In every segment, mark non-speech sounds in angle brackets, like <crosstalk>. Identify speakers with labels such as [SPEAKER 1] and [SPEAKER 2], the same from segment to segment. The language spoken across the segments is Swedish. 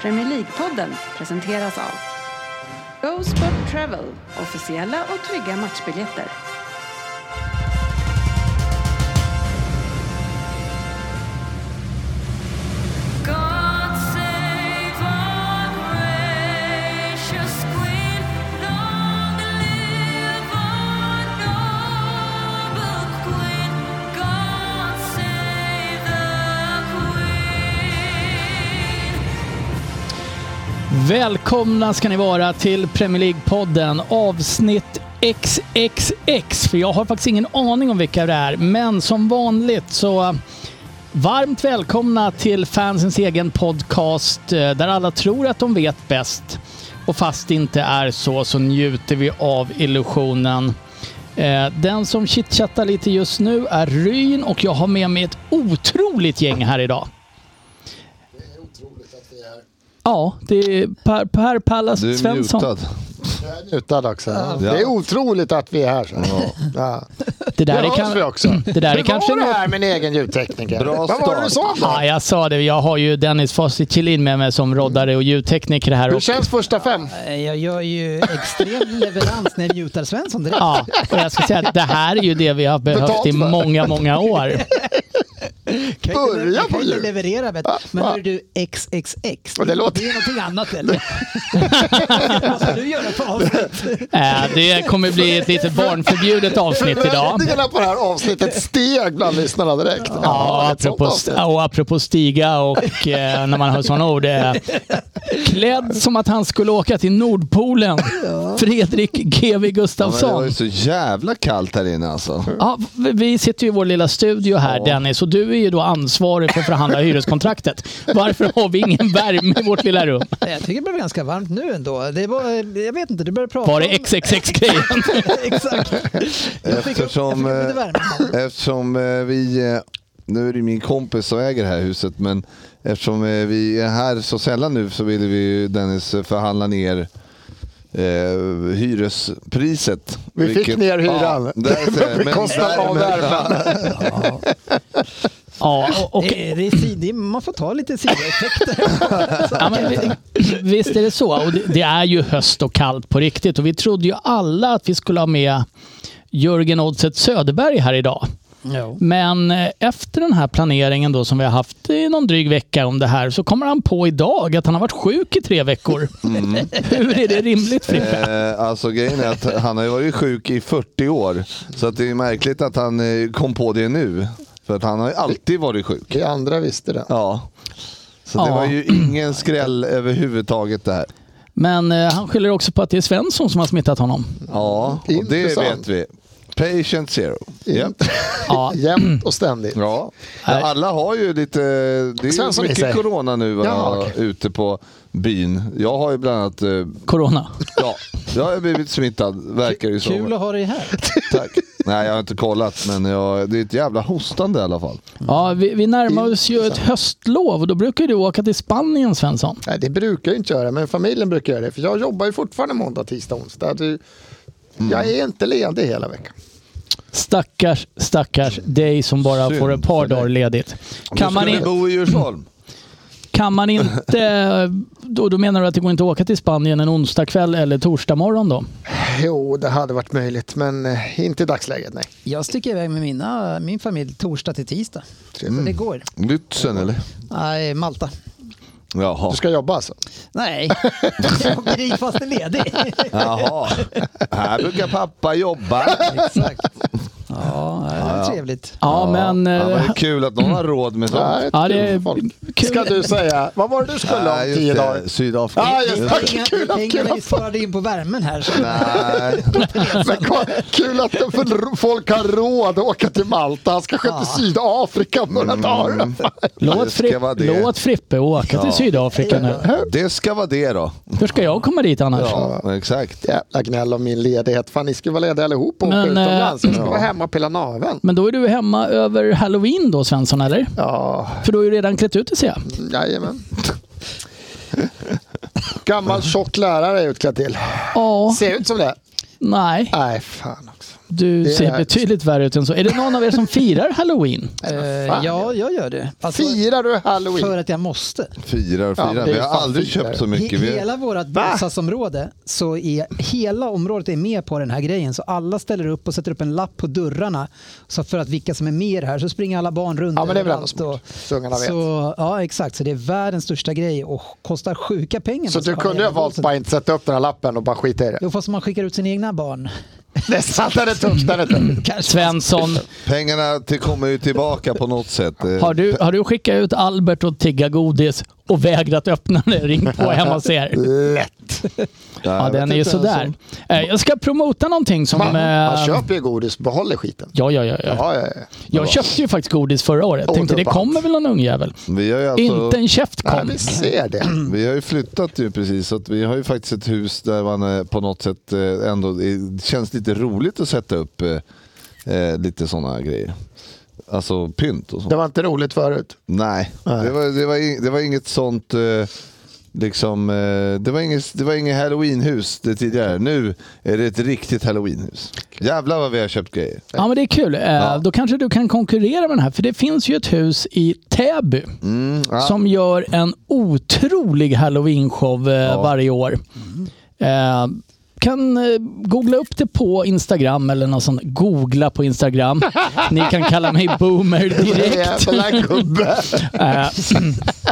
[SPEAKER 1] Premier League-podden presenteras av Go Sport Travel, officiella och trygga matchbiljetter.
[SPEAKER 2] God save our gracious Queen. Long live our noble Queen. God save the Queen.
[SPEAKER 3] Välkomna ska ni vara till Premier League-podden avsnitt XXX. För jag har faktiskt ingen aning om vilka det är, men som vanligt så varmt välkomna till fansens egen podcast eh, där alla tror att de vet bäst. Och fast det inte är så, så njuter vi av illusionen. Eh, Den som chitchattar lite just nu är Ryn och jag har med mig ett otroligt gäng här idag.
[SPEAKER 4] Otroligt att vi är...
[SPEAKER 3] Ja, det är Per, per Pallas
[SPEAKER 5] Du är
[SPEAKER 3] Svensson.
[SPEAKER 5] mutad.
[SPEAKER 4] Jag är mutad också. Det är otroligt att vi är här. Så. Ja.
[SPEAKER 3] Det där
[SPEAKER 4] Det
[SPEAKER 3] är
[SPEAKER 4] hörs
[SPEAKER 3] kan... <clears throat>
[SPEAKER 4] vi också.
[SPEAKER 3] Det där är
[SPEAKER 4] Hur
[SPEAKER 3] kanske
[SPEAKER 4] var det
[SPEAKER 3] något...
[SPEAKER 4] här med en egen ljudtekniker?
[SPEAKER 5] Bra
[SPEAKER 4] Vad var det du sa då?
[SPEAKER 3] Ja, jag sa det. Jag har ju Dennis Fawcett Kjellin med mig som roddare och ljudtekniker här.
[SPEAKER 4] Hur
[SPEAKER 3] Och,
[SPEAKER 4] känns första fem?
[SPEAKER 6] Eh, Jag gör ju extrem leverans när jag mutar Svensson direkt.
[SPEAKER 3] ja, och jag ska säga att det här är ju det vi har behövt i
[SPEAKER 4] Betalt, va?
[SPEAKER 3] många, många år.
[SPEAKER 6] Kan jag inte-
[SPEAKER 4] börja
[SPEAKER 6] jag kan
[SPEAKER 4] på
[SPEAKER 6] inte
[SPEAKER 4] jul.
[SPEAKER 6] leverera bättre. Men hör du, XXX.
[SPEAKER 4] Och det låter-
[SPEAKER 6] är någonting annat eller? <laughs> Vad ska du göra på avsnitt?
[SPEAKER 3] Eh, Det kommer bli ett lite barnförbjudet avsnitt idag.
[SPEAKER 4] Förväntningarna på det här avsnittet steg bland lyssnarna direkt.
[SPEAKER 3] Ja,
[SPEAKER 4] ett sånt
[SPEAKER 3] apropå,
[SPEAKER 4] avsnitt.
[SPEAKER 3] och apropå stiga och eh, när man hör sådana ord. Eh, klädd som att han skulle åka till Nordpolen. Fredrik GW
[SPEAKER 5] Ja, men det var
[SPEAKER 3] Gustafsson.
[SPEAKER 5] ju så jävla kallt här inne alltså.
[SPEAKER 3] Ja, vi- vi sitter ju i vår lilla studio här Dennis och du är ju då ansvarig för att förhandla hyreskontraktet. Varför har vi ingen värme i vårt lilla rum?
[SPEAKER 6] Nej, Jag tycker det blev ganska varmt nu ändå. Det var, jag vet inte, du började prata
[SPEAKER 3] Var det
[SPEAKER 6] om-
[SPEAKER 3] XXX-grejen?
[SPEAKER 6] <laughs> Exakt. Jag fick upp- jag
[SPEAKER 5] Eftersom,
[SPEAKER 6] fick upp lite
[SPEAKER 5] eh,
[SPEAKER 6] värme.
[SPEAKER 5] eftersom eh, vi, eh, nu är det min kompis som äger det här huset, men eftersom eh, vi är här så sällan nu så ville vi ju Dennis eh, förhandla ner eh, hyrespriset.
[SPEAKER 4] Vi fick ner hyran.
[SPEAKER 5] Ja, där ser jag.
[SPEAKER 4] <laughs>
[SPEAKER 5] Men
[SPEAKER 4] Bekostad av
[SPEAKER 5] därmed-
[SPEAKER 4] värmen.
[SPEAKER 3] Ja, och, och,
[SPEAKER 6] Eh, Det är- det är sidor- Man får ta
[SPEAKER 3] <laughs>
[SPEAKER 6] lite sidoeffekter.
[SPEAKER 3] ja, men, vi- visst är det så. Och det, det är ju höst och kallt på riktigt och vi trodde ju alla att vi skulle ha med Jörgen Oddset Söderberg här idag.
[SPEAKER 6] Ja.
[SPEAKER 3] Men eh, efter den här planeringen då som vi har haft i någon dryg vecka om det här så kommer han på idag att han har varit sjuk i tre veckor. Hur är det rimligt Frippe?
[SPEAKER 5] Eh, alltså grejen är att han har ju varit sjuk i 40 år. Så att det är märkligt att han eh, kom på det nu. För att han har ju alltid varit sjuk.
[SPEAKER 4] Vi andra visste det.
[SPEAKER 5] Ja. Så det
[SPEAKER 3] Ja.
[SPEAKER 5] var ju ingen skräll överhuvudtaget det här.
[SPEAKER 3] Men eh, han skyller också på att det är Svensson som har smittat honom.
[SPEAKER 5] Ja, och det
[SPEAKER 4] Intressant.
[SPEAKER 5] vet vi. Patient zero. Japp.
[SPEAKER 3] Ja,
[SPEAKER 4] Jämt och ständigt.
[SPEAKER 5] Ja. Alla har ju lite... Det är ju
[SPEAKER 4] Svensson i sig.
[SPEAKER 5] mycket corona nu va,
[SPEAKER 4] Ja, okej.
[SPEAKER 5] ute på byn. Jag har ju bland annat... eh,
[SPEAKER 3] corona.
[SPEAKER 5] Ja, jag har ju blivit smittad, verkar det ju
[SPEAKER 6] Kul
[SPEAKER 5] som.
[SPEAKER 6] att ha dig här.
[SPEAKER 5] Tack. Nej, jag har inte kollat, men jag, det är ett jävla hostande i alla fall.
[SPEAKER 3] Ja, vi, vi närmar oss ju ett höstlov och då brukar du åka till Spanien Svensson.
[SPEAKER 4] Nej, det brukar jag inte göra, men familjen brukar göra det. För jag jobbar ju fortfarande måndag, tisdag, onsdag. Du, Jag är inte ledig hela veckan.
[SPEAKER 3] Stackars, stackars dig som bara
[SPEAKER 5] Synd
[SPEAKER 3] får ett par
[SPEAKER 5] för dig.
[SPEAKER 3] dagar ledigt. Kan man,
[SPEAKER 5] du
[SPEAKER 3] in,
[SPEAKER 5] skulle bo i Djursholm.
[SPEAKER 3] kan man
[SPEAKER 5] <laughs>
[SPEAKER 3] inte... Då, då menar du att det går inte att åka till Spanien en onsdag kväll eller torsdag morgon då?
[SPEAKER 4] Jo, det hade varit möjligt, men eh, inte i dagsläget. Nej.
[SPEAKER 6] Jag sticker iväg med mina, min familj torsdag till tisdag. Så det går.
[SPEAKER 5] Lützen eller?
[SPEAKER 6] Nej, Malta.
[SPEAKER 5] Jaha.
[SPEAKER 4] Du ska jobba alltså? <laughs>
[SPEAKER 6] Nej, jag åker dit fast det är ledig.
[SPEAKER 5] Jaha. Här brukar pappa jobba.
[SPEAKER 6] Exakt. <laughs> Ja, det är trevligt.
[SPEAKER 3] Ja, men...
[SPEAKER 5] Ja, men det
[SPEAKER 3] eh,
[SPEAKER 5] är kul att någon har råd med sånt.
[SPEAKER 4] Nej,
[SPEAKER 3] Ja,
[SPEAKER 4] kul
[SPEAKER 3] det är
[SPEAKER 4] för folk.
[SPEAKER 3] kul.
[SPEAKER 4] Ska du säga, vad var det du skulle
[SPEAKER 5] Nej,
[SPEAKER 4] om
[SPEAKER 5] just
[SPEAKER 4] tio
[SPEAKER 5] det.
[SPEAKER 4] dagar?
[SPEAKER 5] Sydafrika.
[SPEAKER 4] Ja, just det. Tack,
[SPEAKER 6] Inga-
[SPEAKER 4] kul att, kul
[SPEAKER 6] Pengarna vi
[SPEAKER 4] att,
[SPEAKER 6] sparade in på värmen här. Så.
[SPEAKER 5] Nej.
[SPEAKER 4] men kolla, kul att det för- folk har råd att åka till Malta. Han ska sköta Sydafrika om några
[SPEAKER 3] Låt,
[SPEAKER 4] dagar.
[SPEAKER 5] Mm. Det ska
[SPEAKER 3] Fripp,
[SPEAKER 5] vara det.
[SPEAKER 3] låt Frippe åka till Sydafrika nu.
[SPEAKER 5] Det ska vara det då.
[SPEAKER 3] Hur ska jag komma dit annars?
[SPEAKER 5] Ja, exakt.
[SPEAKER 4] Jävla gnäll om min ledighet. Fan, ni ska vara lediga allihop och åka
[SPEAKER 3] Men, eh,
[SPEAKER 4] utomlands. Jag ska vara hemma och pilla naveln.
[SPEAKER 3] Men då är du hemma över halloween då Svensson, eller?
[SPEAKER 4] Ja,
[SPEAKER 3] För du har ju redan klätt ut dig ser jag.
[SPEAKER 4] jajamän. Gammal tjock lärare är utklädd till.
[SPEAKER 3] Ja,
[SPEAKER 4] Ser ut som det.
[SPEAKER 3] nej.
[SPEAKER 4] Nej, fan också.
[SPEAKER 3] Du
[SPEAKER 4] Det
[SPEAKER 3] ser
[SPEAKER 4] är-
[SPEAKER 3] betydligt värre ut än så. Är det någon av er som firar halloween?
[SPEAKER 6] Eh,
[SPEAKER 4] fan.
[SPEAKER 6] ja, jag gör det. Alltså,
[SPEAKER 4] Firar du halloween?
[SPEAKER 6] för att jag måste.
[SPEAKER 5] Fyra och
[SPEAKER 4] Ja,
[SPEAKER 5] fyra.
[SPEAKER 4] det är
[SPEAKER 5] vi har
[SPEAKER 4] fan
[SPEAKER 5] aldrig
[SPEAKER 4] fyra.
[SPEAKER 5] köpt så
[SPEAKER 6] He-
[SPEAKER 5] mycket. Vi
[SPEAKER 6] hela vårt bostadsområde, så är hela området är med på den här grejen. Så alla ställer upp och sätter upp en lapp på dörrarna så för att vilka som är med i det här. Så springer alla barn runt
[SPEAKER 4] Ja, men det är väl ändå
[SPEAKER 6] överallt
[SPEAKER 4] smart.
[SPEAKER 6] och-
[SPEAKER 4] Så ungarna vet.
[SPEAKER 6] Så, ja, exakt. Så det är världens största grej och kostar sjuka pengar.
[SPEAKER 4] Så
[SPEAKER 6] Alltså,
[SPEAKER 4] du
[SPEAKER 6] bara
[SPEAKER 4] kunde ju ha
[SPEAKER 6] jävla
[SPEAKER 4] valt
[SPEAKER 6] bolsen.
[SPEAKER 4] bara inte sätta upp den här lappen och bara skita i det.
[SPEAKER 6] Jo, fast man skickar ut sina egna barn.
[SPEAKER 4] <laughs> Det satt den är tufft, den är tuff.
[SPEAKER 3] Svensson,
[SPEAKER 5] Pengarna till, kommer ju tillbaka på något sätt. Eh,
[SPEAKER 3] har du, har du skickat ut Albert och tigga godis och vägrat öppna det? Ring på hemma hos
[SPEAKER 5] <laughs>
[SPEAKER 3] er.
[SPEAKER 4] Lätt.
[SPEAKER 5] jag
[SPEAKER 3] Ja,
[SPEAKER 5] vet
[SPEAKER 3] den är ju
[SPEAKER 5] inte ens
[SPEAKER 3] sådär.
[SPEAKER 5] om-
[SPEAKER 3] Eh, Jag ska promota någonting som...
[SPEAKER 4] Man, man
[SPEAKER 3] eh,
[SPEAKER 4] köper ju godis och behåller skiten.
[SPEAKER 3] Ja, ja, ja. ja.
[SPEAKER 4] Ja, ja, ja.
[SPEAKER 3] Jag köpte ju faktiskt godis förra året.
[SPEAKER 4] Åh,
[SPEAKER 3] Tänkte det
[SPEAKER 4] dubbant.
[SPEAKER 3] kommer väl någon ungjävel.
[SPEAKER 5] Vi har ju alltså,
[SPEAKER 3] Inte en käft
[SPEAKER 4] Nej,
[SPEAKER 3] kom.
[SPEAKER 4] vi ser det.
[SPEAKER 5] Vi har ju flyttat ju precis, så att vi har ju faktiskt ett hus där man eh, på något sätt eh, ändå, det känns lite roligt att sätta upp eh, eh, lite sådana grejer. Alltså pynt och sånt.
[SPEAKER 4] Det var inte roligt förut.
[SPEAKER 5] Nej,
[SPEAKER 4] Nej.
[SPEAKER 5] Det, var, det, var, ing- det var inget sånt, eh, liksom, eh, det var inget, det var inget halloweenhus det tidigare. Nu är det ett riktigt halloweenhus. Jävlar vad vi har köpt grejer.
[SPEAKER 3] Ja, men det är kul. Eh, Då kanske du kan konkurrera med den här. För det finns ju ett hus i Täby
[SPEAKER 5] ja.
[SPEAKER 3] som gör en otrolig halloween-show eh, varje år. Eh, kan eh, googla upp det på Instagram eller något sånt. Googla på Instagram. Ni kan kalla mig boomer direkt. <laughs>
[SPEAKER 4] Jävla gubbe.
[SPEAKER 3] Eh, <clears throat>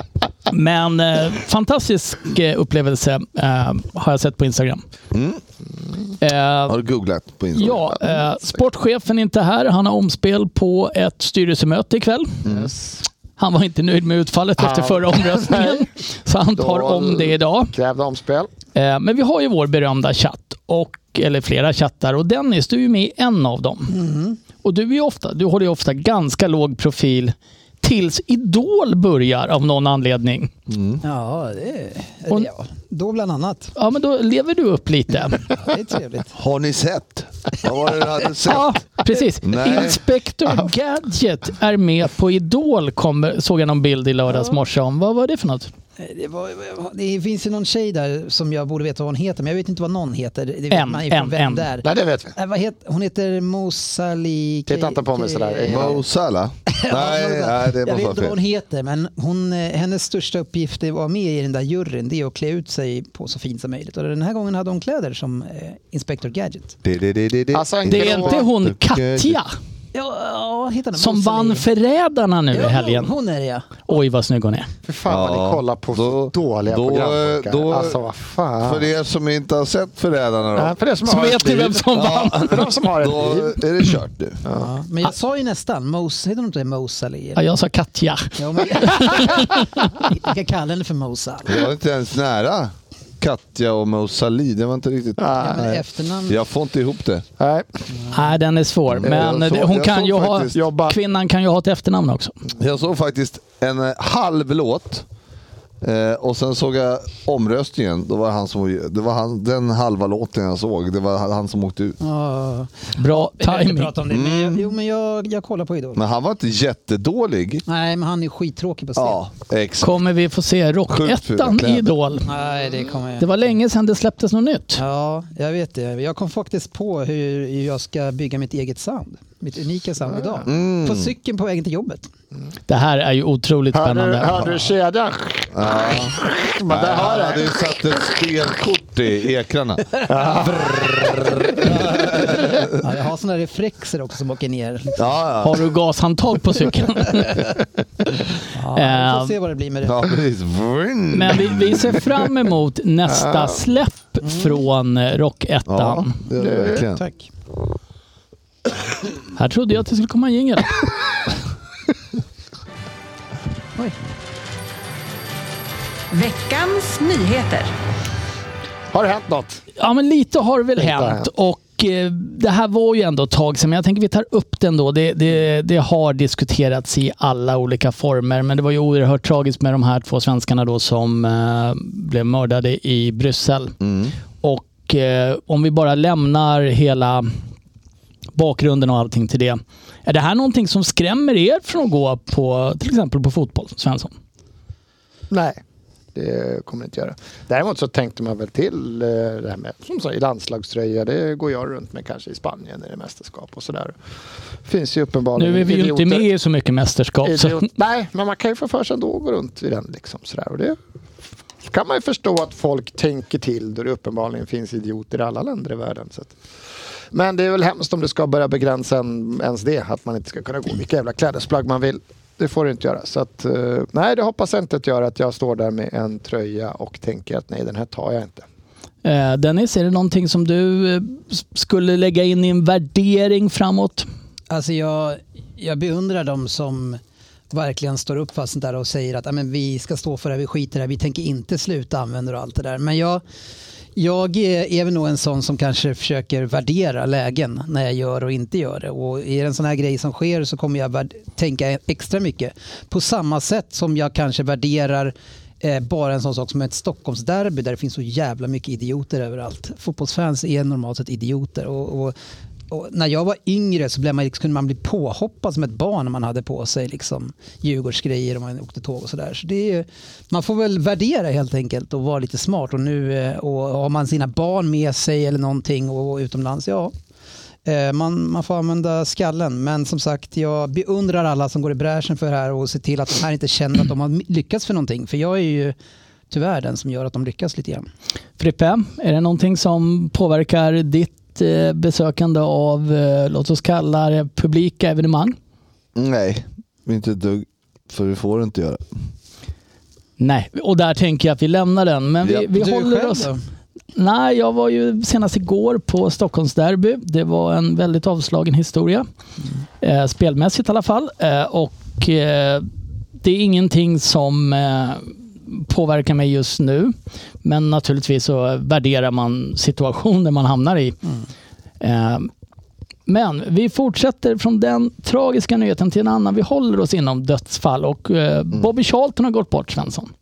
[SPEAKER 3] Men eh, fantastisk eh, upplevelse eh, har jag sett på Instagram. Eh,
[SPEAKER 5] Har du googlat på Instagram?
[SPEAKER 3] ja, eh, sportchefen är inte här. Han har omspel på ett styrelsemöte ikväll. Han var inte nöjd med utfallet efter förra omröstningen, så han tar
[SPEAKER 4] Då-
[SPEAKER 3] om det idag.
[SPEAKER 4] Krävde omspel.
[SPEAKER 3] Eh, Men vi har ju vår berömda chatt, och, eller flera chattar, och Dennis, du är ju med i en av dem. Och du, är ju ofta, du håller ju ofta ganska låg profil tills Idol börjar av någon anledning.
[SPEAKER 6] Ja, det är,
[SPEAKER 3] Och-
[SPEAKER 6] ja, då bland annat.
[SPEAKER 3] Ja, men då lever du upp lite.
[SPEAKER 6] Det är
[SPEAKER 3] <laughs>
[SPEAKER 6] trevligt.
[SPEAKER 5] Har ni sett? Vad var det du hade sett?
[SPEAKER 3] Ja, precis.
[SPEAKER 5] Nej.
[SPEAKER 3] Inspector Gadget är med på Idol, kommer, såg jag någon bild i lördags morse om. Vad var det för något?
[SPEAKER 6] Det, var, det finns ju någon tjej där som jag borde veta vad hon heter, men jag vet inte vad någon heter. Det vet
[SPEAKER 3] En,
[SPEAKER 6] man ju från
[SPEAKER 3] en,
[SPEAKER 6] vem
[SPEAKER 3] en.
[SPEAKER 6] det är.
[SPEAKER 4] Nej, det vet vi.
[SPEAKER 6] Nej, vad heter, hon heter Mosali...
[SPEAKER 4] Titta inte på mig sådär. <laughs>
[SPEAKER 6] Ke-
[SPEAKER 4] Ja.
[SPEAKER 5] Mo Salah? Nej, nej, det
[SPEAKER 6] jag vet
[SPEAKER 5] måste vara
[SPEAKER 6] inte vad hon
[SPEAKER 5] fel.
[SPEAKER 6] heter, men hon, eh, hennes största uppgift är att vara med i den där juryn, det är att klä ut sig på så fint som möjligt. Och den här gången hade hon kläder som eh, Inspector Gadget.
[SPEAKER 5] Det, det, det, det, det.
[SPEAKER 4] Alltså, en
[SPEAKER 3] Det är
[SPEAKER 4] grå-
[SPEAKER 3] inte hon Katja
[SPEAKER 6] Ja, ja heter henne.
[SPEAKER 3] som
[SPEAKER 6] Mosali.
[SPEAKER 3] vann Förrädarna nu i
[SPEAKER 6] Ja,
[SPEAKER 3] helgen.
[SPEAKER 6] Hon är det ja.
[SPEAKER 3] Oj, vad snygg hon är.
[SPEAKER 4] Fy fan vad
[SPEAKER 5] Ja,
[SPEAKER 4] ni kollar på
[SPEAKER 5] då-
[SPEAKER 4] så dåliga
[SPEAKER 5] då-
[SPEAKER 4] program. pojkar.
[SPEAKER 5] då-
[SPEAKER 4] alltså vad fan.
[SPEAKER 5] För er som inte har sett Förrädarna då.
[SPEAKER 4] Ja, för det som
[SPEAKER 3] Så
[SPEAKER 4] har ett
[SPEAKER 3] vet ni
[SPEAKER 4] liv.
[SPEAKER 3] vem som vann.
[SPEAKER 4] <laughs> För de som har
[SPEAKER 5] Då
[SPEAKER 4] ett liv.
[SPEAKER 5] är det kört nu.
[SPEAKER 6] Ja, Men jag sa ju nästan, Mos, heter hon inte Mosali?
[SPEAKER 3] Ja, jag sa Katja.
[SPEAKER 6] Ja, men... <laughs> jag kan kalla henne för Mosal.
[SPEAKER 5] Jag var inte ens nära Katja och Mo Salih. Det var inte riktigt...
[SPEAKER 6] Ja, men efternamn.
[SPEAKER 5] Jag får inte ihop det.
[SPEAKER 4] Nej.
[SPEAKER 3] Nej, den är svår. Men
[SPEAKER 5] Mm. jag såg-
[SPEAKER 3] det- hon
[SPEAKER 5] jag
[SPEAKER 3] kan
[SPEAKER 5] såg
[SPEAKER 3] ju ha,
[SPEAKER 5] faktiskt-
[SPEAKER 4] Jobba.
[SPEAKER 3] kvinnan kan ju ha ett efternamn också.
[SPEAKER 5] Jag såg faktiskt en eh, halv låt. Eh, och sen såg jag omröstningen. Då var han som, det var han, den halva låten jag såg. Det var han som åkte ut.
[SPEAKER 6] Ja,
[SPEAKER 3] Bra
[SPEAKER 6] vi behöver inte
[SPEAKER 3] timing.
[SPEAKER 6] prata om <laughs> det. Men jag, jo, men jag, jag kollar på Idol.
[SPEAKER 5] Men han var inte jättedålig.
[SPEAKER 6] Nej, men han är skittråkig på scen.
[SPEAKER 5] Ja, exakt.
[SPEAKER 3] Kommer vi få se
[SPEAKER 5] Sjukt fula
[SPEAKER 3] Rockettan
[SPEAKER 5] kläder.
[SPEAKER 3] i Idol?
[SPEAKER 6] Nej, det kommer jag
[SPEAKER 3] Det var länge sedan det släpptes något nytt.
[SPEAKER 6] Ja, jag vet det. Jag kom faktiskt på hur jag ska bygga mitt eget sound. Mitt unika sound idag. På cykeln på vägen till jobbet.
[SPEAKER 3] Det här är ju otroligt
[SPEAKER 4] Hörde du, hörde
[SPEAKER 3] spännande.
[SPEAKER 4] du kedjan? Men där har
[SPEAKER 5] Han
[SPEAKER 4] jag
[SPEAKER 5] hade
[SPEAKER 4] det.
[SPEAKER 5] ju satt ett spelkort i
[SPEAKER 6] <laughs>
[SPEAKER 5] ekrarna.
[SPEAKER 6] Ja, jag har sådana reflexer också som åker ner.
[SPEAKER 5] Ja, ja.
[SPEAKER 3] Har du gashandtag på cykeln?
[SPEAKER 6] Ja, vi
[SPEAKER 3] Eh,
[SPEAKER 6] får se vad det blir med det.
[SPEAKER 5] ja precis. Vroom.
[SPEAKER 3] Men vi, vi ser fram emot nästa släpp från eh,
[SPEAKER 5] Mm. Ja,
[SPEAKER 3] Rockettan.
[SPEAKER 5] det är det verkligen.
[SPEAKER 6] Tack.
[SPEAKER 3] Här trodde jag att det skulle komma en jingel.
[SPEAKER 6] Oj.
[SPEAKER 1] Veckans nyheter.
[SPEAKER 4] Har det hänt något?
[SPEAKER 3] Ja, men lite har väl
[SPEAKER 4] har
[SPEAKER 3] hänt.
[SPEAKER 4] hänt.
[SPEAKER 3] Och eh, det här var ju ändå ett tag sedan, men jag tänker vi tar upp den då. Det, det, det har diskuterats i alla olika former, men det var ju oerhört tragiskt med de här två svenskarna då som eh, blev mördade i Bryssel.
[SPEAKER 4] Mm.
[SPEAKER 3] Och eh, om vi bara lämnar hela bakgrunden och allting till det. Är det här någonting som skrämmer er från att gå på till exempel på fotboll, Svensson?
[SPEAKER 4] Nej. Det kommer jag inte göra. Däremot så tänkte man väl till eh, det här med, som sagt, i landslagströja. Det går jag runt med kanske i Spanien när det är mästerskap och sådär. Finns ju uppenbarligen
[SPEAKER 3] Nu är vi ju inte
[SPEAKER 4] idioter-
[SPEAKER 3] med i så mycket mästerskap. Så.
[SPEAKER 4] Idiot. Nej, men man kan ju få för sig ändå att gå runt i den. Liksom, sådär. Och det kan man ju förstå att folk tänker till då det uppenbarligen finns idioter i alla länder i världen. Så att. Men det är väl hemskt om du ska börja begränsa en, ens det, att man inte ska kunna gå i vilka jävla klädesplagg man vill. Det får du inte göra. Så att, eh, nej, det hoppas jag inte att göra, att jag står där med en tröja och tänker att nej, den här tar jag inte.
[SPEAKER 3] Eh, Dennis, är det någonting som du eh, s- skulle lägga in i en värdering framåt?
[SPEAKER 6] Alltså jag, jag beundrar dem som verkligen står upp för sånt där och säger att "Ja, men vi ska stå för det här, vi skiter i det här, vi tänker inte sluta använda det och allt det där. Men jag, jag är är väl nog en sån som kanske försöker värdera lägen när jag gör och inte gör det. Och är det en sån här grej som sker så kommer jag värd- tänka extra mycket. På samma sätt som jag kanske värderar eh, bara en sån sak som ett Stockholmsderby där det finns så jävla mycket idioter överallt. Fotbollsfans är normalt sett idioter. Och, och och när jag var yngre så blev man, liksom, kunde man bli påhoppad som ett barn när man hade på sig liksom, Djurgårdsgrejer och man åkte tåg och sådär. Så det är, ju- man får väl värdera helt enkelt och vara lite smart. Och nu eh, och har man sina barn med sig eller någonting och utomlands, ja. eh, Man, man får använda skallen. Men som sagt, jag beundrar alla som går i bräschen för det här och ser till att de här inte känner att de har lyckats för någonting. För jag är ju tyvärr den som gör att de lyckas lite grann.
[SPEAKER 3] Frippe, är det någonting som påverkar ditt eh, besökande av, eh, låt oss kalla det publika evenemang?
[SPEAKER 5] Nej, inte ett dugg. För det får du inte göra.
[SPEAKER 3] Nej, och där tänker jag att vi lämnar den. Men vi,
[SPEAKER 5] Ja.
[SPEAKER 3] vi håller oss... Nej, jag var ju senast igår på Stockholmsderby. Det var en väldigt avslagen historia. Eh, spelmässigt i alla fall. Eh, och eh, det är ingenting som eh, påverkar mig just nu. Men naturligtvis så värderar man situationen man hamnar i. Eh, men vi fortsätter från den tragiska nyheten till en annan. Vi håller oss inom dödsfall och eh, Bobby Charlton har gått bort, Svensson.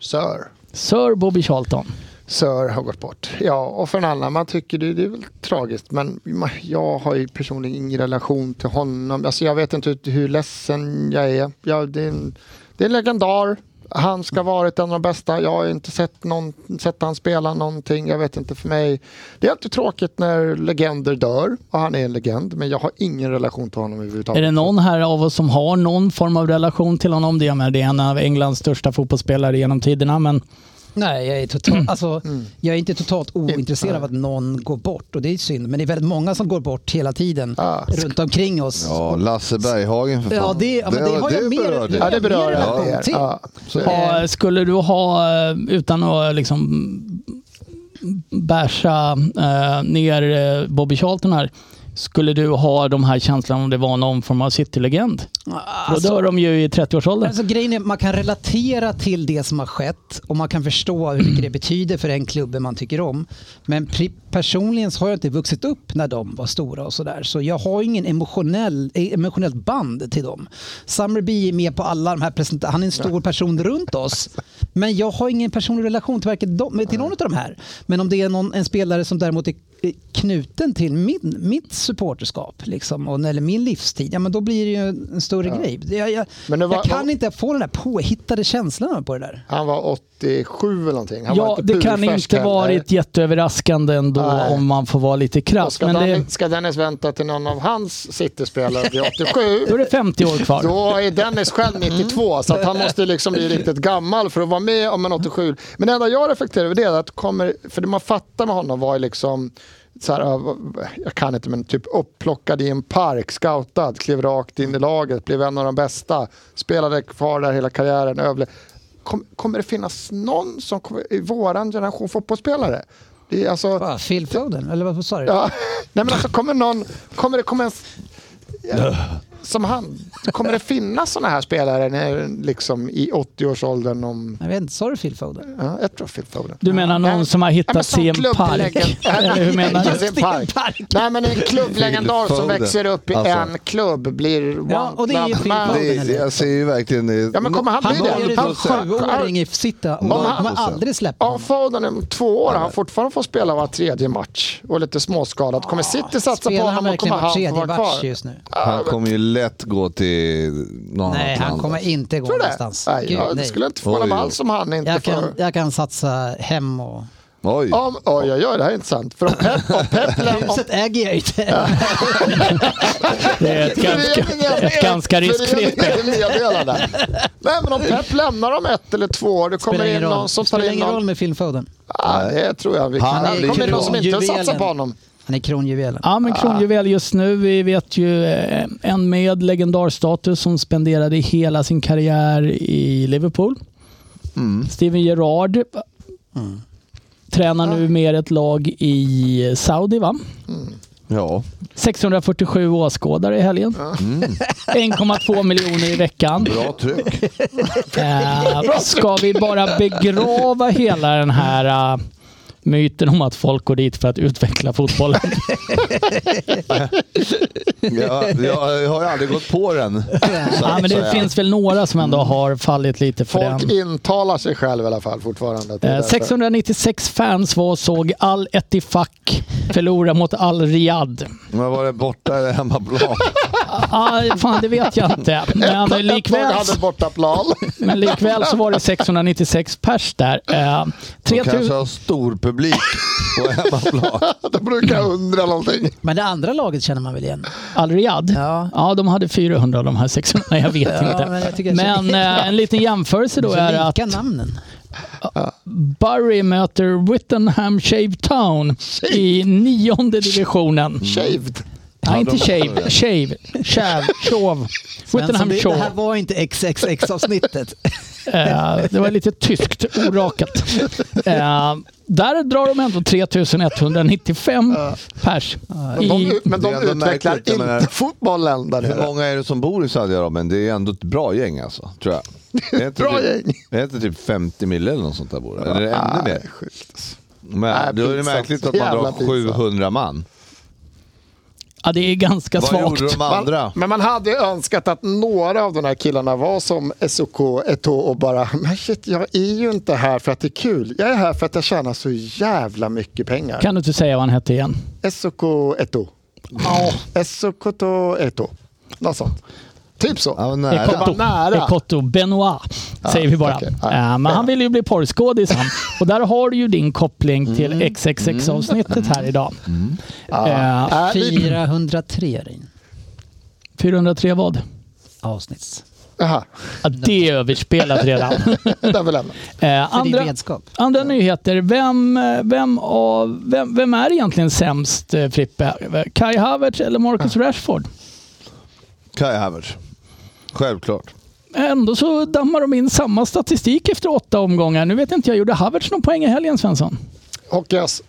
[SPEAKER 4] Sir.
[SPEAKER 3] Sir Bobby Charlton.
[SPEAKER 4] Sör har gått bort. Ja, och för en annan, man tycker det, det är väl tragiskt, men ma- jag har ju personligen ingen relation till honom. Alltså, jag vet inte hur, hur ledsen jag är. Jag, det, är en, det är en legendar. Han ska ha varit en av de bästa. Jag har inte sett, någon, sett han spela någonting. Jag vet inte för mig. Det är alltid tråkigt när legender dör och han är en legend, men jag har ingen relation till honom överhuvudtaget.
[SPEAKER 3] Är det någon här av oss som har någon form av relation till honom? Det är, med, det är en av Englands största fotbollsspelare genom tiderna. Men
[SPEAKER 6] Nej, jag är, totalt, alltså, jag är inte totalt ointresserad av att någon går bort och det är synd. Men det är väldigt många som går bort hela tiden
[SPEAKER 4] Ah.
[SPEAKER 6] runt omkring oss.
[SPEAKER 5] Ja, Lasse Berghagen för fan.
[SPEAKER 6] Ja, det- ja, men det har jag mer-
[SPEAKER 5] berör dig.
[SPEAKER 4] Ja, det berör
[SPEAKER 6] Jag har
[SPEAKER 4] en
[SPEAKER 6] mer
[SPEAKER 4] del.
[SPEAKER 6] relation till.
[SPEAKER 4] Ja.
[SPEAKER 3] ja, skulle du ha, eh, utan att liksom bärsa eh, ner eh, Bobby Charlton här, skulle du ha de här känslorna om det var någon form av citylegend?
[SPEAKER 6] Ah,
[SPEAKER 3] Då
[SPEAKER 4] Alltså-
[SPEAKER 3] dör de ju i 30-årsåldern.
[SPEAKER 6] Alltså, grejen är, man kan relatera till det som har skett och man kan förstå hur mycket det betyder för den klubben man tycker om. Men pri- personligen så har jag inte vuxit upp när de var stora och sådär. Så jag har ingen emotionell, eh, emotionellt band till dem. Summerby är med på alla de här presentationerna. Han är en stor person runt oss. Men jag har ingen personlig relation till, varken dem, till någon av de här. Men om det är någon, en spelare som däremot är eh, knuten till min, mitt supporterskap liksom, och, eller min livstid, ja, men då blir det ju en större grej. Jag, jag,
[SPEAKER 4] Men det var-
[SPEAKER 6] jag kan
[SPEAKER 4] var-
[SPEAKER 6] inte få den där påhittade känslan på det där.
[SPEAKER 4] Han var 87 eller någonting. Han var
[SPEAKER 3] Ja,
[SPEAKER 4] inte
[SPEAKER 3] det kan
[SPEAKER 4] purfärsk
[SPEAKER 3] inte
[SPEAKER 4] heller.
[SPEAKER 3] varit jätteöverraskande ändå
[SPEAKER 4] Nej.
[SPEAKER 3] om man får vara lite
[SPEAKER 4] Och
[SPEAKER 3] krass.
[SPEAKER 4] ska,
[SPEAKER 3] Men det,
[SPEAKER 4] Dennis, ska Dennis vänta till någon av hans City-spelare blir 87,
[SPEAKER 3] <laughs> då är det Mm. 50 år kvar.
[SPEAKER 4] då är Dennis själv 92, så att han måste liksom bli riktigt gammal för att vara med om en 87. Men det enda jag reflekterar över det är att kommer, för det man fattar med honom var ju liksom så här, ja, vad- jag kan inte men typ upplockad i en park, scoutad, klev rakt in i laget, blev en av de bästa, spelade kvar där hela karriären, överle- Kom, kommer det finnas någon som kommer, i våran generation fotbollsspelare? Det är alltså,
[SPEAKER 6] Va, Phil Foden, eller vad sa du?
[SPEAKER 4] Ja. Nej men alltså kommer någon, kommer det komma en, ja, som han, kommer det finnas sådana här spelare när, liksom, i 80-årsåldern om,
[SPEAKER 6] Jag vet inte, sa du Phil Foden?
[SPEAKER 4] ja, jag tror Phil Foden.
[SPEAKER 3] Du menar någon
[SPEAKER 4] Nej,
[SPEAKER 3] som har
[SPEAKER 4] nej,
[SPEAKER 3] hittat
[SPEAKER 4] men som
[SPEAKER 3] sig i en park? <laughs>
[SPEAKER 4] klubblegend-
[SPEAKER 3] Eller hur menar du?
[SPEAKER 4] Just i en park. Nej men en klubblegendar
[SPEAKER 5] Phil
[SPEAKER 4] som
[SPEAKER 5] Foden.
[SPEAKER 4] växer upp i
[SPEAKER 5] Alltså.
[SPEAKER 4] en klubb blir one
[SPEAKER 6] Ja, och det är ju
[SPEAKER 4] man-
[SPEAKER 6] Phil Foden.
[SPEAKER 5] det är, jag ser ju verkligen...
[SPEAKER 4] Ja men kommer han
[SPEAKER 6] Han
[SPEAKER 4] bli det?
[SPEAKER 6] började som sjuåring
[SPEAKER 4] han- Alltså.
[SPEAKER 6] i Sitta och
[SPEAKER 4] Om
[SPEAKER 6] man
[SPEAKER 4] han-
[SPEAKER 6] kommer aldrig släppa
[SPEAKER 4] Om
[SPEAKER 6] honom.
[SPEAKER 4] Foden om två år, han fortfarande får spela var tredje match och lite småskadat, kommer City satsa på
[SPEAKER 6] Spelar han
[SPEAKER 4] honom och
[SPEAKER 6] verkligen
[SPEAKER 4] kommer
[SPEAKER 6] var
[SPEAKER 4] han få
[SPEAKER 6] tredje
[SPEAKER 4] vara
[SPEAKER 6] match
[SPEAKER 4] kvar?
[SPEAKER 6] just nu?
[SPEAKER 5] Han kommer ju lätt gå till någon
[SPEAKER 6] Nej,
[SPEAKER 5] annat
[SPEAKER 6] han
[SPEAKER 5] land.
[SPEAKER 6] kommer inte gå
[SPEAKER 4] Tror du det?
[SPEAKER 6] någonstans.
[SPEAKER 4] Nej,
[SPEAKER 6] Gud,
[SPEAKER 4] ja, det
[SPEAKER 6] nej.
[SPEAKER 4] skulle inte förvåna
[SPEAKER 5] Oj.
[SPEAKER 4] mig alls om han inte
[SPEAKER 6] jag,
[SPEAKER 4] får...
[SPEAKER 6] kan, jag kan satsa hem och...
[SPEAKER 5] Oj.
[SPEAKER 4] Ja, men- Oj, oj, oj, det här är intressant. För om Pep, om Pep lämnar...
[SPEAKER 6] <laughs> Huset äger jag inte.
[SPEAKER 3] Det är <laughs> ett ganska, ett ganska riskfritt spel.
[SPEAKER 4] meddelande. Nej,
[SPEAKER 3] <laughs>
[SPEAKER 4] men om Pep lämnar om ett eller två år, det kommer
[SPEAKER 6] Spelar
[SPEAKER 4] in
[SPEAKER 6] ingen
[SPEAKER 4] någon
[SPEAKER 6] roll.
[SPEAKER 4] som tar
[SPEAKER 6] Spelar
[SPEAKER 4] in
[SPEAKER 6] ingen roll
[SPEAKER 4] någon...
[SPEAKER 6] med Phil Foden.
[SPEAKER 4] Ja, det tror jag. Vi
[SPEAKER 5] Han
[SPEAKER 4] kan.
[SPEAKER 5] är
[SPEAKER 4] Det kommer in någon som inte
[SPEAKER 6] juvelen.
[SPEAKER 4] satsar på honom.
[SPEAKER 6] Han är kronjuvelen.
[SPEAKER 3] Ja, men kronjuvel just nu. Vi vet ju eh, en med legendarstatus som spenderade hela sin karriär i Liverpool. Steven Gerrard eh, tränar nu mer ett lag i Saudi, va?
[SPEAKER 5] Ja.
[SPEAKER 3] 647 åskådare i helgen. Mm. <laughs> 1,2 miljoner i veckan.
[SPEAKER 5] Bra tryck.
[SPEAKER 3] Eh, ska vi bara begrava hela den här eh, myten om att folk går dit för att utveckla fotbollen?
[SPEAKER 5] Jag, jag, jag har ju aldrig gått på den. Så
[SPEAKER 3] ja,
[SPEAKER 5] att
[SPEAKER 3] men det
[SPEAKER 5] säga.
[SPEAKER 3] finns väl några som ändå har fallit lite för
[SPEAKER 4] Folk
[SPEAKER 3] den.
[SPEAKER 4] intalar sig själv i alla fall fortfarande. Det är
[SPEAKER 3] Eh,
[SPEAKER 4] därför.
[SPEAKER 3] 696 fans var och såg Al Ettifaq förlora mot Al Riyadh.
[SPEAKER 5] Men var det borta eller
[SPEAKER 4] <laughs>
[SPEAKER 5] hemmaplan?
[SPEAKER 3] Ah, fan, det vet jag inte. Men eh,
[SPEAKER 4] Ett lag
[SPEAKER 3] likväl,
[SPEAKER 4] hade bortaplan.
[SPEAKER 3] men likväl så var det 696 pers där. Eh,
[SPEAKER 5] De kanske
[SPEAKER 3] 3000,
[SPEAKER 5] har stor publik på
[SPEAKER 4] <laughs>
[SPEAKER 5] hemmaplan.
[SPEAKER 4] <laughs> Då brukar jag undra någonting.
[SPEAKER 6] <laughs> Men det andra laget känner man väl igen?
[SPEAKER 3] Al Riyadh?
[SPEAKER 6] Ja.
[SPEAKER 3] Ja, de hade 400 av de här 600. Jag vet
[SPEAKER 6] Ja,
[SPEAKER 3] inte.
[SPEAKER 6] men jag tycker jag
[SPEAKER 3] Men
[SPEAKER 6] känner-
[SPEAKER 3] eh, en liten jämförelse då
[SPEAKER 6] Så
[SPEAKER 3] är att
[SPEAKER 6] lika namnen.
[SPEAKER 3] Bury möter Whittenham Shave Town i nionde divisionen.
[SPEAKER 4] Shaved.
[SPEAKER 3] Nej, inte
[SPEAKER 5] de-
[SPEAKER 3] shave. Shave. Shave. Shove.
[SPEAKER 6] Svensson,
[SPEAKER 3] Whittenham
[SPEAKER 6] det, det här
[SPEAKER 3] Shove.
[SPEAKER 6] var
[SPEAKER 4] <laughs>
[SPEAKER 6] inte XXX-avsnittet.
[SPEAKER 3] Eh, det var lite tyskt, orakat. Eh, där drar de ändå 3195 pers.
[SPEAKER 4] De,
[SPEAKER 3] I,
[SPEAKER 4] men
[SPEAKER 5] Det
[SPEAKER 4] de
[SPEAKER 5] är ändå
[SPEAKER 4] utvecklar
[SPEAKER 5] märkligt, jag
[SPEAKER 4] inte
[SPEAKER 5] menar-
[SPEAKER 4] fotbollen där
[SPEAKER 5] Hur
[SPEAKER 4] nere.
[SPEAKER 5] många är det som bor i Saudiarabien? Det är ändå ett bra gäng alltså, tror jag. Det är inte
[SPEAKER 4] Bra
[SPEAKER 5] typ,
[SPEAKER 4] gäng.
[SPEAKER 5] Det är inte typ 50 mille eller något sånt där bor Eller är det ännu
[SPEAKER 4] Ah,
[SPEAKER 5] mer?
[SPEAKER 4] sjukt.
[SPEAKER 5] Men då är det
[SPEAKER 4] pinsamt.
[SPEAKER 5] märkligt att man
[SPEAKER 4] Jävla
[SPEAKER 5] drar
[SPEAKER 4] pinsamt.
[SPEAKER 5] 700 man.
[SPEAKER 3] ja, det är ganska
[SPEAKER 5] Vad gjorde
[SPEAKER 3] svagt.
[SPEAKER 5] de andra?
[SPEAKER 4] Men man hade ju önskat att några av de här killarna var som Esoko Eto och bara men shit, jag är ju inte här för att det är kul. Jag är här för att jag tjänar så jävla mycket pengar.
[SPEAKER 3] Kan du inte säga vad han hette igen?
[SPEAKER 4] Esoko Eto. Ja. Esoko to Eto. Något sånt. Typ så.
[SPEAKER 5] Ja, men nära.
[SPEAKER 4] Det var
[SPEAKER 3] Ekotto,
[SPEAKER 4] nära.
[SPEAKER 3] Ekotto Benoit, säger vi bara.
[SPEAKER 4] okej.
[SPEAKER 3] Eh,
[SPEAKER 4] Ja.
[SPEAKER 3] men han vill ju bli porrskådis
[SPEAKER 4] <laughs>
[SPEAKER 3] han. Och där har du ju din koppling
[SPEAKER 4] Mm.
[SPEAKER 3] till XXX-avsnittet här idag. Eh,
[SPEAKER 4] Äh, vi-
[SPEAKER 6] 403 Rin.
[SPEAKER 3] 403 vad?
[SPEAKER 6] avsnitt.
[SPEAKER 4] Jaha,
[SPEAKER 3] Ja, det är överspelat redan.
[SPEAKER 4] där vill jag lämna.
[SPEAKER 3] Eh,
[SPEAKER 6] För din
[SPEAKER 3] andra,
[SPEAKER 6] redskap.
[SPEAKER 3] andra nyheter. Vem, eh, vem, av, vem, vem är egentligen sämst, eh, Frippe? Kai Havertz eller Marcus Rashford?
[SPEAKER 5] Kai Havertz. Självklart.
[SPEAKER 3] Ändå så dammar de in samma statistik efter åtta omgångar. Nu vet inte jag, gjorde Havertz någon poäng i helgen, Svensson?
[SPEAKER 4] Hockeyas.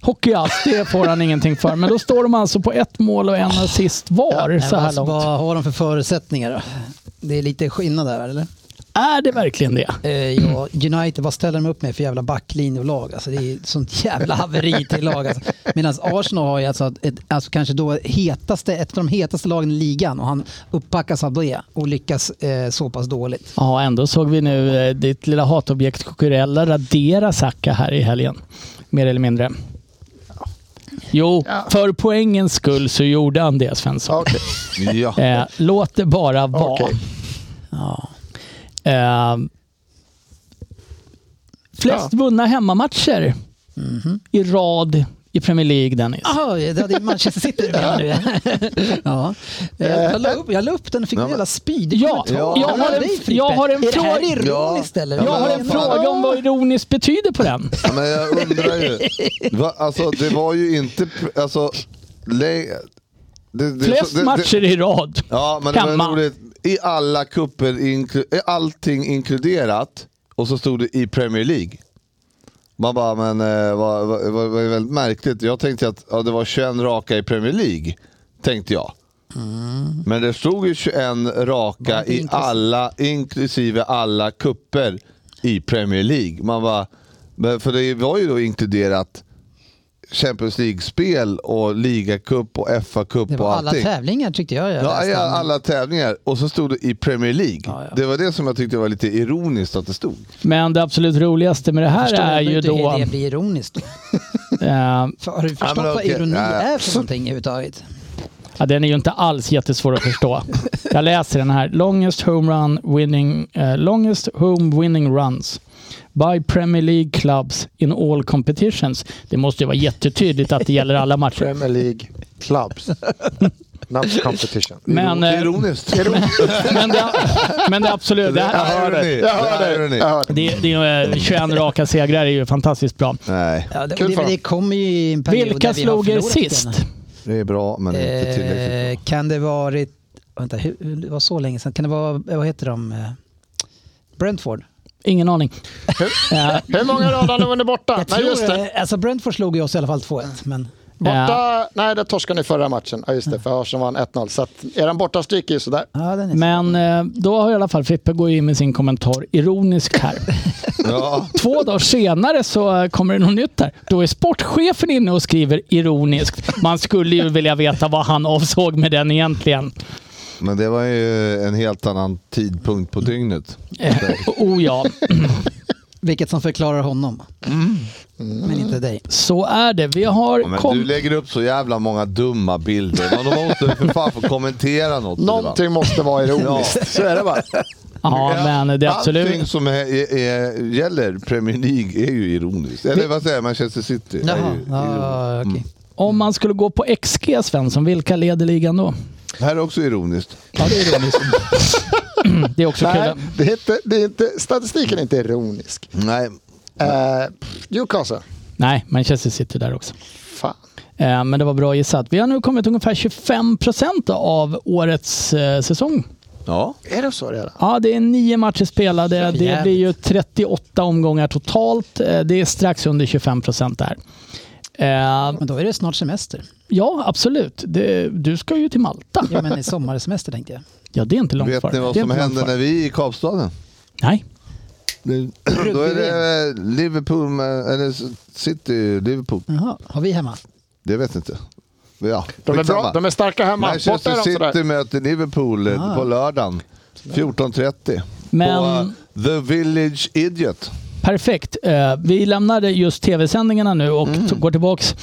[SPEAKER 3] Hockeyast, det får han ingenting för. Men då står de alltså på ett mål och en assist var
[SPEAKER 6] Men alltså
[SPEAKER 3] så här
[SPEAKER 6] vad-
[SPEAKER 3] långt.
[SPEAKER 6] Vad har de för förutsättningar då? Det är lite skillnad där, eller?
[SPEAKER 3] Är det verkligen det?
[SPEAKER 6] Eh, ja,
[SPEAKER 3] Mm.
[SPEAKER 6] United, vad ställer de upp med för jävla backlinje och lag? Alltså, det är ett sånt jävla haveri till lag. Alltså. Medan Arsenal har ju alltså, ett, alltså kanske då hetaste, ett av de hetaste lagen i ligan och han uppbackas av det och lyckas eh, så pass dåligt.
[SPEAKER 3] Ja, ändå såg vi nu eh, ditt lilla hatobjekt Cucurella radera Saka här i helgen. Mer eller mindre. Jo, för poängens skull så gjorde han det Svensson.
[SPEAKER 4] Okej.
[SPEAKER 5] Ja.
[SPEAKER 3] Eh, låt det bara vara.
[SPEAKER 4] Okej.
[SPEAKER 3] Eh, flest vunna hemmamatcher
[SPEAKER 5] Mhm.
[SPEAKER 3] i rad i Premier League, Dennis.
[SPEAKER 5] Ah.
[SPEAKER 6] Jaha, det hade ju Manchester
[SPEAKER 3] <laughs>
[SPEAKER 6] City du menar nu. <laughs> ja. Eh, jag, la upp, jag la upp den och fick
[SPEAKER 5] Ja,
[SPEAKER 6] en
[SPEAKER 5] men-
[SPEAKER 6] jävla speed.
[SPEAKER 3] Ja, jag
[SPEAKER 6] Men
[SPEAKER 3] har en-
[SPEAKER 6] dig, Frippe.
[SPEAKER 3] jag har en
[SPEAKER 6] Är det här
[SPEAKER 3] fråga-
[SPEAKER 6] ironiskt eller?
[SPEAKER 5] Ja,
[SPEAKER 3] Jag har en fråga om vad ironiskt betyder på den.
[SPEAKER 5] Ja, Men jag undrar ju. Va, alltså, det var ju inte... pr- Alltså, le, det, det,
[SPEAKER 3] Flest
[SPEAKER 5] det- det-
[SPEAKER 3] matcher i rad.
[SPEAKER 5] Ja, men det
[SPEAKER 3] Hemma.
[SPEAKER 5] var roligt. I alla kupper, inklu- i allting inkluderat, och så stod det i Premier League. Man bara, men eh, vad vad- vad- vad är väldigt märkligt. Jag tänkte att ja, det var 21 raka i Premier League, tänkte jag.
[SPEAKER 6] Mm.
[SPEAKER 5] Men det stod ju 21 raka i
[SPEAKER 6] inklusive-
[SPEAKER 5] alla, inklusive alla kupper i Premier League. Man bara, men för det var ju då inkluderat Champions League-spel och ligacup och
[SPEAKER 6] Det
[SPEAKER 5] FA-cup och
[SPEAKER 6] var alla
[SPEAKER 5] allting.
[SPEAKER 6] tävlingar tyckte jag. jag
[SPEAKER 5] Ja,
[SPEAKER 6] läste
[SPEAKER 5] ja,
[SPEAKER 6] om.
[SPEAKER 5] alla tävlingar. Och så stod det i Premier League.
[SPEAKER 6] Ja, ja.
[SPEAKER 5] Det var det som jag tyckte var lite ironiskt att det stod.
[SPEAKER 3] Men det absolut roligaste med det här
[SPEAKER 6] Förstår
[SPEAKER 3] är
[SPEAKER 6] ändå
[SPEAKER 3] ju
[SPEAKER 6] inte
[SPEAKER 3] då...
[SPEAKER 6] hur det
[SPEAKER 3] <laughs>
[SPEAKER 6] blir ironiskt.
[SPEAKER 3] eh,
[SPEAKER 6] För, har du förstått
[SPEAKER 5] men
[SPEAKER 6] vad
[SPEAKER 5] okej.
[SPEAKER 6] ironi
[SPEAKER 5] Ja, ja.
[SPEAKER 6] är för någonting överhuvudtaget?
[SPEAKER 3] Ja, den är ju inte alls jättesvår att
[SPEAKER 6] <laughs>
[SPEAKER 3] förstå. Jag läser den här. Longest home run winning, eh, longest home winning runs by Premier League clubs in all competitions. Det måste ju vara jättetydligt att det gäller alla matcher.
[SPEAKER 4] Premier League
[SPEAKER 5] <laughs>
[SPEAKER 4] clubs. Nubs competition.
[SPEAKER 3] Men, eh,
[SPEAKER 5] Ironiskt.
[SPEAKER 3] men, det, men det är absolut. Det,
[SPEAKER 5] Jag
[SPEAKER 3] här,
[SPEAKER 5] hör dig.
[SPEAKER 4] Jag hör
[SPEAKER 5] Jag hör
[SPEAKER 4] dig.
[SPEAKER 5] dig.
[SPEAKER 4] Jag hör dig.
[SPEAKER 3] det, det är eh, 21 raka segrar är ju fantastiskt bra.
[SPEAKER 5] <laughs> Nej,
[SPEAKER 6] Ja, det,
[SPEAKER 4] Kul
[SPEAKER 6] det,
[SPEAKER 4] för
[SPEAKER 6] det
[SPEAKER 4] dem.
[SPEAKER 6] kommer ju i en period
[SPEAKER 3] Vilka
[SPEAKER 6] där vi har
[SPEAKER 3] slog er
[SPEAKER 6] förlorat
[SPEAKER 3] sist?
[SPEAKER 6] den.
[SPEAKER 5] det är bra men inte tillräckligt.
[SPEAKER 6] Eh, kan det varit, vänta, hur, hur- det var så länge sedan, kan det vara, vad heter de, eh, Brentford?
[SPEAKER 3] Ingen aning. Eh,
[SPEAKER 4] Hur många rader har ni vunnit borta?
[SPEAKER 6] Jag
[SPEAKER 4] Nej, just det.
[SPEAKER 6] eh, Alltså Brentford slog ju oss i alla fall 2-1. Men,
[SPEAKER 3] Eh,
[SPEAKER 4] Borta, nej där torskade ni förra matchen. Ja just det, för Arsenal vann 1-0. Så att eran bortastryk är ju sådär.
[SPEAKER 6] ja, den är
[SPEAKER 3] Men eh, då har i alla fall Frippe gått in med sin kommentar ironiskt här.
[SPEAKER 5] Ja,
[SPEAKER 3] Två dagar senare så eh, kommer det något nytt där. Då är sportchefen inne och skriver ironiskt. Man skulle ju vilja veta vad han avsåg med den egentligen.
[SPEAKER 5] men det var ju en helt annan tidpunkt på dygnet.
[SPEAKER 3] Eh, <laughs> oh ja,
[SPEAKER 6] Vilket som förklarar honom.
[SPEAKER 5] Mm.
[SPEAKER 6] Men inte dig.
[SPEAKER 3] så är det. Vi har
[SPEAKER 5] Ja, Men
[SPEAKER 3] kom-
[SPEAKER 5] du lägger upp så jävla många dumma bilder. Men de måste för fan få kommentera något.
[SPEAKER 4] Någonting måste <laughs> vara ironiskt. Så är det bara.
[SPEAKER 3] Ja, men det är
[SPEAKER 5] Allting
[SPEAKER 3] absolut...
[SPEAKER 5] som är, är, är, gäller Premier League är ju ironiskt. Eller vad säger jag, Manchester City. Är
[SPEAKER 6] Jaha,
[SPEAKER 5] ju, Mm.
[SPEAKER 6] ja, okej.
[SPEAKER 3] Om man skulle gå på XG, Svensson, vilka leder ligan då?
[SPEAKER 5] Här är också ironiskt.
[SPEAKER 3] Ja, det är ironiskt. <clears throat> Det är också
[SPEAKER 4] Nej,
[SPEAKER 3] kul.
[SPEAKER 4] det är inte, det är inte, statistiken är inte ironisk.
[SPEAKER 5] Nej,
[SPEAKER 4] Eh, pff, Newcastle.
[SPEAKER 3] Nej, Manchester City där också.
[SPEAKER 4] Fan.
[SPEAKER 3] Eh, Men det var bra gissat. Vi har nu kommit ungefär 25 procent av årets eh, säsong.
[SPEAKER 5] ja.
[SPEAKER 4] Är det så redan?
[SPEAKER 3] Ja, det är nio matcher spelade. Det
[SPEAKER 6] jävligt.
[SPEAKER 3] blir ju 38 omgångar totalt. Eh, Det är strax under 25 procent där. Eh,
[SPEAKER 6] Men då är det snart semester.
[SPEAKER 3] Ja, absolut. Det, du ska ju till Malta.
[SPEAKER 6] Ja, men i sommarsemester tänkte jag.
[SPEAKER 3] Ja, det är inte långt
[SPEAKER 5] Vet
[SPEAKER 3] kvar.
[SPEAKER 5] ni vad
[SPEAKER 3] Det är
[SPEAKER 5] som
[SPEAKER 3] inte långt
[SPEAKER 5] händer
[SPEAKER 3] kvar.
[SPEAKER 5] när vi är i Kapstaden?
[SPEAKER 3] Nej.
[SPEAKER 5] Det- <clears throat> Då är det eh, Liverpool, eh, eller City, Liverpool.
[SPEAKER 6] Jaha, har vi hemma?
[SPEAKER 5] Det vet jag inte. Ja,
[SPEAKER 4] De är, bra,
[SPEAKER 5] skitsamma.
[SPEAKER 4] de är starka hemma. Borta
[SPEAKER 5] Manchester
[SPEAKER 4] är de
[SPEAKER 5] City
[SPEAKER 4] sådär.
[SPEAKER 5] möter Liverpool eh, på lördagen 14.30.
[SPEAKER 3] Men-
[SPEAKER 5] På eh, The Village Idiot.
[SPEAKER 3] Perfekt. Eh, Vi lämnade just tv-sändningarna nu och t- går tillbaks.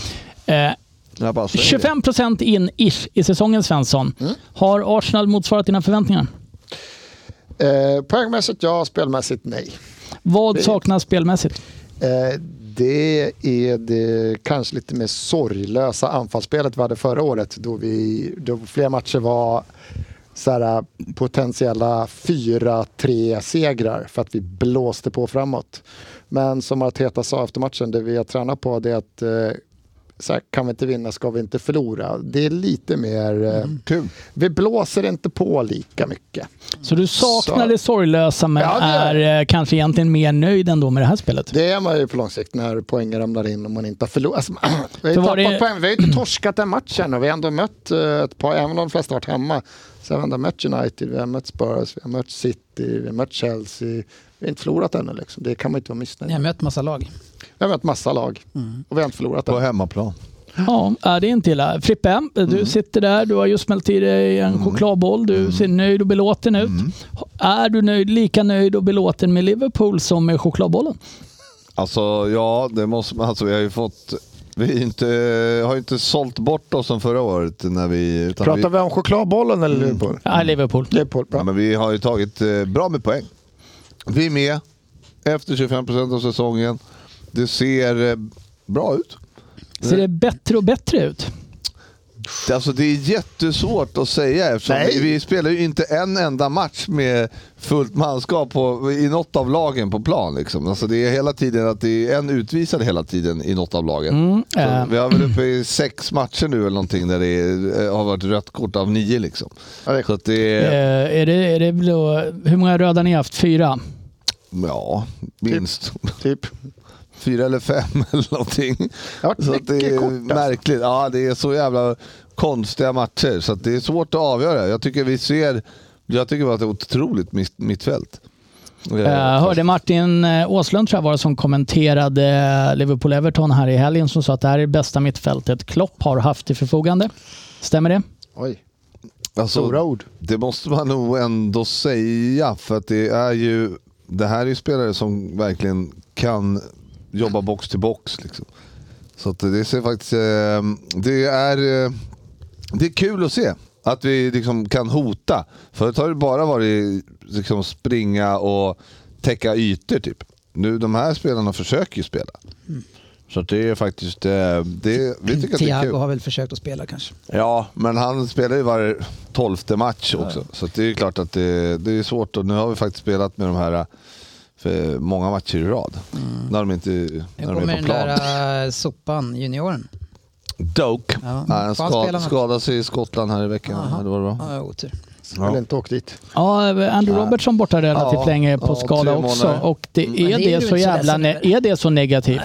[SPEAKER 3] Eh,
[SPEAKER 5] Jag bara säger Mm. det. Mm.
[SPEAKER 3] 25 procent in ish i säsongen, Svensson. Har Arsenal motsvarat dina förväntningar?
[SPEAKER 4] Eh, poängmässigt ja, spelmässigt nej.
[SPEAKER 3] Vad saknas spelmässigt?
[SPEAKER 4] Eh, det är det kanske lite mer sorglösa anfallsspelet vi hade förra året då, vi, då fler matcher var så här, potentiella 4-3 segrar för att vi blåste på framåt. Men som Arteta sa efter matchen, det vi har tränat på det är att eh, så här, kan vi inte vinna ska vi inte förlora. Det är lite mer... Eh,
[SPEAKER 5] Kul.
[SPEAKER 4] Vi blåser inte på lika mycket.
[SPEAKER 3] Så du saknar
[SPEAKER 4] Så-
[SPEAKER 3] det sorglösa men
[SPEAKER 4] Ja, det gör
[SPEAKER 3] är eh, kanske egentligen mer nöjd ändå med det här spelet?
[SPEAKER 4] Det är man ju på lång sikt när poängen ramlar in och man inte har förlorat. Alltså, <clears throat> vi, har
[SPEAKER 3] För
[SPEAKER 4] ju
[SPEAKER 3] var
[SPEAKER 4] tappat
[SPEAKER 3] det-
[SPEAKER 4] poäng. vi har ju inte torskat en match än och vi har ändå mött eh, ett par, även om de flesta har varit hemma. Så har vi ändå mött United, vi har mött Spurs, vi har mött City, vi har mött Chelsea. Vi har inte förlorat ännu liksom. Det kan man inte vara missnöjd
[SPEAKER 6] Ni har
[SPEAKER 4] med.
[SPEAKER 6] mött massa lag.
[SPEAKER 4] Vi har mött massa lag och vi har inte förlorat
[SPEAKER 5] På
[SPEAKER 4] än.
[SPEAKER 5] hemmaplan.
[SPEAKER 3] Ja, äh, det är inte illa. Frippe, du
[SPEAKER 4] Mm.
[SPEAKER 3] sitter där, du har just smält i dig en chokladboll, du ser nöjd och belåten ut.
[SPEAKER 4] Mm.
[SPEAKER 3] Är du nöjd, lika nöjd och belåten med Liverpool som med chokladbollen?
[SPEAKER 4] Mm.
[SPEAKER 5] Alltså, ja, det måste man. Alltså, vi har ju fått... Vi är inte, har ju inte sålt bort oss som förra året. När vi, utan
[SPEAKER 4] Pratar vi om chokladbollen eller Liverpool?
[SPEAKER 3] Ja, Liverpool.
[SPEAKER 4] Liverpool,
[SPEAKER 5] Mm. Ja,
[SPEAKER 4] bra.
[SPEAKER 5] men vi har ju tagit eh, bra med poäng. Vi är med efter 25 procent av säsongen. Det ser eh, bra ut.
[SPEAKER 3] Ser det bättre och bättre ut?
[SPEAKER 5] Alltså, det är jättesvårt att säga eftersom
[SPEAKER 4] Nej.
[SPEAKER 5] vi, vi spelar ju inte en enda match med fullt manskap på, i något av lagen på plan. Liksom. Alltså, det är hela tiden att det är en utvisad hela tiden i något av lagen.
[SPEAKER 4] Mm,
[SPEAKER 5] Så
[SPEAKER 3] eh.
[SPEAKER 5] Vi har väl uppe i sex matcher nu eller någonting där det är, eh, har varit rött kort av nio. Liksom.
[SPEAKER 4] Ja, det är
[SPEAKER 5] Så att det är,
[SPEAKER 3] Eh, är det, är det då, hur många röda ni har haft? Fyra?
[SPEAKER 5] ja, minst.
[SPEAKER 4] Typ.
[SPEAKER 5] fyra eller fem <laughs> eller någonting.
[SPEAKER 4] Det har varit
[SPEAKER 5] Så att det
[SPEAKER 4] mycket
[SPEAKER 5] är
[SPEAKER 4] kort, alltså.
[SPEAKER 5] märkligt. Ja, det är så jävla konstiga matcher så att det är svårt att avgöra. Jag tycker vi ser, jag tycker bara att det är otroligt mitt, mittfält.
[SPEAKER 3] Eh, hörde Martin eh, Åslund tror jag var det som kommenterade eh, Liverpool-Everton här i helgen som sa att det här är det bästa mittfältet Klopp har haft till förfogande. Stämmer det?
[SPEAKER 4] Oj,
[SPEAKER 5] Alltså,
[SPEAKER 4] stora ord.
[SPEAKER 5] Det måste man nog ändå säga för att det är ju, det här är ju spelare som verkligen kan jobba box till box. Liksom. Så att det ser faktiskt, eh, det ehm, är eh, det är kul att se att vi liksom kan hota. Förut har det bara varit liksom springa och täcka ytor typ. Nu de här spelarna försöker ju spela. Så att det är faktiskt, eh, det, vi tycker att det är
[SPEAKER 6] Thiago
[SPEAKER 5] kul.
[SPEAKER 6] har väl försökt att spela kanske.
[SPEAKER 5] Ja, men han spelar ju var tolfte match också. Så att det är klart att det, det är svårt. Och nu har vi faktiskt spelat med de här eh, för många matcher i rad. När de inte
[SPEAKER 6] Nu
[SPEAKER 5] när de
[SPEAKER 6] Mm. kommer
[SPEAKER 5] är på
[SPEAKER 6] den
[SPEAKER 5] plan.
[SPEAKER 6] där äh, sopan, junioren.
[SPEAKER 5] Doke.
[SPEAKER 6] Ja.
[SPEAKER 5] Nej, han
[SPEAKER 6] Får han spela
[SPEAKER 5] skad,
[SPEAKER 6] något?
[SPEAKER 5] skadade sig i Skottland här i veckan. Ja, det var bra.
[SPEAKER 6] Ja, jag har otur.
[SPEAKER 4] Eller inte åkt dit.
[SPEAKER 3] Ja, Andrew Robertson borta relativt
[SPEAKER 5] Ja,
[SPEAKER 3] länge på
[SPEAKER 5] ja, tre
[SPEAKER 3] skada också.
[SPEAKER 5] månader. Mm.
[SPEAKER 3] Och det
[SPEAKER 6] det
[SPEAKER 3] är
[SPEAKER 6] är
[SPEAKER 3] det
[SPEAKER 6] ju
[SPEAKER 3] så
[SPEAKER 6] inte så
[SPEAKER 3] jävla...
[SPEAKER 6] ledsen
[SPEAKER 3] Ne-
[SPEAKER 6] över.
[SPEAKER 3] är det så negativt?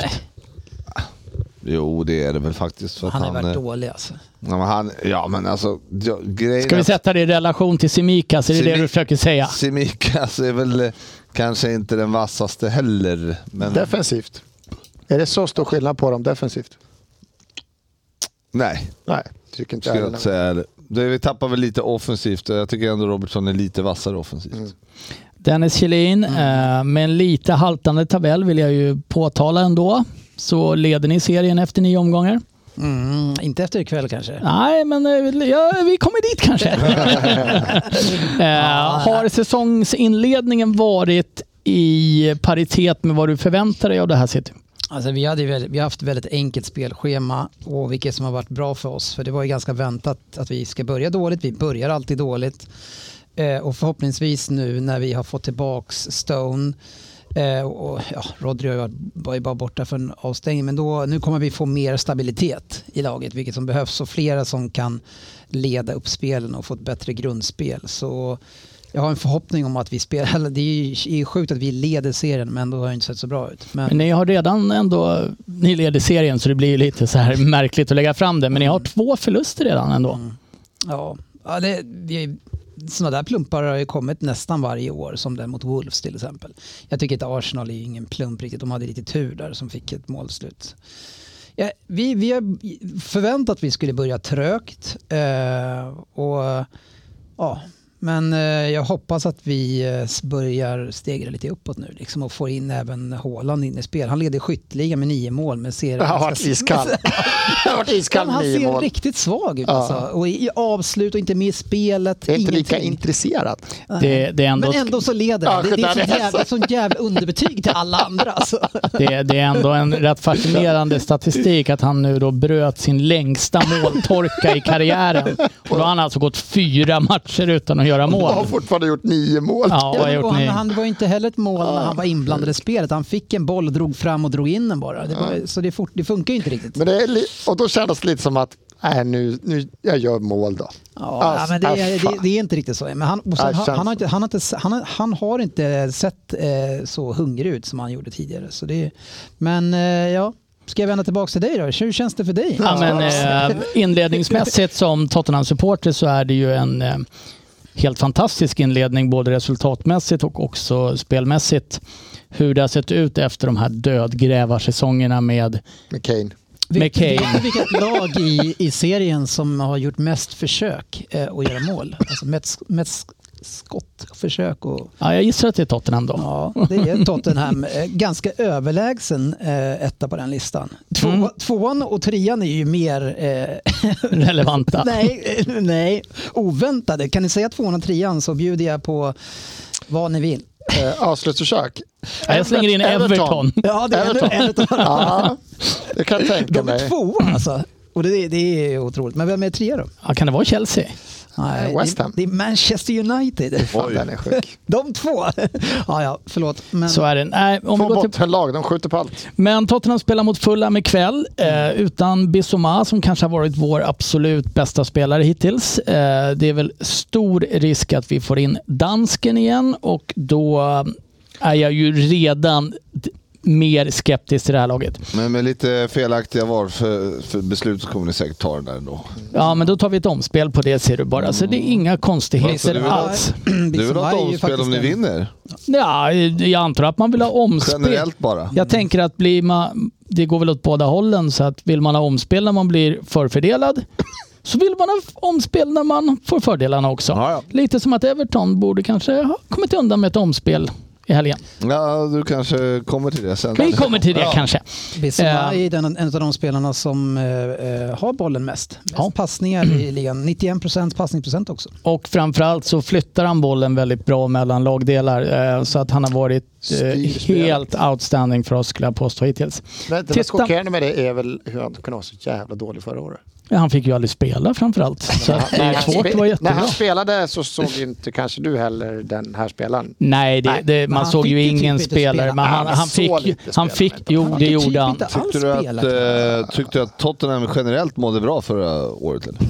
[SPEAKER 5] Jo, det är det väl faktiskt. För att
[SPEAKER 6] Han har varit
[SPEAKER 5] eh,
[SPEAKER 6] dålig alltså.
[SPEAKER 5] Ja, men, han, ja, men alltså ja, grejen
[SPEAKER 3] Ska
[SPEAKER 5] är
[SPEAKER 3] vi
[SPEAKER 5] att
[SPEAKER 3] sätta det i relation till Simikas? Är det det
[SPEAKER 5] Simi-
[SPEAKER 3] du försöker säga?
[SPEAKER 5] Simikas är väl eh, kanske inte den vassaste heller. Men
[SPEAKER 4] Defensivt. Är det så stor skillnad på dem defensivt?
[SPEAKER 5] nej,
[SPEAKER 4] Nej, tycker inte
[SPEAKER 5] skulle
[SPEAKER 4] jag.
[SPEAKER 5] jag inte säga. heller. Det, vi tappar väl lite offensivt. Jag tycker ändå Robertson är lite vassare offensivt.
[SPEAKER 6] Mm.
[SPEAKER 3] Dennis Kjellin, eh, med en lite haltande tabell vill jag ju påtala ändå. Så leder ni serien efter nio omgångar.
[SPEAKER 6] Mm, inte efter ikväll kanske.
[SPEAKER 3] Nej, men eh, ja, vi kommer dit kanske. <laughs> eh, har säsongsinledningen varit i paritet med vad du förväntar dig av det här City?
[SPEAKER 6] Alltså, vi, hade ju väldigt, vi har haft väldigt enkelt spelschema och vilket som har varit bra för oss. För det var ju ganska väntat att vi ska börja dåligt. Vi börjar alltid dåligt. Eh, och förhoppningsvis nu när vi har fått tillbaks Stone eh, och ja, Rodri har ju varit- var ju bara borta för en avstängning. Men då, nu kommer vi få mer stabilitet i laget vilket som behövs och flera som kan leda upp spelen och få ett bättre grundspel. Så jag har en förhoppning om att vi spelar. eller Det är ju det är ju sjukt att vi leder serien men ändå har det inte sett så bra ut. Men-
[SPEAKER 3] Men ni har redan ändå, ni leder serien så det blir ju lite så här <laughs> märkligt att lägga fram det, men ni har två förluster redan ändå.
[SPEAKER 6] Ja, ja det, det, sådana där plumpar har ju kommit nästan varje år, som den mot Wolves till exempel. Jag tycker att Arsenal är ju ingen plump riktigt, de hade lite tur där som fick ett målslut. Ja, vi, vi har förväntat att vi skulle börja trögt, eh, och, ja, men eh, jag hoppas att vi eh, börjar stegra lite uppåt nu liksom, och får in även Haaland in i spel. Han leder skytteligan med nio mål, men ser
[SPEAKER 4] Han har
[SPEAKER 6] ganska-
[SPEAKER 4] varit
[SPEAKER 6] <laughs>
[SPEAKER 4] iskall. <laughs> Han har varit
[SPEAKER 6] Ja,
[SPEAKER 4] iskall
[SPEAKER 6] men han
[SPEAKER 4] nio
[SPEAKER 6] ser
[SPEAKER 4] mål.
[SPEAKER 6] riktigt svag ut
[SPEAKER 4] Ja.
[SPEAKER 6] alltså. Och i i avslut och inte med i spelet.
[SPEAKER 4] Är inte lika
[SPEAKER 6] ingenting.
[SPEAKER 4] intresserad.
[SPEAKER 3] Det, det är ändå,
[SPEAKER 6] Men ändå så leder han.
[SPEAKER 4] Ja,
[SPEAKER 6] Det, det är
[SPEAKER 4] skit,
[SPEAKER 6] sånt
[SPEAKER 4] det är
[SPEAKER 6] jävla, sån jävla underbetyg till alla andra. Alltså.
[SPEAKER 3] <laughs> det, det är ändå en rätt fascinerande statistik att han nu då bröt sin längsta måltorka i karriären. Och då har han alltså gått fyra matcher utan att göra
[SPEAKER 4] Och har
[SPEAKER 3] mål.
[SPEAKER 4] fortfarande gjort nio mål.
[SPEAKER 3] Ja, vad har
[SPEAKER 6] och
[SPEAKER 3] gjort
[SPEAKER 6] han,
[SPEAKER 3] ni?
[SPEAKER 6] han var ju inte heller ett mål när han var inblandad i spelet. Han fick en boll, drog fram och drog in den bara. Det var, Så det, fort, det funkar ju inte riktigt.
[SPEAKER 4] Men det är li- och då kändes det lite som att, nej nu, nu, jag gör mål då.
[SPEAKER 6] Ja,
[SPEAKER 4] Alltså,
[SPEAKER 6] men det,
[SPEAKER 4] äh,
[SPEAKER 6] är-
[SPEAKER 4] fan.
[SPEAKER 6] det, det är inte riktigt så. Men han, och sen,
[SPEAKER 4] Äh,
[SPEAKER 6] han,
[SPEAKER 4] känns-
[SPEAKER 6] han, har inte, han, har inte, han, har, han har inte sett eh, så hungrig ut som han gjorde tidigare. Så det, men eh, ja, ska jag vända tillbaka till dig då? Hur känns det för dig?
[SPEAKER 3] Ja, men, eh, inledningsmässigt som Tottenham-supporter så är det ju en eh, helt fantastisk inledning både resultatmässigt och också spelmässigt. Hur det har sett ut efter de här dödgrävarsäsongerna med
[SPEAKER 4] Med Kane.
[SPEAKER 3] Med Kane.
[SPEAKER 6] Vet du vilket lag i, i serien som har gjort mest försök eh, att göra mål? Alltså mest, mest skottförsök och...
[SPEAKER 3] Ja, jag gissar att det är Tottenham då.
[SPEAKER 6] Ja, det är Tottenham. Eh, Ganska överlägsen eh, etta på den listan. Två,
[SPEAKER 3] Mm.
[SPEAKER 6] Tvåan och trean är ju mer... Eh,
[SPEAKER 3] Relevanta.
[SPEAKER 6] <laughs> nej, eh, nej, oväntade. Kan ni säga tvåan och trean så bjuder jag på vad ni vill.
[SPEAKER 4] Eh, avslutsförsök.
[SPEAKER 3] Ja, jag slänger in Everton.
[SPEAKER 6] Ja, det är en, en utav dem.
[SPEAKER 4] Ja, det kan jag tänka
[SPEAKER 6] De är
[SPEAKER 4] mig.
[SPEAKER 6] tvåa alltså. Och det, det är otroligt. Men vem är trea då?
[SPEAKER 3] Ja, kan det vara Chelsea?
[SPEAKER 6] Nej,
[SPEAKER 4] West
[SPEAKER 6] det-
[SPEAKER 4] Ham.
[SPEAKER 6] Det är Manchester United.
[SPEAKER 4] Fan, den är sjuk.
[SPEAKER 6] <laughs> De två. ja, ja, förlåt. Men,
[SPEAKER 3] Så är det. Nej, om vi
[SPEAKER 4] Två
[SPEAKER 3] går till...
[SPEAKER 4] bottenlag, de skjuter på allt.
[SPEAKER 3] Men Tottenham spelar mot Fulham ikväll eh, utan Bissoma som kanske har varit vår absolut bästa spelare hittills. Eh, det är väl stor risk att vi får in dansken igen och då är jag ju redan d- mer skeptisk till det här laget.
[SPEAKER 5] Men med lite felaktiga VAR för, för beslut så kommer ni säkert ta den där ändå.
[SPEAKER 3] Ja, men då tar vi ett omspel på det ser du bara. Så det är inga
[SPEAKER 5] Varför
[SPEAKER 3] konstigheter
[SPEAKER 5] du vill ha-
[SPEAKER 3] alls.
[SPEAKER 6] <clears throat>
[SPEAKER 5] Det är väl
[SPEAKER 6] Bissouma
[SPEAKER 5] något
[SPEAKER 6] ju
[SPEAKER 5] omspel
[SPEAKER 6] faktiskt
[SPEAKER 5] om ni
[SPEAKER 6] en-
[SPEAKER 5] vinner?
[SPEAKER 3] Ja, jag antar att man vill ha omspel.
[SPEAKER 5] Generellt bara.
[SPEAKER 3] Jag tänker att blir man, det går väl åt båda hållen, så att vill man ha omspel när man blir förfördelad så vill man ha f- omspel när man får fördelarna också.
[SPEAKER 5] Ja, ja.
[SPEAKER 3] Lite som att Everton borde kanske ha kommit undan med ett omspel i helgen.
[SPEAKER 5] Ja, du kanske kommer till det sen.
[SPEAKER 3] Vi kommer till det
[SPEAKER 5] Ja.
[SPEAKER 3] kanske.
[SPEAKER 6] Bissoma
[SPEAKER 3] Eh.
[SPEAKER 6] är den, en av de spelarna som eh, eh, har bollen mest. Mest
[SPEAKER 3] Ja.
[SPEAKER 6] passningar i ligan. 91 procent passningsprocent också.
[SPEAKER 3] Och framförallt så flyttar han bollen väldigt bra mellan lagdelar. Eh, så att han har varit eh,
[SPEAKER 4] Styrspelet.
[SPEAKER 3] helt outstanding för oss skulle jag påstå hittills.
[SPEAKER 4] Nej, det mest
[SPEAKER 3] Titta.
[SPEAKER 4] chockerande med det är väl hur han kunde vara så jävla dålig förra året.
[SPEAKER 3] Han fick ju aldrig spela framförallt. Så att det
[SPEAKER 4] När
[SPEAKER 3] är
[SPEAKER 4] han
[SPEAKER 3] svårt
[SPEAKER 4] spe-
[SPEAKER 3] att vara
[SPEAKER 4] När
[SPEAKER 3] jättebra.
[SPEAKER 4] han spelade så såg ju inte kanske du heller den här spelaren.
[SPEAKER 3] Nej, det,
[SPEAKER 4] Nej,
[SPEAKER 3] det, man
[SPEAKER 6] han
[SPEAKER 3] såg
[SPEAKER 6] fick
[SPEAKER 3] ju
[SPEAKER 6] ju typ
[SPEAKER 3] ingen
[SPEAKER 6] inte
[SPEAKER 3] spelare.
[SPEAKER 6] spela.
[SPEAKER 3] Men han,
[SPEAKER 4] Nej, men
[SPEAKER 3] han
[SPEAKER 4] så
[SPEAKER 3] fick, ju-
[SPEAKER 4] lite
[SPEAKER 3] han
[SPEAKER 4] spelade
[SPEAKER 3] fick,
[SPEAKER 4] han inte.
[SPEAKER 3] jo
[SPEAKER 6] Han
[SPEAKER 3] det
[SPEAKER 6] fick typ
[SPEAKER 3] gjorde han.
[SPEAKER 6] inte alls
[SPEAKER 5] Tyckte du, att,
[SPEAKER 6] spelat.
[SPEAKER 5] eh, tyckte du att Tottenham generellt mådde bra förra året? Eller?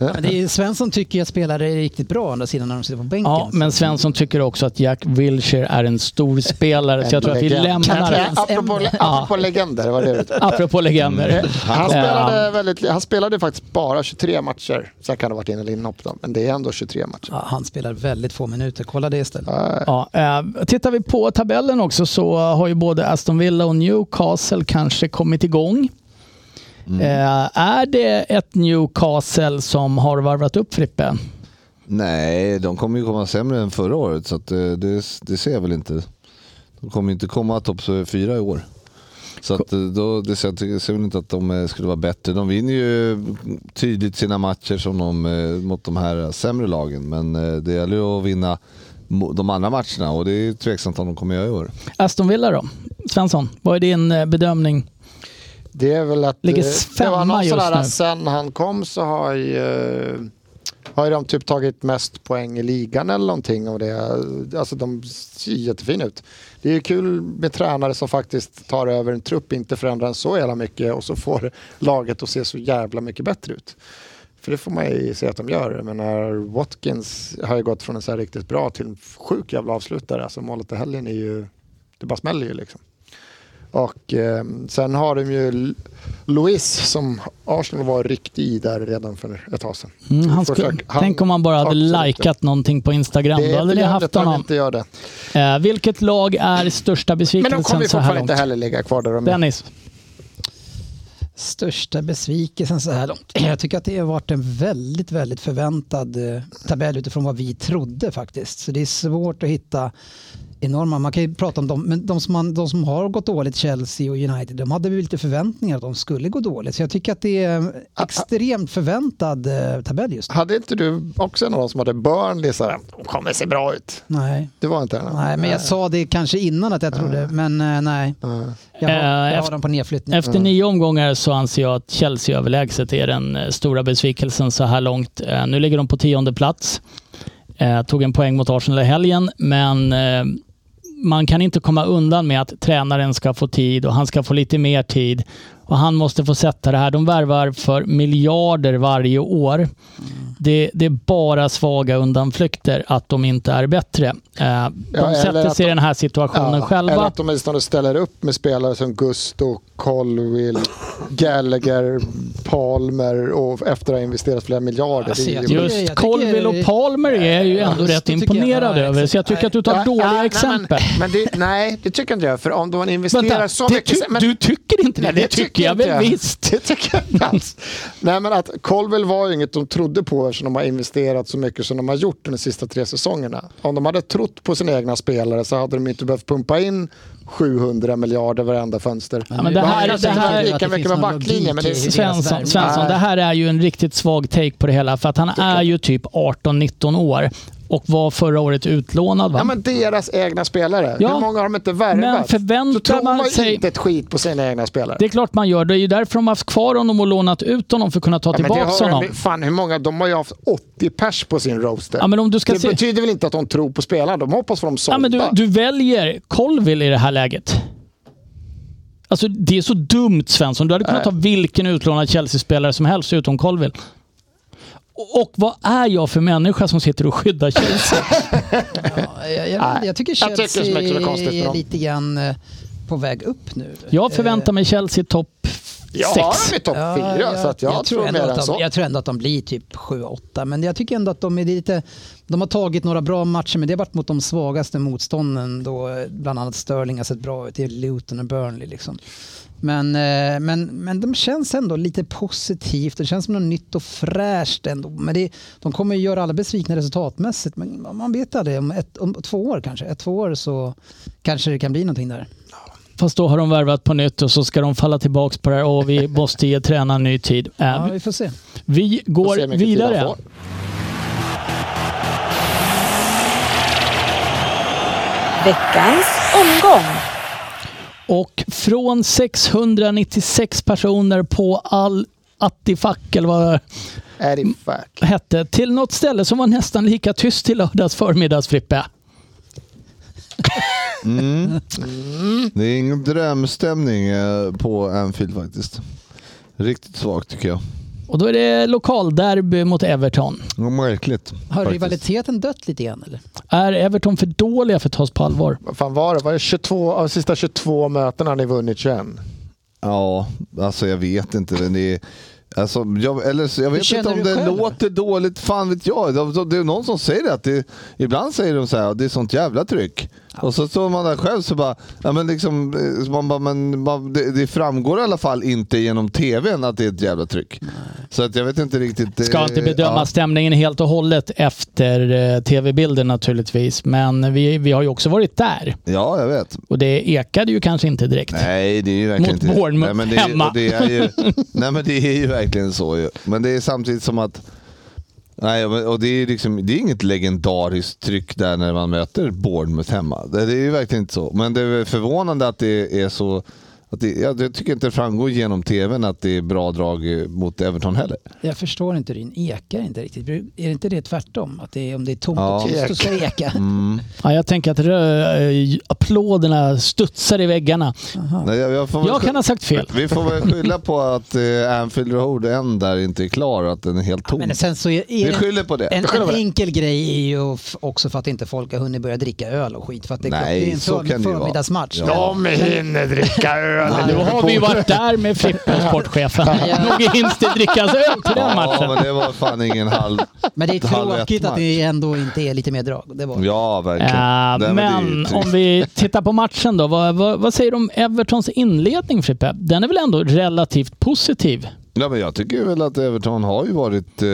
[SPEAKER 6] Ja, men det är, Svensson tycker ju att spelare är riktigt bra å andra sidan när de sitter på bänken.
[SPEAKER 3] Ja, men Svensson tycker också att Jack Wilshere är en
[SPEAKER 6] <laughs>
[SPEAKER 3] stor spelare, så jag tror att vi
[SPEAKER 4] Legend.
[SPEAKER 3] lämnar
[SPEAKER 4] Nej,
[SPEAKER 3] det.
[SPEAKER 4] Apropå, apropå legender, det var det du-
[SPEAKER 3] Apropå
[SPEAKER 6] Mm.
[SPEAKER 3] legender. Eh,
[SPEAKER 4] han
[SPEAKER 3] Ja.
[SPEAKER 4] spelade, väldigt, han spelade faktiskt bara 23 matcher. Sen kan det ha varit in eller inhopp, då, men det är ändå 23 matcher.
[SPEAKER 6] Ja, han spelar väldigt få minuter. Kolla det istället.
[SPEAKER 3] Ja, eh, tittar vi på tabellen också så har ju både Aston Villa och Newcastle kanske kommit igång.
[SPEAKER 6] Mm.
[SPEAKER 3] Eh, är det ett Newcastle som har varvat upp Frippe?
[SPEAKER 5] Nej, de kommer ju komma sämre än förra året så att, eh, det, det ser jag väl inte. De kommer inte komma topp fyra i år. Så att, eh, då, det ser, jag ser väl inte att de eh, skulle vara bättre. De vinner ju tydligt sina matcher som de, eh, mot de här sämre lagen men eh, det gäller ju att vinna mo- de andra matcherna och det är tveksamt om de kommer göra i år.
[SPEAKER 3] Aston Villa då? Svensson, vad är din eh, bedömning?
[SPEAKER 4] Det är väl att...
[SPEAKER 3] Ligger
[SPEAKER 4] eh, det var
[SPEAKER 3] femma
[SPEAKER 4] någon
[SPEAKER 3] just
[SPEAKER 4] sån här,
[SPEAKER 3] nu.
[SPEAKER 4] sen han kom så har ju, eh, har ju de typ tagit mest poäng i ligan eller någonting. Och det, alltså de ser jättefina ut. Det är ju kul med tränare som faktiskt tar över en trupp, inte förändrar den så jävla mycket och så får laget att se så jävla mycket bättre ut. För det får man ju se att de gör. Jag menar, Watkins har ju gått från en så här riktigt bra till en sjuk jävla avslutare. Alltså målet i helgen är ju... Det bara smäller ju liksom. Och eh, sen har de ju L- Luis som Arsenal var ryckt i där redan för ett tag sedan.
[SPEAKER 3] Mm, han
[SPEAKER 4] Får
[SPEAKER 3] skulle,
[SPEAKER 4] försöka- han-
[SPEAKER 3] tänk om man bara hade
[SPEAKER 4] absolut.
[SPEAKER 3] likat någonting på Instagram.
[SPEAKER 4] Det
[SPEAKER 3] Då
[SPEAKER 4] är
[SPEAKER 3] hade ni haft
[SPEAKER 4] jävligt om
[SPEAKER 3] honom.
[SPEAKER 4] inte gör det.
[SPEAKER 3] Eh, vilket lag är största
[SPEAKER 4] Men de kommer
[SPEAKER 3] besvikelsen
[SPEAKER 4] ju
[SPEAKER 3] så här
[SPEAKER 4] fortfarande
[SPEAKER 3] långt?
[SPEAKER 4] inte heller ligga kvar där de är.
[SPEAKER 3] Dennis,
[SPEAKER 6] Största besvikelsen så här långt. <clears throat> Jag tycker att det har varit en väldigt, väldigt förväntad eh, tabell utifrån vad vi trodde faktiskt. Så det är svårt att hitta enorma, man kan ju prata om dem, men de som, man, de som har gått dåligt, Chelsea och United, de hade väl lite förväntningar att de skulle gå dåligt. Så jag tycker att det är
[SPEAKER 4] Ah,
[SPEAKER 6] en extremt förväntad eh, tabell just nu.
[SPEAKER 4] Hade inte du också en av dem som hade Burnley så här, de kommer se bra ut.
[SPEAKER 6] Nej.
[SPEAKER 4] Det var inte den.
[SPEAKER 6] Nej, men jag sa det kanske innan att jag trodde, men eh, nej. Jag har,
[SPEAKER 3] Eh,
[SPEAKER 6] jag
[SPEAKER 3] eft-
[SPEAKER 6] har dem på nedflyttning.
[SPEAKER 3] efter nio omgångar så anser jag att Chelsea överlägset är den eh, stora besvikelsen så här långt. Eh, nu ligger de på tionde plats. Eh, tog en poäng mot Arsenal i helgen, men eh, man kan inte komma undan med att tränaren ska få tid och han ska få lite mer tid. Och han måste få sätta det här. De värvar för miljarder varje år.
[SPEAKER 4] Mm.
[SPEAKER 3] Det, det är bara svaga undanflykter att de inte är bättre. Eh, De
[SPEAKER 4] eller
[SPEAKER 3] sätter
[SPEAKER 4] att
[SPEAKER 3] sig i
[SPEAKER 4] de-
[SPEAKER 3] den här situationen
[SPEAKER 4] Ja,
[SPEAKER 3] själva.
[SPEAKER 4] Eller att de åtminstone ställer upp med spelare som Gusto, Colwill,
[SPEAKER 3] <laughs>
[SPEAKER 4] Gallagher, Palmer och efter att ha investerat flera miljarder.
[SPEAKER 6] Alltså,
[SPEAKER 4] Det är
[SPEAKER 6] jag
[SPEAKER 4] ju-
[SPEAKER 6] tycker-
[SPEAKER 3] Just
[SPEAKER 6] tycker-
[SPEAKER 3] Colville och Palmer är ju ändå
[SPEAKER 6] just
[SPEAKER 3] rätt
[SPEAKER 6] det tycker jag-
[SPEAKER 3] imponerad
[SPEAKER 6] nej,
[SPEAKER 3] över,
[SPEAKER 6] exakt.
[SPEAKER 3] så jag tycker att du tar
[SPEAKER 4] Nej,
[SPEAKER 3] dåliga
[SPEAKER 4] nej, nej,
[SPEAKER 3] exempel.
[SPEAKER 4] men- men det, nej, det tycker inte jag. För om de investerar
[SPEAKER 3] Vänta,
[SPEAKER 4] så
[SPEAKER 3] det
[SPEAKER 4] mycket...
[SPEAKER 3] ty-
[SPEAKER 4] men,
[SPEAKER 3] du tycker inte det?
[SPEAKER 4] Nej,
[SPEAKER 3] det, tycker jag
[SPEAKER 4] inte
[SPEAKER 3] väl visst.
[SPEAKER 4] Det tycker jag inte alls. Nej, men att Colville var ju inget de trodde på eftersom de har investerat så mycket som de har gjort de sista tre säsongerna. Om de hade trott på sina egna spelare så hade de inte behövt pumpa in 700 miljarder varenda fönster.
[SPEAKER 3] Ja, men det
[SPEAKER 4] De har
[SPEAKER 3] här-
[SPEAKER 4] kanske
[SPEAKER 3] det
[SPEAKER 4] inte
[SPEAKER 3] här-
[SPEAKER 4] lika
[SPEAKER 6] att det
[SPEAKER 4] mycket
[SPEAKER 6] finns
[SPEAKER 4] med
[SPEAKER 6] någon
[SPEAKER 4] backlinjen. Men det
[SPEAKER 6] logik i
[SPEAKER 4] är,
[SPEAKER 6] det. deras
[SPEAKER 3] Svensson,
[SPEAKER 6] värme.
[SPEAKER 3] Svensson,
[SPEAKER 4] Nej.
[SPEAKER 3] det här är ju en riktigt svag take på det hela, för att han är ju typ 18-19 år och var förra året utlånad. Va?
[SPEAKER 4] ja, men deras egna spelare.
[SPEAKER 3] Ja.
[SPEAKER 4] Hur många har de inte
[SPEAKER 3] Men
[SPEAKER 4] värvat?
[SPEAKER 3] förväntar
[SPEAKER 4] så tror
[SPEAKER 3] man
[SPEAKER 4] man,
[SPEAKER 3] sig-
[SPEAKER 4] inte ett skit på sina egna spelare.
[SPEAKER 3] Det är klart man gör. Det är ju därför de har haft kvar honom och lånat ut honom för att kunna ta
[SPEAKER 4] Ja, men det
[SPEAKER 3] tillbaka
[SPEAKER 4] har de-
[SPEAKER 3] honom.
[SPEAKER 4] Fan, hur många? De har ju haft 80 pers på sin roaster.
[SPEAKER 3] Ja, men om du ska
[SPEAKER 4] det
[SPEAKER 3] se-
[SPEAKER 4] betyder väl inte att de tror på spelarna? De hoppas få dem sålda.
[SPEAKER 3] Ja, men du, du väljer Colville i det här läget. Alltså det är så dumt Svensson. Du hade kunnat ta vilken utlånad Chelsea-spelare som helst utom Colville. Och, och vad är jag för människa som sitter och skyddar Chelsea?
[SPEAKER 4] <laughs>
[SPEAKER 6] Jag, jag,
[SPEAKER 4] Nej,
[SPEAKER 6] jag tycker
[SPEAKER 4] jag tycker
[SPEAKER 6] Chelsea
[SPEAKER 4] det smakar väl konstigt med
[SPEAKER 6] är
[SPEAKER 4] dem.
[SPEAKER 6] lite grann eh, på väg upp nu.
[SPEAKER 3] Jag förväntar mig Chelsea topp
[SPEAKER 4] Jag
[SPEAKER 3] Sex.
[SPEAKER 4] har dem i topp
[SPEAKER 6] Ja,
[SPEAKER 4] fyra, så att jag, tror
[SPEAKER 6] ändå
[SPEAKER 4] mer
[SPEAKER 6] att
[SPEAKER 4] än
[SPEAKER 6] de,
[SPEAKER 4] så.
[SPEAKER 6] Jag tror ändå att de blir typ 7-8, men jag tycker ändå att de är lite... De har tagit några bra matcher, men det har varit mot de svagaste motstånden då eh, bland annat Sterling har sett bra ut. Det är Luton och Burnley liksom. Men, eh, men, men de känns ändå lite positivt. Det känns som något nytt och fräscht ändå. Men det, de kommer ju göra alla besvikna resultatmässigt, men man vet aldrig. Om, ett, om två år kanske. Ett, två år så kanske det kan bli någonting där.
[SPEAKER 3] Fast då har de värvat på nytt och så ska de falla tillbaka på det här och
[SPEAKER 4] <laughs>
[SPEAKER 3] vi måste ge tränaren ny tid. Äh,
[SPEAKER 6] Ja, vi får se.
[SPEAKER 3] Vi
[SPEAKER 4] Får se hur
[SPEAKER 3] går
[SPEAKER 4] mycket tid han
[SPEAKER 3] vidare.
[SPEAKER 4] får.
[SPEAKER 7] Veckans omgång.
[SPEAKER 3] Och från 696 personer på all Attifack eller vad det
[SPEAKER 4] Är
[SPEAKER 3] Mm.
[SPEAKER 4] det fuck.
[SPEAKER 3] hette till något ställe som var nästan lika tyst till lördags förmiddags Frippe.
[SPEAKER 5] Det är ingen drömstämning eh, på Anfield faktiskt. Riktigt svagt tycker jag.
[SPEAKER 3] Och då är det lokalderby mot Everton.
[SPEAKER 5] Det var Märkligt.
[SPEAKER 6] Har
[SPEAKER 5] faktiskt.
[SPEAKER 6] rivaliteten dött lite igen eller?
[SPEAKER 3] Är Everton för dåliga för att tas på allvar?
[SPEAKER 4] Vad fan var det? Var det 22, av de sista 22 mötena har ni vunnit 21?
[SPEAKER 5] Ja, alltså jag vet inte. Men det är, alltså, jag, eller, så- jag vet
[SPEAKER 6] känner
[SPEAKER 5] inte om
[SPEAKER 6] du
[SPEAKER 5] det
[SPEAKER 6] själv?
[SPEAKER 5] låter dåligt. Fan vet jag. Det, det- det är någon som säger det. Att det ibland säger de så här, det är sånt jävla tryck. Och så står man där själv så bara, ja, men liksom, eh, så man bara men, man, det, det framgår i alla fall inte genom tvn att det är ett jävla tryck. Så att jag vet inte riktigt. eh,
[SPEAKER 3] Ska inte bedöma
[SPEAKER 5] ja.
[SPEAKER 3] stämningen helt och hållet efter eh, tv-bilden naturligtvis, men vi, vi har ju också varit där
[SPEAKER 5] Ja, jag vet.
[SPEAKER 3] och det ekade ju kanske inte direkt.
[SPEAKER 5] Nej, det är ju verkligen
[SPEAKER 3] Mot
[SPEAKER 5] inte...
[SPEAKER 3] Bournemouth
[SPEAKER 5] nej, men det är,
[SPEAKER 3] hemma.
[SPEAKER 5] och Det är ju,
[SPEAKER 3] <laughs>
[SPEAKER 5] nej, men det är ju verkligen så ju. Men det är samtidigt som att... Nej, men- och det är ju liksom, det är inget legendariskt tryck där när man möter Bournemouth hemma. Det det är ju verkligen inte så. Men det är väl förvånande att det är så... Att det, jag, jag tycker inte det framgår genom tvn att det är bra drag eh, mot Everton heller.
[SPEAKER 6] Jag förstår inte din ekar inte riktigt. Är det inte det tvärtom? Att det är, om det är tomt
[SPEAKER 5] Ja. Mm.
[SPEAKER 6] och tyst så ska det eka?
[SPEAKER 3] Ja, jag tänker att rö- eh, applåderna studsar i väggarna.
[SPEAKER 5] Nej, jag, jag, får väl
[SPEAKER 3] Jag
[SPEAKER 5] sky-
[SPEAKER 3] kan ha sagt fel.
[SPEAKER 5] Vi får väl
[SPEAKER 3] <laughs>
[SPEAKER 5] skylla på att eh, Anfield Road än där inte är klar och att den är helt tom.
[SPEAKER 6] Men sen så är,
[SPEAKER 5] vi
[SPEAKER 6] är det,
[SPEAKER 5] skyller på det.
[SPEAKER 6] en,
[SPEAKER 5] Vi skyller
[SPEAKER 6] en
[SPEAKER 5] på det.
[SPEAKER 6] enkel grej är ju f- också för att inte folk har hunnit börja dricka öl och skit. För att det, är klart,
[SPEAKER 5] Nej,
[SPEAKER 6] det är en
[SPEAKER 5] så
[SPEAKER 6] för,
[SPEAKER 5] kan det ju vara.
[SPEAKER 6] förmiddagsmatch.
[SPEAKER 5] Ja.
[SPEAKER 6] Men-
[SPEAKER 4] De hinner dricka öl.
[SPEAKER 3] Nu har vi ju varit där med Frippe och sportchefen. Nog hinns det drickas öl till den
[SPEAKER 5] Ja,
[SPEAKER 3] matchen.
[SPEAKER 5] men det var fan ingen halv...
[SPEAKER 6] Men det är
[SPEAKER 5] halv
[SPEAKER 6] tråkigt
[SPEAKER 5] ett
[SPEAKER 6] att det ändå inte är lite mer drag. Det var.
[SPEAKER 5] Ja, verkligen.
[SPEAKER 3] Äh,
[SPEAKER 5] Nej, det är ju
[SPEAKER 3] men
[SPEAKER 5] trist.
[SPEAKER 3] om vi tittar på matchen då. Vad, vad, vad säger du om Evertons inledning Frippe? Den är väl ändå relativt positiv?
[SPEAKER 5] ja, men jag tycker väl att Everton har ju varit eh,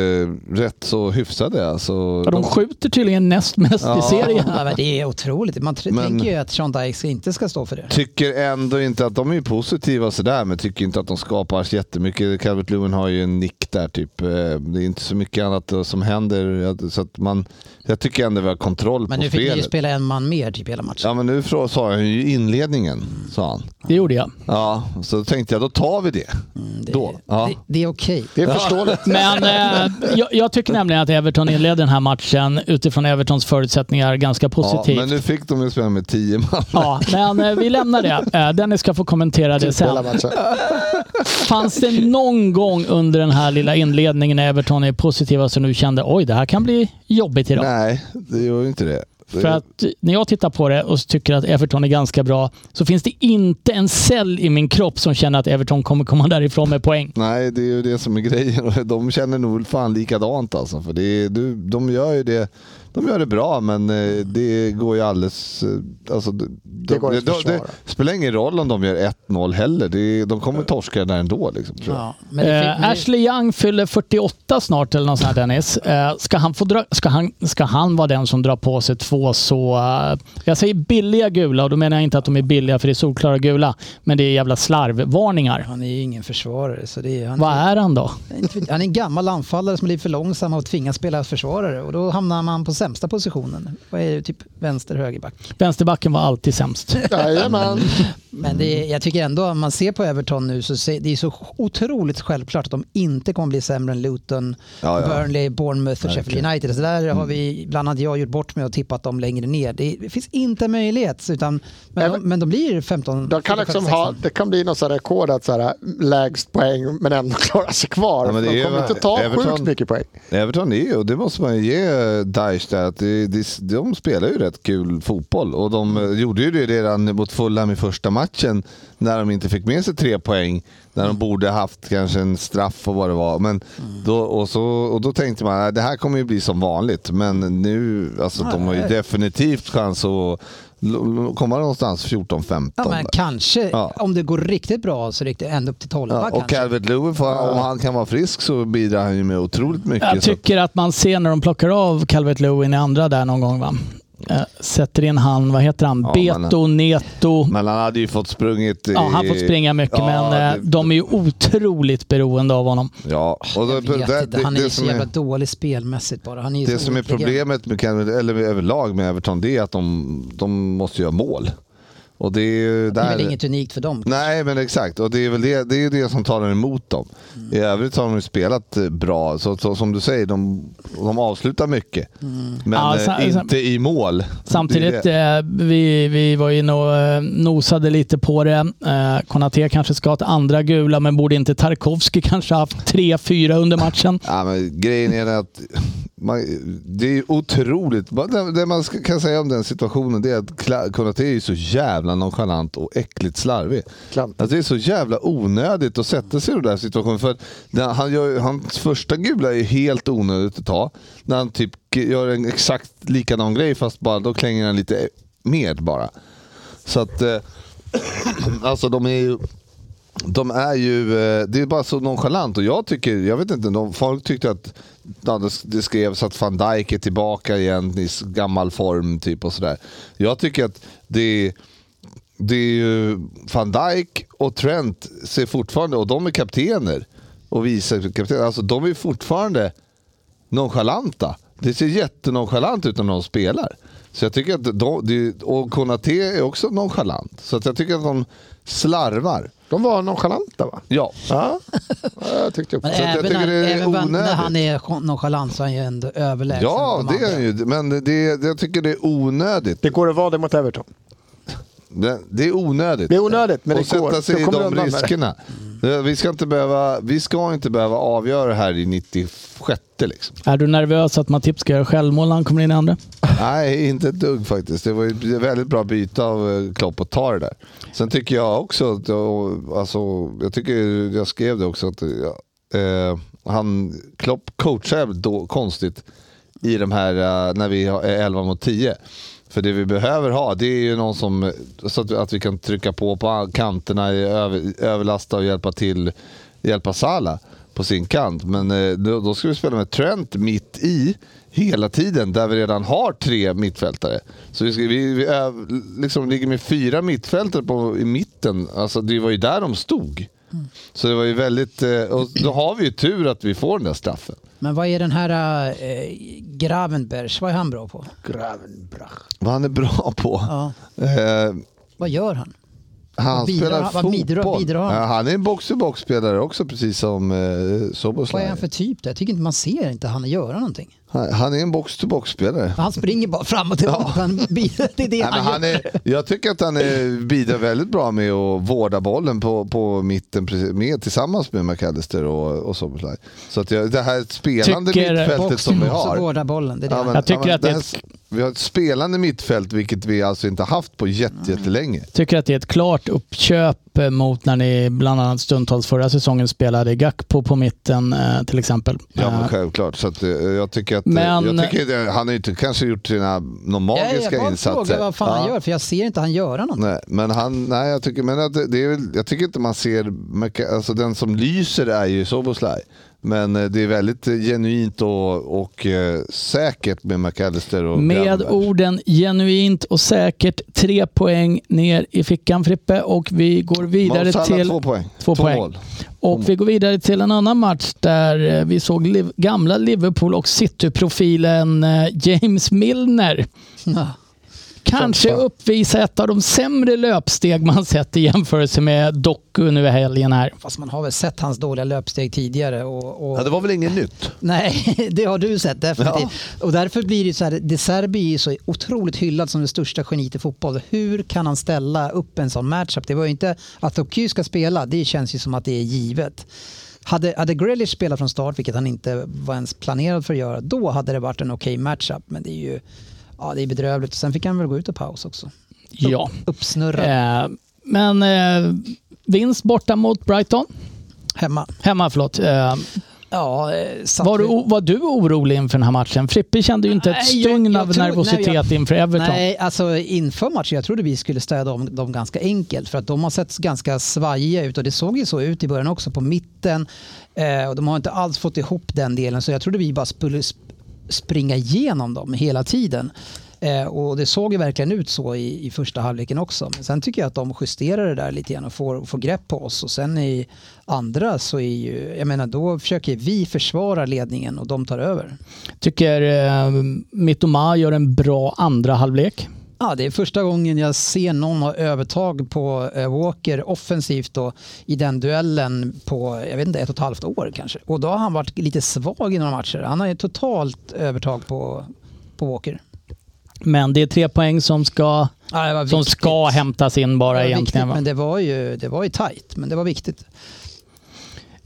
[SPEAKER 5] rätt så hyfsade. Alltså,
[SPEAKER 3] Ja, De skjuter tydligen näst mest i
[SPEAKER 5] Ja. <laughs>
[SPEAKER 3] serien.
[SPEAKER 6] Ja, men det är otroligt. Man tr-
[SPEAKER 5] Men- Typ
[SPEAKER 6] tänker ju att Sean Dyche inte ska stå för det.
[SPEAKER 5] tycker ändå inte att de är ju positiva och sådär, men tycker inte att de skapar så jättemycket. Calvert Lewin har ju en nick där typ. Eh, Det är inte så mycket annat eh, som händer. Jag- Så att man, jag tycker ändå vi har kontroll
[SPEAKER 6] Men
[SPEAKER 5] på
[SPEAKER 6] nu fick ni ju
[SPEAKER 5] spelet.
[SPEAKER 6] spela en man mer typ hela matchen.
[SPEAKER 5] Ja men nu frå- sa jag ju inledningen, sa han.
[SPEAKER 3] Det gjorde jag.
[SPEAKER 5] Ja, så tänkte jag då tar vi det.
[SPEAKER 6] Mm, det,
[SPEAKER 5] då. Ja.
[SPEAKER 6] det, det är okej.
[SPEAKER 4] Det är förståeligt.
[SPEAKER 3] Men eh, jag, jag tycker nämligen att Everton inleder den här matchen utifrån Evertons förutsättningar ganska
[SPEAKER 5] Ja, men
[SPEAKER 3] positivt.
[SPEAKER 5] nu fick de ju spela med tio man.
[SPEAKER 3] Ja, men eh, vi lämnar det. Eh, Dennis ska få kommentera
[SPEAKER 5] Typ
[SPEAKER 3] det
[SPEAKER 4] Hela
[SPEAKER 3] sen.
[SPEAKER 4] matchen.
[SPEAKER 3] Fanns det någon gång under den här lilla inledningen när Everton är positiva så nu kände oj, det här kan bli jobbigt idag?
[SPEAKER 5] Nej, det gör ju inte det. Det-
[SPEAKER 3] För att när jag tittar på det och tycker att Everton är ganska bra så finns det inte en cell i min kropp som känner att Everton kommer komma <laughs> därifrån med poäng.
[SPEAKER 5] Nej, det är ju det som är grejen. <laughs> Och De känner nog fan likadant alltså. För det är, du, de gör ju det. De gör det bra, men eh, det går ju alldeles... eh, Alltså, det, det,
[SPEAKER 4] går
[SPEAKER 5] det,
[SPEAKER 4] inte att
[SPEAKER 5] det,
[SPEAKER 4] försvara.
[SPEAKER 5] spelar ingen roll om de gör 1-0 heller. Det, är- de kommer torska där ändå. Liksom, tror jag.
[SPEAKER 6] Ja, men det fick-
[SPEAKER 3] Eh, Ashley Young fyller 48 snart eller något sånt här Dennis. Eh, ska, han få dra, ska, han, ska han vara den som drar på sig två så... eh, jag säger billiga gula och då menar jag inte att de är billiga för det är solklara gula. Men det är jävla slarvvarningar.
[SPEAKER 6] Han är ju ingen försvarare. Så det är, han
[SPEAKER 3] Vad är han då?
[SPEAKER 6] Inte- Han är en gammal anfallare som blir för långsam och tvingas spela försvarare och då hamnar man på sämsta positionen. Vad är det, typ vänster högerback.
[SPEAKER 3] Vänsterbacken var alltid sämst.
[SPEAKER 4] Jajamän.
[SPEAKER 6] Men det är, jag tycker ändå om man ser på Everton nu så ser, det är så otroligt självklart att de inte kommer bli sämre än Luton,
[SPEAKER 5] Ja, ja.
[SPEAKER 6] Burnley, Bournemouth och Sheffield
[SPEAKER 5] Verkligen. Mm.
[SPEAKER 6] United. Så där har vi, bland annat jag, gjort bort mig och tippat dem längre ner. Det, det finns inte en möjlighet utan, men, de,
[SPEAKER 4] Även-
[SPEAKER 6] men de blir 15,
[SPEAKER 4] De kan
[SPEAKER 6] 15,
[SPEAKER 4] liksom
[SPEAKER 6] 16.
[SPEAKER 4] ha, det kan bli något så här rekord att så här, lägst poäng men ändå <laughs> klara sig kvar.
[SPEAKER 5] Ja, men det
[SPEAKER 4] de
[SPEAKER 5] är
[SPEAKER 4] kommer
[SPEAKER 5] ju-
[SPEAKER 4] inte ta
[SPEAKER 5] Everton-
[SPEAKER 4] sjukt mycket poäng.
[SPEAKER 5] Everton är ju, och det måste man ju ge Daesh där, att det, det, de spelar ju rätt kul fotboll. Och de eh, gjorde ju det redan mot Fulham i första matchen när de inte fick med sig tre poäng. När de borde haft kanske en straff och vad det var. Men då, och, så, och då tänkte man att det här kommer ju bli som vanligt. Men nu, alltså de har ju definitivt chans att l- l- komma någonstans 14-15.
[SPEAKER 6] Ja, men
[SPEAKER 5] där.
[SPEAKER 6] kanske,
[SPEAKER 5] Ja.
[SPEAKER 6] om det går riktigt bra, så riktigt ända upp till 12
[SPEAKER 5] Ja, och
[SPEAKER 6] kanske.
[SPEAKER 5] Calvert Lewin, om han kan vara frisk så bidrar han ju med otroligt mycket.
[SPEAKER 3] Jag
[SPEAKER 5] så att-
[SPEAKER 3] tycker att man ser när de plockar av Calvert Lewin i andra där någon gång. Va? Eh, Sätter in han, vad heter han,
[SPEAKER 5] Ja, men- eh,
[SPEAKER 3] Beto, Neto.
[SPEAKER 5] Men han hade ju fått sprungit.
[SPEAKER 3] Ja, han får springa mycket,
[SPEAKER 5] Ja,
[SPEAKER 3] men eh,
[SPEAKER 5] det-
[SPEAKER 3] de är ju otroligt beroende av honom.
[SPEAKER 5] Ja, och då,
[SPEAKER 6] Jag vet
[SPEAKER 5] det,
[SPEAKER 6] inte, han
[SPEAKER 5] det,
[SPEAKER 6] är ju
[SPEAKER 5] det,
[SPEAKER 6] så
[SPEAKER 5] som
[SPEAKER 6] jävla
[SPEAKER 5] är,
[SPEAKER 6] dålig spelmässigt bara. Han är ju
[SPEAKER 5] det
[SPEAKER 6] så
[SPEAKER 5] som är
[SPEAKER 6] ointelligent.
[SPEAKER 5] problemet med, Calvert- eller överlag med Everton det är att de, de måste göra mål. Och det är ju
[SPEAKER 6] Det är
[SPEAKER 5] där...
[SPEAKER 6] väl inget unikt för dem.
[SPEAKER 5] Nej, men exakt. Och det är väl det, det, är ju det som talar emot dem.
[SPEAKER 6] Mm.
[SPEAKER 5] I övrigt har de ju spelat eh, bra. Så, så, som du säger, de, de avslutar mycket.
[SPEAKER 6] Mm.
[SPEAKER 5] Men
[SPEAKER 3] Ja,
[SPEAKER 5] eh,
[SPEAKER 3] sen- sen-
[SPEAKER 5] inte i mål. Det är
[SPEAKER 3] Samtidigt,
[SPEAKER 5] det.
[SPEAKER 3] eh, vi, vi var inne och eh, nosade lite på det. Eh, Konate kanske ska ha ett andra gula, men borde inte Tarkovski kanske haft tre, fyra under matchen?
[SPEAKER 5] Ja, men grejen är att man, det är ju otroligt. Det, det man ska- kan säga om den situationen det är att Kla- Konate är ju så jävla nonchalant och äckligt slarvig.
[SPEAKER 4] Klantigt.
[SPEAKER 5] Alltså, det är så jävla onödigt att sätta sig i den där situationen. För att det, han gör, ju- hans första gula är ju helt onödigt att ta. När han typ gör en exakt likadan grej fast bara, då klänger han lite mer bara. Så att, eh, <clears throat> alltså de är ju de är ju, eh, det är bara så nonchalant och jag tycker, jag vet inte, de, folk tyckte att ja, det- det skrevs att van Dijk är tillbaka igen i s- gammal form typ och sådär. Jag tycker att det är, det är ju van Dijk och Trent ser fortfarande, och de är kaptener och vice kaptener, alltså de är fortfarande nonchalanta. Det ser jättenonchalant ut när de spelar. Så jag tycker att de, det- och Konate är också nonchalant. Så att jag tycker att de slarvar.
[SPEAKER 4] De var nonchalanta va?
[SPEAKER 5] Ja.
[SPEAKER 4] Ja, Ja, jag tyckte också.
[SPEAKER 3] eh,
[SPEAKER 6] Men
[SPEAKER 5] Så att jag
[SPEAKER 6] även,
[SPEAKER 5] tycker
[SPEAKER 6] när-
[SPEAKER 5] det är
[SPEAKER 6] även när- när
[SPEAKER 5] onödigt.
[SPEAKER 6] han är nonchalant så är han ju ändå överlägsen.
[SPEAKER 5] Ja,
[SPEAKER 6] de
[SPEAKER 5] det är
[SPEAKER 6] andra.
[SPEAKER 5] han ju. Men det, det, jag tycker det är onödigt.
[SPEAKER 4] Det går att vara det mot Everton.
[SPEAKER 5] Det, det är onödigt.
[SPEAKER 4] Det är onödigt, men
[SPEAKER 5] och
[SPEAKER 4] det går.
[SPEAKER 5] sätta sig
[SPEAKER 4] Du
[SPEAKER 5] i
[SPEAKER 4] kommer
[SPEAKER 5] de
[SPEAKER 4] undan med det.
[SPEAKER 5] riskerna. Eh, Vi ska, inte behöva, vi ska inte behöva avgöra det här i 96 liksom.
[SPEAKER 3] Är du nervös att Matip ska göra självmål när han kommer in i andra?
[SPEAKER 5] Nej, inte ett dugg faktiskt. Det var ju ett väldigt bra byte av eh, Klopp att ta det där. Sen tycker jag också, att, och, alltså, jag tycker, jag skrev det också, att ja, eh, han, Klopp coachar jävligt då, konstigt i de här, eh, när vi har- är 11 mot 10. För det vi behöver ha, det är ju någon som, eh, så att, att vi kan trycka på på kanterna, i över, överlasta och hjälpa till, hjälpa Sala på sin kant. Men eh, då, då ska vi spela med Trent mitt i hela tiden där vi redan har tre mittfältare. Så vi, ska, vi, vi öv, liksom ligger med fyra mittfältare på, i mitten. Alltså, det var ju där de stod.
[SPEAKER 6] Mm.
[SPEAKER 5] Så det var ju väldigt... eh, Och då har vi ju tur att vi får den där straffen.
[SPEAKER 6] Men vad är den här äh, Gravenberg, vad är han bra på?
[SPEAKER 4] Gravenbrach.
[SPEAKER 5] Vad han är bra på.
[SPEAKER 6] Ja.
[SPEAKER 5] Eh,
[SPEAKER 6] Vad gör han?
[SPEAKER 5] han
[SPEAKER 6] Vad bidrar-
[SPEAKER 5] spelar
[SPEAKER 6] vad
[SPEAKER 5] fotboll.
[SPEAKER 6] bidrar- bidrar han?
[SPEAKER 5] Ja, han är en box-to-box-spelare också, precis som eh,
[SPEAKER 6] Vad
[SPEAKER 5] Soboslaj.
[SPEAKER 6] är han för typ? Där? Jag tycker inte man ser inte han göra någonting.
[SPEAKER 5] Han, han är en box-to-box-spelare.
[SPEAKER 6] Han springer bara fram och tillbaka. Han bidrar- <laughs> det är det
[SPEAKER 5] Nej, men
[SPEAKER 6] han,
[SPEAKER 5] han
[SPEAKER 6] gör.
[SPEAKER 5] är, jag tycker att han är, bidrar väldigt bra med att vårda bollen på, på mitten precis- med, tillsammans med McAllister och, och Soboslaj. Så att jag, det här spelande
[SPEAKER 3] Tycker
[SPEAKER 5] mittfältet som vi
[SPEAKER 6] Så
[SPEAKER 5] har.
[SPEAKER 6] vårdar bollen. Det är det
[SPEAKER 5] Ja,
[SPEAKER 6] han
[SPEAKER 5] men-
[SPEAKER 6] gör.
[SPEAKER 3] Jag tycker
[SPEAKER 5] men
[SPEAKER 3] att det är
[SPEAKER 5] här
[SPEAKER 3] ett-
[SPEAKER 5] s- vi har ett spelande mittfält, vilket vi alltså inte haft på jätte- jättelänge.
[SPEAKER 3] Tycker att det är ett klart uppköp eh, mot när ni bland annat stundtals förra säsongen spelade Gakpo på mitten eh, till exempel.
[SPEAKER 5] Ja, men
[SPEAKER 3] Eh,
[SPEAKER 5] självklart. Så att, eh, jag tycker att,
[SPEAKER 3] Men-
[SPEAKER 5] jag tycker, att, eh, han har ju inte kanske gjort sina några
[SPEAKER 6] Jag-
[SPEAKER 5] magiska
[SPEAKER 6] jag bara
[SPEAKER 5] insatser.
[SPEAKER 6] frågar vad fan han
[SPEAKER 5] Ja.
[SPEAKER 6] gör, för jag ser inte han göra någonting.
[SPEAKER 5] Nej, men han, nej, jag tycker, men att det, det är väl, jag tycker inte man ser, Mc- alltså den som lyser är ju Soboslaj. Men eh, det är väldigt eh, genuint och, och eh, säkert med McAllister och
[SPEAKER 3] Med
[SPEAKER 5] Gravenberg.
[SPEAKER 3] orden genuint och säkert tre poäng ner i fickan Frippe och vi går vidare
[SPEAKER 5] Mo Salah
[SPEAKER 3] till...
[SPEAKER 5] två poäng.
[SPEAKER 3] Två poäng.
[SPEAKER 5] mål.
[SPEAKER 3] Och vi går vidare till en annan match där eh, vi såg Liv- gamla Liverpool och City-profilen eh, James Milner. Kanske uppvisa ett av de sämre löpsteg man sett i jämförelse med Doku nu i helgen här.
[SPEAKER 6] Fast man har väl sett hans dåliga löpsteg tidigare. Och, och...
[SPEAKER 5] Ja, det var väl inget nytt?
[SPEAKER 6] Nej, <laughs> det har du sett definitivt. Och därför blir det ju så här, De Serbi är ju så otroligt hyllad som det största geniet i fotboll. Hur kan han ställa upp en sån matchup? Det var ju inte att Oku ska spela, det känns ju som att det är givet. Hade, hade Grealish spelat från start, vilket han inte var ens planerad för att göra, då hade det varit en okej matchup. Men det är ju ja, det är bedrövligt. Sen fick han väl gå ut och paus också.
[SPEAKER 3] Ja.
[SPEAKER 6] Uppsnurrad.
[SPEAKER 3] Eh, Men eh, vinst borta mot Brighton.
[SPEAKER 6] hemma.
[SPEAKER 3] Hemma, förlåt. Eh,
[SPEAKER 6] Ja, eh, satt
[SPEAKER 3] var, du,
[SPEAKER 6] vi-
[SPEAKER 3] o- var du orolig inför den här matchen? Frippe kände ju inte ett
[SPEAKER 6] Nej, jag-
[SPEAKER 3] stugn
[SPEAKER 6] jag
[SPEAKER 3] av
[SPEAKER 6] tror-
[SPEAKER 3] nervositet
[SPEAKER 6] nej, jag-
[SPEAKER 3] inför Everton.
[SPEAKER 6] Nej, alltså inför matchen, jag trodde vi skulle städa om dem ganska enkelt för att de har sett ganska svajiga ut och det såg ju så ut i början också på mitten eh, och de har inte alls fått ihop den delen så jag trodde vi bara skulle sp- springa igenom dem hela tiden. Eh, och det såg ju verkligen ut så i, i första halvleken också. Men sen tycker jag att de justerar det där lite grann och får, får grepp på oss och sen i andra så är ju, jag menar då försöker vi försvara ledningen och de tar över.
[SPEAKER 3] Tycker eh, Mittoma gör en bra andra halvlek.
[SPEAKER 6] Ja, det är första gången jag ser någon ha övertag på eh, Walker offensivt då, i den duellen på jag vet inte, ett och ett halvt år kanske. Och då har han varit lite svag i några matcher. Han har ju totalt övertag på, på Walker.
[SPEAKER 3] Men det är tre poäng som ska,
[SPEAKER 6] Ja, det var
[SPEAKER 3] som
[SPEAKER 6] viktigt.
[SPEAKER 3] ska hämtas in
[SPEAKER 6] Det var
[SPEAKER 3] bara
[SPEAKER 6] viktigt,
[SPEAKER 3] egentligen. va?
[SPEAKER 6] men det var ju, det var ju tajt, men det var viktigt.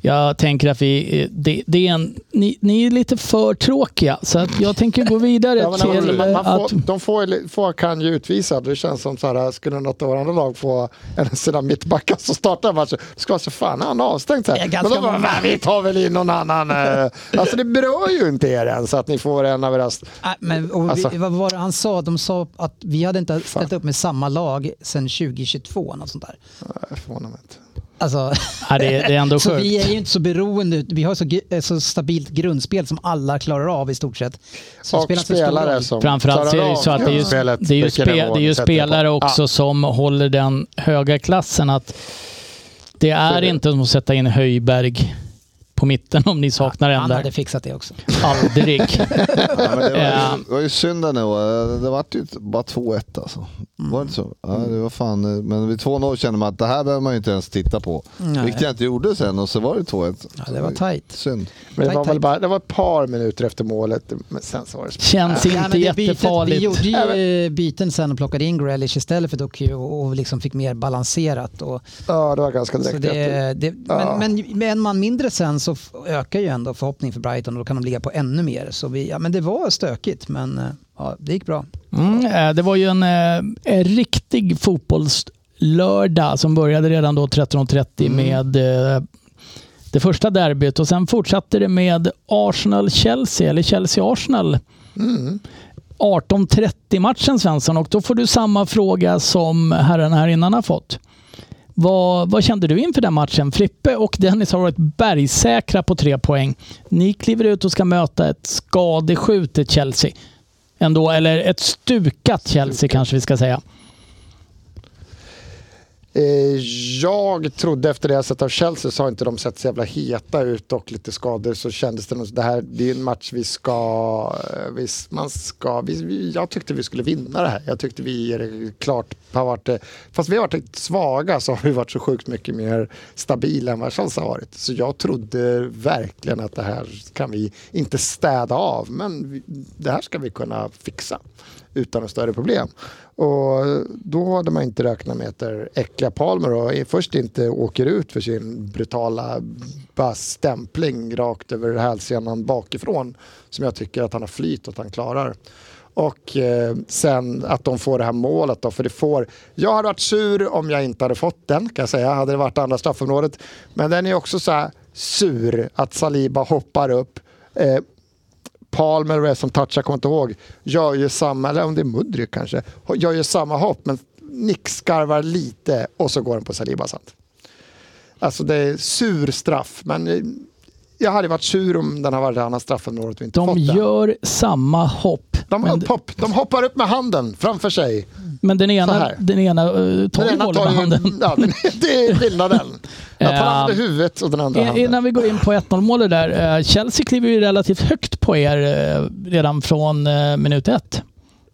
[SPEAKER 3] Jag tänker att vi, eh, det, det är en, ni, ni är lite för tråkiga så att jag tänker gå vidare
[SPEAKER 4] Ja, men,
[SPEAKER 3] till
[SPEAKER 4] man, man, man
[SPEAKER 3] att...
[SPEAKER 4] får, de får, ju- får, kan ju utvisa. Det känns som så här, skulle något av andra lag få en av sina mittbackar som startar matchen, det ska vara så fan han är avstängd. Så
[SPEAKER 6] Det
[SPEAKER 4] här.
[SPEAKER 6] är
[SPEAKER 4] Men
[SPEAKER 6] ganska
[SPEAKER 4] de bara,
[SPEAKER 6] många.
[SPEAKER 4] "Va, vi tar väl in någon
[SPEAKER 3] <laughs>
[SPEAKER 4] annan. eh." alltså det berör ju inte er än så att ni får en av era...
[SPEAKER 6] Nej, men, och
[SPEAKER 4] Alltså-
[SPEAKER 6] vi, vad var det han sa? De sa att vi hade inte ställt upp med samma lag sedan 2022. Något sånt där.
[SPEAKER 4] Jag förvånar mig inte.
[SPEAKER 6] Alltså,
[SPEAKER 3] Ja, det, det är ändå
[SPEAKER 6] <laughs> Så vi är
[SPEAKER 3] sjukt.
[SPEAKER 6] ju inte så beroende. Vi har så, gu- eh, så stabilt grundspel som alla klarar av i stort sett. Så det
[SPEAKER 4] Och
[SPEAKER 6] spelar inte så stor
[SPEAKER 4] spelare
[SPEAKER 6] roll.
[SPEAKER 4] som
[SPEAKER 3] Framförallt så är det
[SPEAKER 4] klarar
[SPEAKER 3] ju så
[SPEAKER 4] av
[SPEAKER 3] att det är ju,
[SPEAKER 4] spelet,
[SPEAKER 3] det är ju,
[SPEAKER 4] vilken
[SPEAKER 3] spe,
[SPEAKER 4] nivå
[SPEAKER 3] det är
[SPEAKER 4] ni
[SPEAKER 3] ju
[SPEAKER 4] sätter på.
[SPEAKER 3] spelare också
[SPEAKER 4] Ja,
[SPEAKER 3] som håller den höga klassen. att Det är
[SPEAKER 4] det.
[SPEAKER 3] inte som att sätta in Höjberg på mitten om ni saknar en
[SPEAKER 6] Han hade
[SPEAKER 3] där.
[SPEAKER 6] fixat det också.
[SPEAKER 3] Aldrig.
[SPEAKER 5] <laughs>
[SPEAKER 6] <laughs>
[SPEAKER 5] Ja, men det, var
[SPEAKER 3] Ja.
[SPEAKER 5] ju, det var ju synd ändå. Det var ju bara 2-1 alltså. Var det inte så? Ja, det var fan, eh, men vid 2-0 kände man att det här behöver man ju inte ens titta på.
[SPEAKER 6] Nej.
[SPEAKER 5] Vilket jag inte gjorde sen och så var det 2-1.
[SPEAKER 6] Ja, det var tajt.
[SPEAKER 5] Synd.
[SPEAKER 4] Men det,
[SPEAKER 6] Tack,
[SPEAKER 4] var väl
[SPEAKER 6] tack.
[SPEAKER 4] bara, det var ett par minuter efter målet, men sen så var det
[SPEAKER 3] Känns
[SPEAKER 6] Ja,
[SPEAKER 3] inte
[SPEAKER 6] men det bytet- Vi
[SPEAKER 3] jättefarligt.
[SPEAKER 6] gjorde ju eh, byten sen och plockade in Grealish istället för Doku och och liksom fick mer balanserat. Och,
[SPEAKER 4] Ja, det var ganska
[SPEAKER 6] så
[SPEAKER 4] direkt efter.
[SPEAKER 6] det, det,
[SPEAKER 4] Ja.
[SPEAKER 6] men, men med en man mindre sen så f- ökar ju ändå förhoppningen för Brighton och då kan de ligga på ännu mer. Så vi, ja, men det var stökigt men eh, ja, det gick bra.
[SPEAKER 3] Mm, eh, det var ju en, eh, en riktig fotbollslördag som började redan då 13.30 med eh, det första derbyt och sen fortsatte det med Arsenal-Chelsea, eller Chelsea-Arsenal. 18.30-matchen Svensson och då får du samma fråga som herrarna här innan har fått. Vad, vad kände du inför den matchen? Frippe och Dennis har varit bergsäkra på tre poäng. Ni kliver ut och ska möta ett skadeskjutet Chelsea. Ändå, eller ett stukat Chelsea kanske vi ska säga.
[SPEAKER 4] Eh, Jag trodde efter det jag sett av Chelsea så har inte de sett så jävla heta ut och lite skador så kändes det nog det här det är en match vi ska, eh, vi, man ska vi, vi, jag tyckte vi skulle vinna det här. Jag tyckte vi är klart har varit, eh, fast vi har varit lite svaga så har vi varit så sjukt mycket mer stabila än vad Chelsea har varit. Så jag trodde verkligen att det här kan vi inte städa av men vi, det här ska vi kunna fixa utan något större problem. Och då hade man inte räknat med att äckliga Palmer och först inte åker ut för sin brutala bara stämpling rakt över hälsenan bakifrån som jag tycker att han har flyt och att han klarar. Och eh, sen att de får det här målet då, för det får... Jag hade varit sur om jag inte hade fått den, kan jag säga, hade det varit andra straffområdet. Men den är också så här sur, att Saliba hoppar upp. Eh, Palmer och det som touchar, jag kommer inte ihåg, gör ju samma, eller om det är Mudryk kanske, gör ju samma hopp men Nick skarvar lite och så går den på Saliba sant. Alltså det är sur straff, men eh, jag hade varit sur om den hade varit i annat straffområdet och inte
[SPEAKER 3] De
[SPEAKER 4] fått den.
[SPEAKER 3] gör samma hopp.
[SPEAKER 4] De,
[SPEAKER 3] men,
[SPEAKER 4] upphopp, de hoppar upp med handen framför sig.
[SPEAKER 3] men den
[SPEAKER 4] så
[SPEAKER 3] ena,
[SPEAKER 4] här.
[SPEAKER 3] den ena eh, tar ju
[SPEAKER 4] ena
[SPEAKER 3] bollen med
[SPEAKER 4] ju-
[SPEAKER 3] handen. Ehm,
[SPEAKER 4] Ja, den, det
[SPEAKER 3] <laughs>
[SPEAKER 4] är skillnaden. Jag tar handen i huvudet och den andra
[SPEAKER 3] In-
[SPEAKER 4] handen.
[SPEAKER 3] Innan vi går in på 1-0 målet där. eh, Chelsea kliver ju relativt högt på er eh, redan från eh, minut ett.